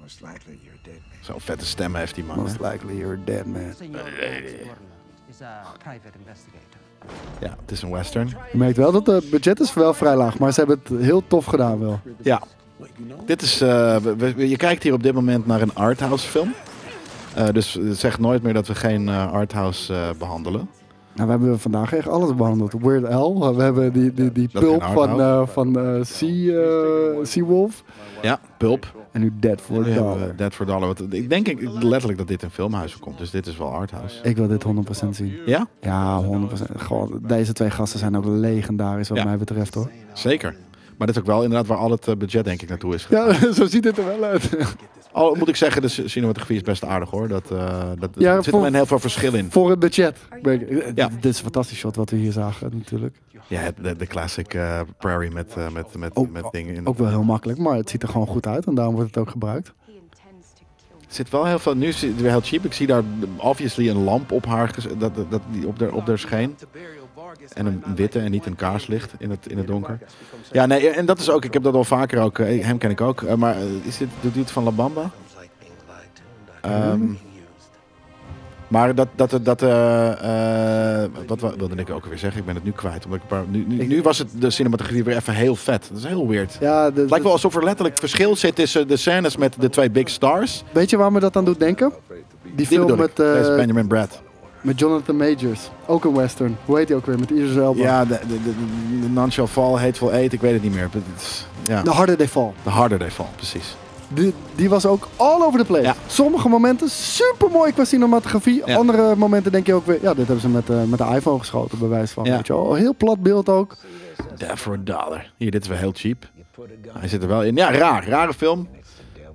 Most likely you're a dead man. Zo'n vette stem heeft die man. hè? Most likely you're a dead man. is a private investigator. Ja, het is een western. Je merkt wel dat het budget is wel vrij laag. Maar ze hebben het heel tof gedaan wel. Ja. Dit is, eh, we- we- je kijkt hier op dit moment naar een arthouse film. Eh, dus het zegt nooit meer dat we geen eh, arthouse eh, behandelen. Nou, we hebben vandaag echt alles behandeld. Weird Al, we hebben die, die, die Dat is pulp geen van, hardhouse. eh, van eh, sea, eh, Seawolf. Ja, Pulp. Eh, En nu Dead for a Dollar. Dead for Dollar. Wat- Ik denk ik- letterlijk dat dit in filmhuizen komt. Dus dit is wel arthouse. Ik wil dit 100% zien. Ja, Ja, 100%. Gewoon, deze twee gasten zijn ook legendarisch wat Ja. mij betreft hoor. zeker. Maar dit is ook wel inderdaad waar al het eh, budget denk ik naartoe is gegaan. Ja, (laughs) zo ziet het er wel uit. Al moet ik zeggen, de c- cinematografie is best aardig hoor. Dat, eh dat, Ja, er zit voor- alleen heel veel verschil in. Voor het budget. Ben ik- eh, Ja. Dit is een fantastisch shot wat we hier zagen natuurlijk. Ja, de, de classic eh, prairie met, eh, met, met, Ook- met dingen in. Ook wel heel makkelijk, maar het ziet er gewoon goed uit en daarom wordt het ook gebruikt. He intends to kill me. Er zit wel heel veel. Nu is het weer heel cheap. Ik zie daar obviously een lamp op haar, ges- dat, dat, dat- die op haar, op haar scheen. En een een witte en niet een kaarslicht in het, in het donker. Ja, nee, en dat is ook. Ik heb dat al vaker ook. eh, Hem ken ik ook. eh, Maar eh, is dit de dude van La Bamba? Ehm, maar dat, dat, dat, eh, eh, wat wa- wilde ik ook weer zeggen? Ik ben het nu kwijt. Omdat ik een paar, nu, nu, nu was het de cinematografie weer even heel vet. Dat is heel weird. Ja, de- Het lijkt wel alsof er letterlijk verschil zit tussen de scènes met de twee big stars. Weet je waar me dat aan doet denken? Die, Die film bedoel met, ik. Deze eh, Benjamin Brad. met Jonathan Majors. Ook een western. Hoe heet die ook weer? Met Idris Elba. Ja, de, de, de, de- de None Shall Fall, Hateful Eight, ik weet het niet meer. Het is- Ja. The Harder They Fall. The harder they fall, precies. Die, die was ook all over the place. Ja. Sommige momenten super mooi qua cinematografie. Ja. Andere momenten denk je ook weer... Ja, dit hebben ze met, eh, met de iPhone geschoten, bij wijze van. Ja. Eh, Weet je wel. Heel plat beeld ook. Death for a dollar. Hier, dit is wel heel cheap. Hij zit er wel in. Ja, raar. Rare film.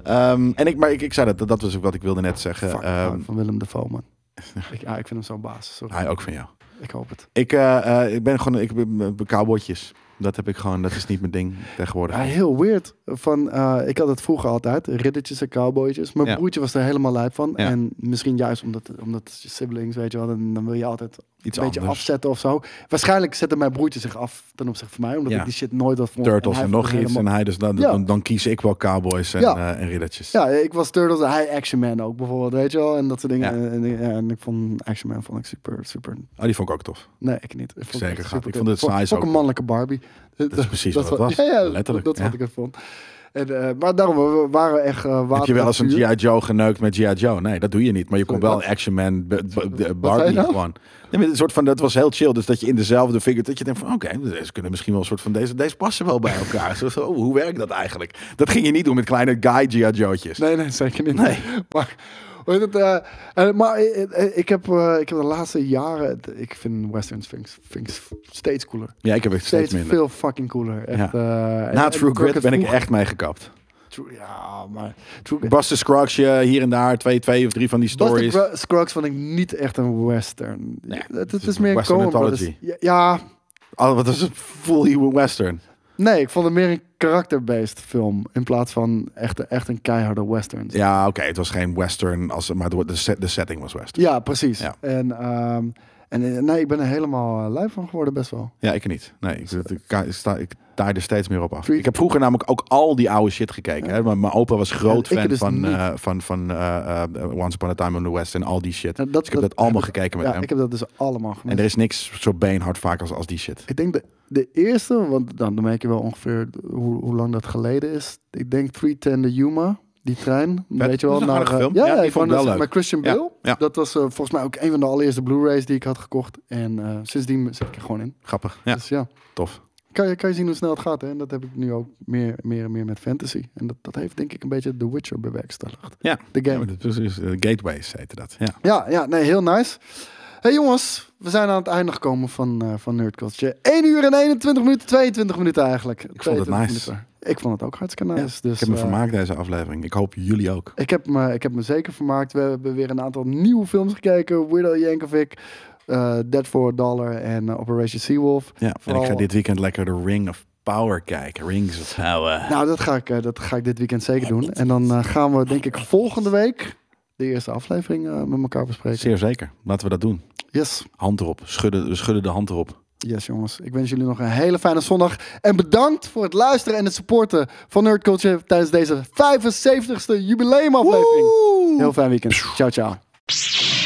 Ehm, en ik, maar ik, ik zei dat, dat was ook wat ik wilde net zeggen. Fuck, Ehm, Ah. man, van Willem Dafoe, (laughs) man. ik, ja, ik vind hem zo'n baas. Sorry. hij ook van jou. Ik hoop het. Ik, eh, eh, ik ben gewoon, ik ben ben cowboytjes. Dat heb ik gewoon, dat is niet mijn ding tegenwoordig. Ja, heel weird. Van, eh, ik had het vroeger altijd. Riddertjes en cowboytjes. Mijn Ja. broertje was er helemaal lijp van. Ja. En misschien juist omdat, omdat het je siblings, weet je wel. Dan, dan wil je altijd Iets een beetje anders. afzetten of zo. Waarschijnlijk zette mijn broertje zich af ten opzichte van mij. Omdat Ja. ik die shit nooit had vond. Turtles hij en, vond nog het iets. En helemaal- hij dus, dan, Ja. dan, dan kies ik wel cowboys en, Ja. eh, en riddertjes. Ja, ik was Turtles en hij Action Man ook bijvoorbeeld, weet je wel. En dat soort dingen. Ja. En, en- en ik vond Action Man vond ik super, super... Oh, die vond ik ook tof. Nee, ik niet. Ik vond Zeker het gaat. super Ik kut. vond het saai Vond ik een ook. mannelijke Barbie. Dat is precies wat het vond- was. Ja, ja, Letterlijk, Dat, dat ja. wat ik het vond. En, eh, maar daarom, we waren echt eh water. Heb je wel eens een en vuur. G.I. Joe geneukt met G.I. Joe? Nee, dat doe je niet. Maar je kon Sorry, wel wat? Action Man, b- b- de zei Barbie je nou? gewoon. Nee, maar een soort van, dat was heel chill. Dus dat je in dezelfde figure, dat je denkt van... Oké, deze kunnen misschien wel een soort van... Deze, deze passen wel bij elkaar. (laughs) Zo, zo, oh, hoe werkt dat eigenlijk? Dat ging je niet doen met kleine guy G.I. Joe'tjes. Nee, nee, zeker niet. Nee. (laughs) Maar, hoe heet het, eh, eh, maar eh, eh, ik, heb, eh, ik heb de laatste jaren... Ik vind westerns vind ik, vind ik steeds cooler. Ja, ik heb het steeds Steeds minder. veel fucking cooler. Echt, eh, en- Na en True ik Grit het ben ik vroeger- echt meegekapt. True- ja, maar... True Grit- Buster Scruggs, je hier en daar twee, twee of drie van die Buster stories. Scruggs- Scruggs vond ik niet echt een western. Nee, het, het het is is meer een western Coen Brothers. mythology. Ja, ja, Oh, wat is het? Full western. nee, ik vond het meer een karakterbased film in plaats van echt, echt een keiharde western. Ja, Ja, oké, het was geen western, als, maar de, de, set- de setting was western. precies. Ja. En, ehm, en eh, nee, ik ben er helemaal eh, lui van geworden, best wel. Ja, ik niet. Nee, ik, ik, ik, ik sta, ik taai er steeds meer op af. Free- Ik heb vroeger namelijk ook al die oude shit gekeken. Hè? Mijn, mijn opa was groot Ja, ik fan dus van, niet. eh, van, van eh, eh, Once Upon a Time in the West en al die shit. Nou, dus ik heb dat, allemaal heb ik- gekeken met ja, hem. Ik heb dat dus allemaal gemist. En er is niks zo beenhard vaak als, als die shit. Ik denk de, de eerste, want dan, dan merk je wel ongeveer hoe, hoe lang dat geleden is. Ik denk 310 de Yuma, die trein. Weet je wel, dat is een aardige eh, film. Ja, Ja, ja, die ik vond vond ik wel dat leuk. Maar Christian Ja, Bale, ja. dat was eh, volgens mij ook een van de allereerste Blu-rays die ik had gekocht. En eh, sindsdien zit ik er gewoon in. Grappig. Ja, Dus ja, tof. ik kan, je- kan je zien hoe snel het gaat. Hè? En dat heb ik nu ook meer, meer en meer met fantasy. En dat, dat heeft denk ik een beetje The Witcher bewerkstelligd. Ja, De game. Ja, maar dat is- is, eh, gateways heette dat. Ja. Ja, ja, nee, heel nice. hey jongens, we zijn aan het einde gekomen van, eh van Nerd Culture. 1 uur en 21 minuten, 22 minuten eigenlijk. Ik vond het nice. Ik vond het ook hartstikke nice. Dus, ik heb me eh, vermaakt deze aflevering. Ik hoop jullie ook. Ik heb, me, ik heb me zeker vermaakt. We hebben weer een aantal nieuwe films gekeken. Widow Yankovic, eh, Dead for a Dollar en eh, Operation Seawolf. Ja, en Vooral- ik ga dit weekend lekker de Ring of Power kijken. Rings of Power. Nou, dat ga, ik, eh, dat ga ik dit weekend zeker doen. En dan eh, gaan we denk ik volgende week de eerste aflevering eh, met elkaar bespreken. Zeer zeker. Laten we dat doen. Yes. Hand erop. Schudden, we schudden de hand erop. Yes, jongens. Ik wens jullie nog een hele fijne zondag. En bedankt voor het luisteren en het supporten van Nerd Culture tijdens deze 75ste jubileumaflevering. Heel fijn weekend. Ciao, ciao.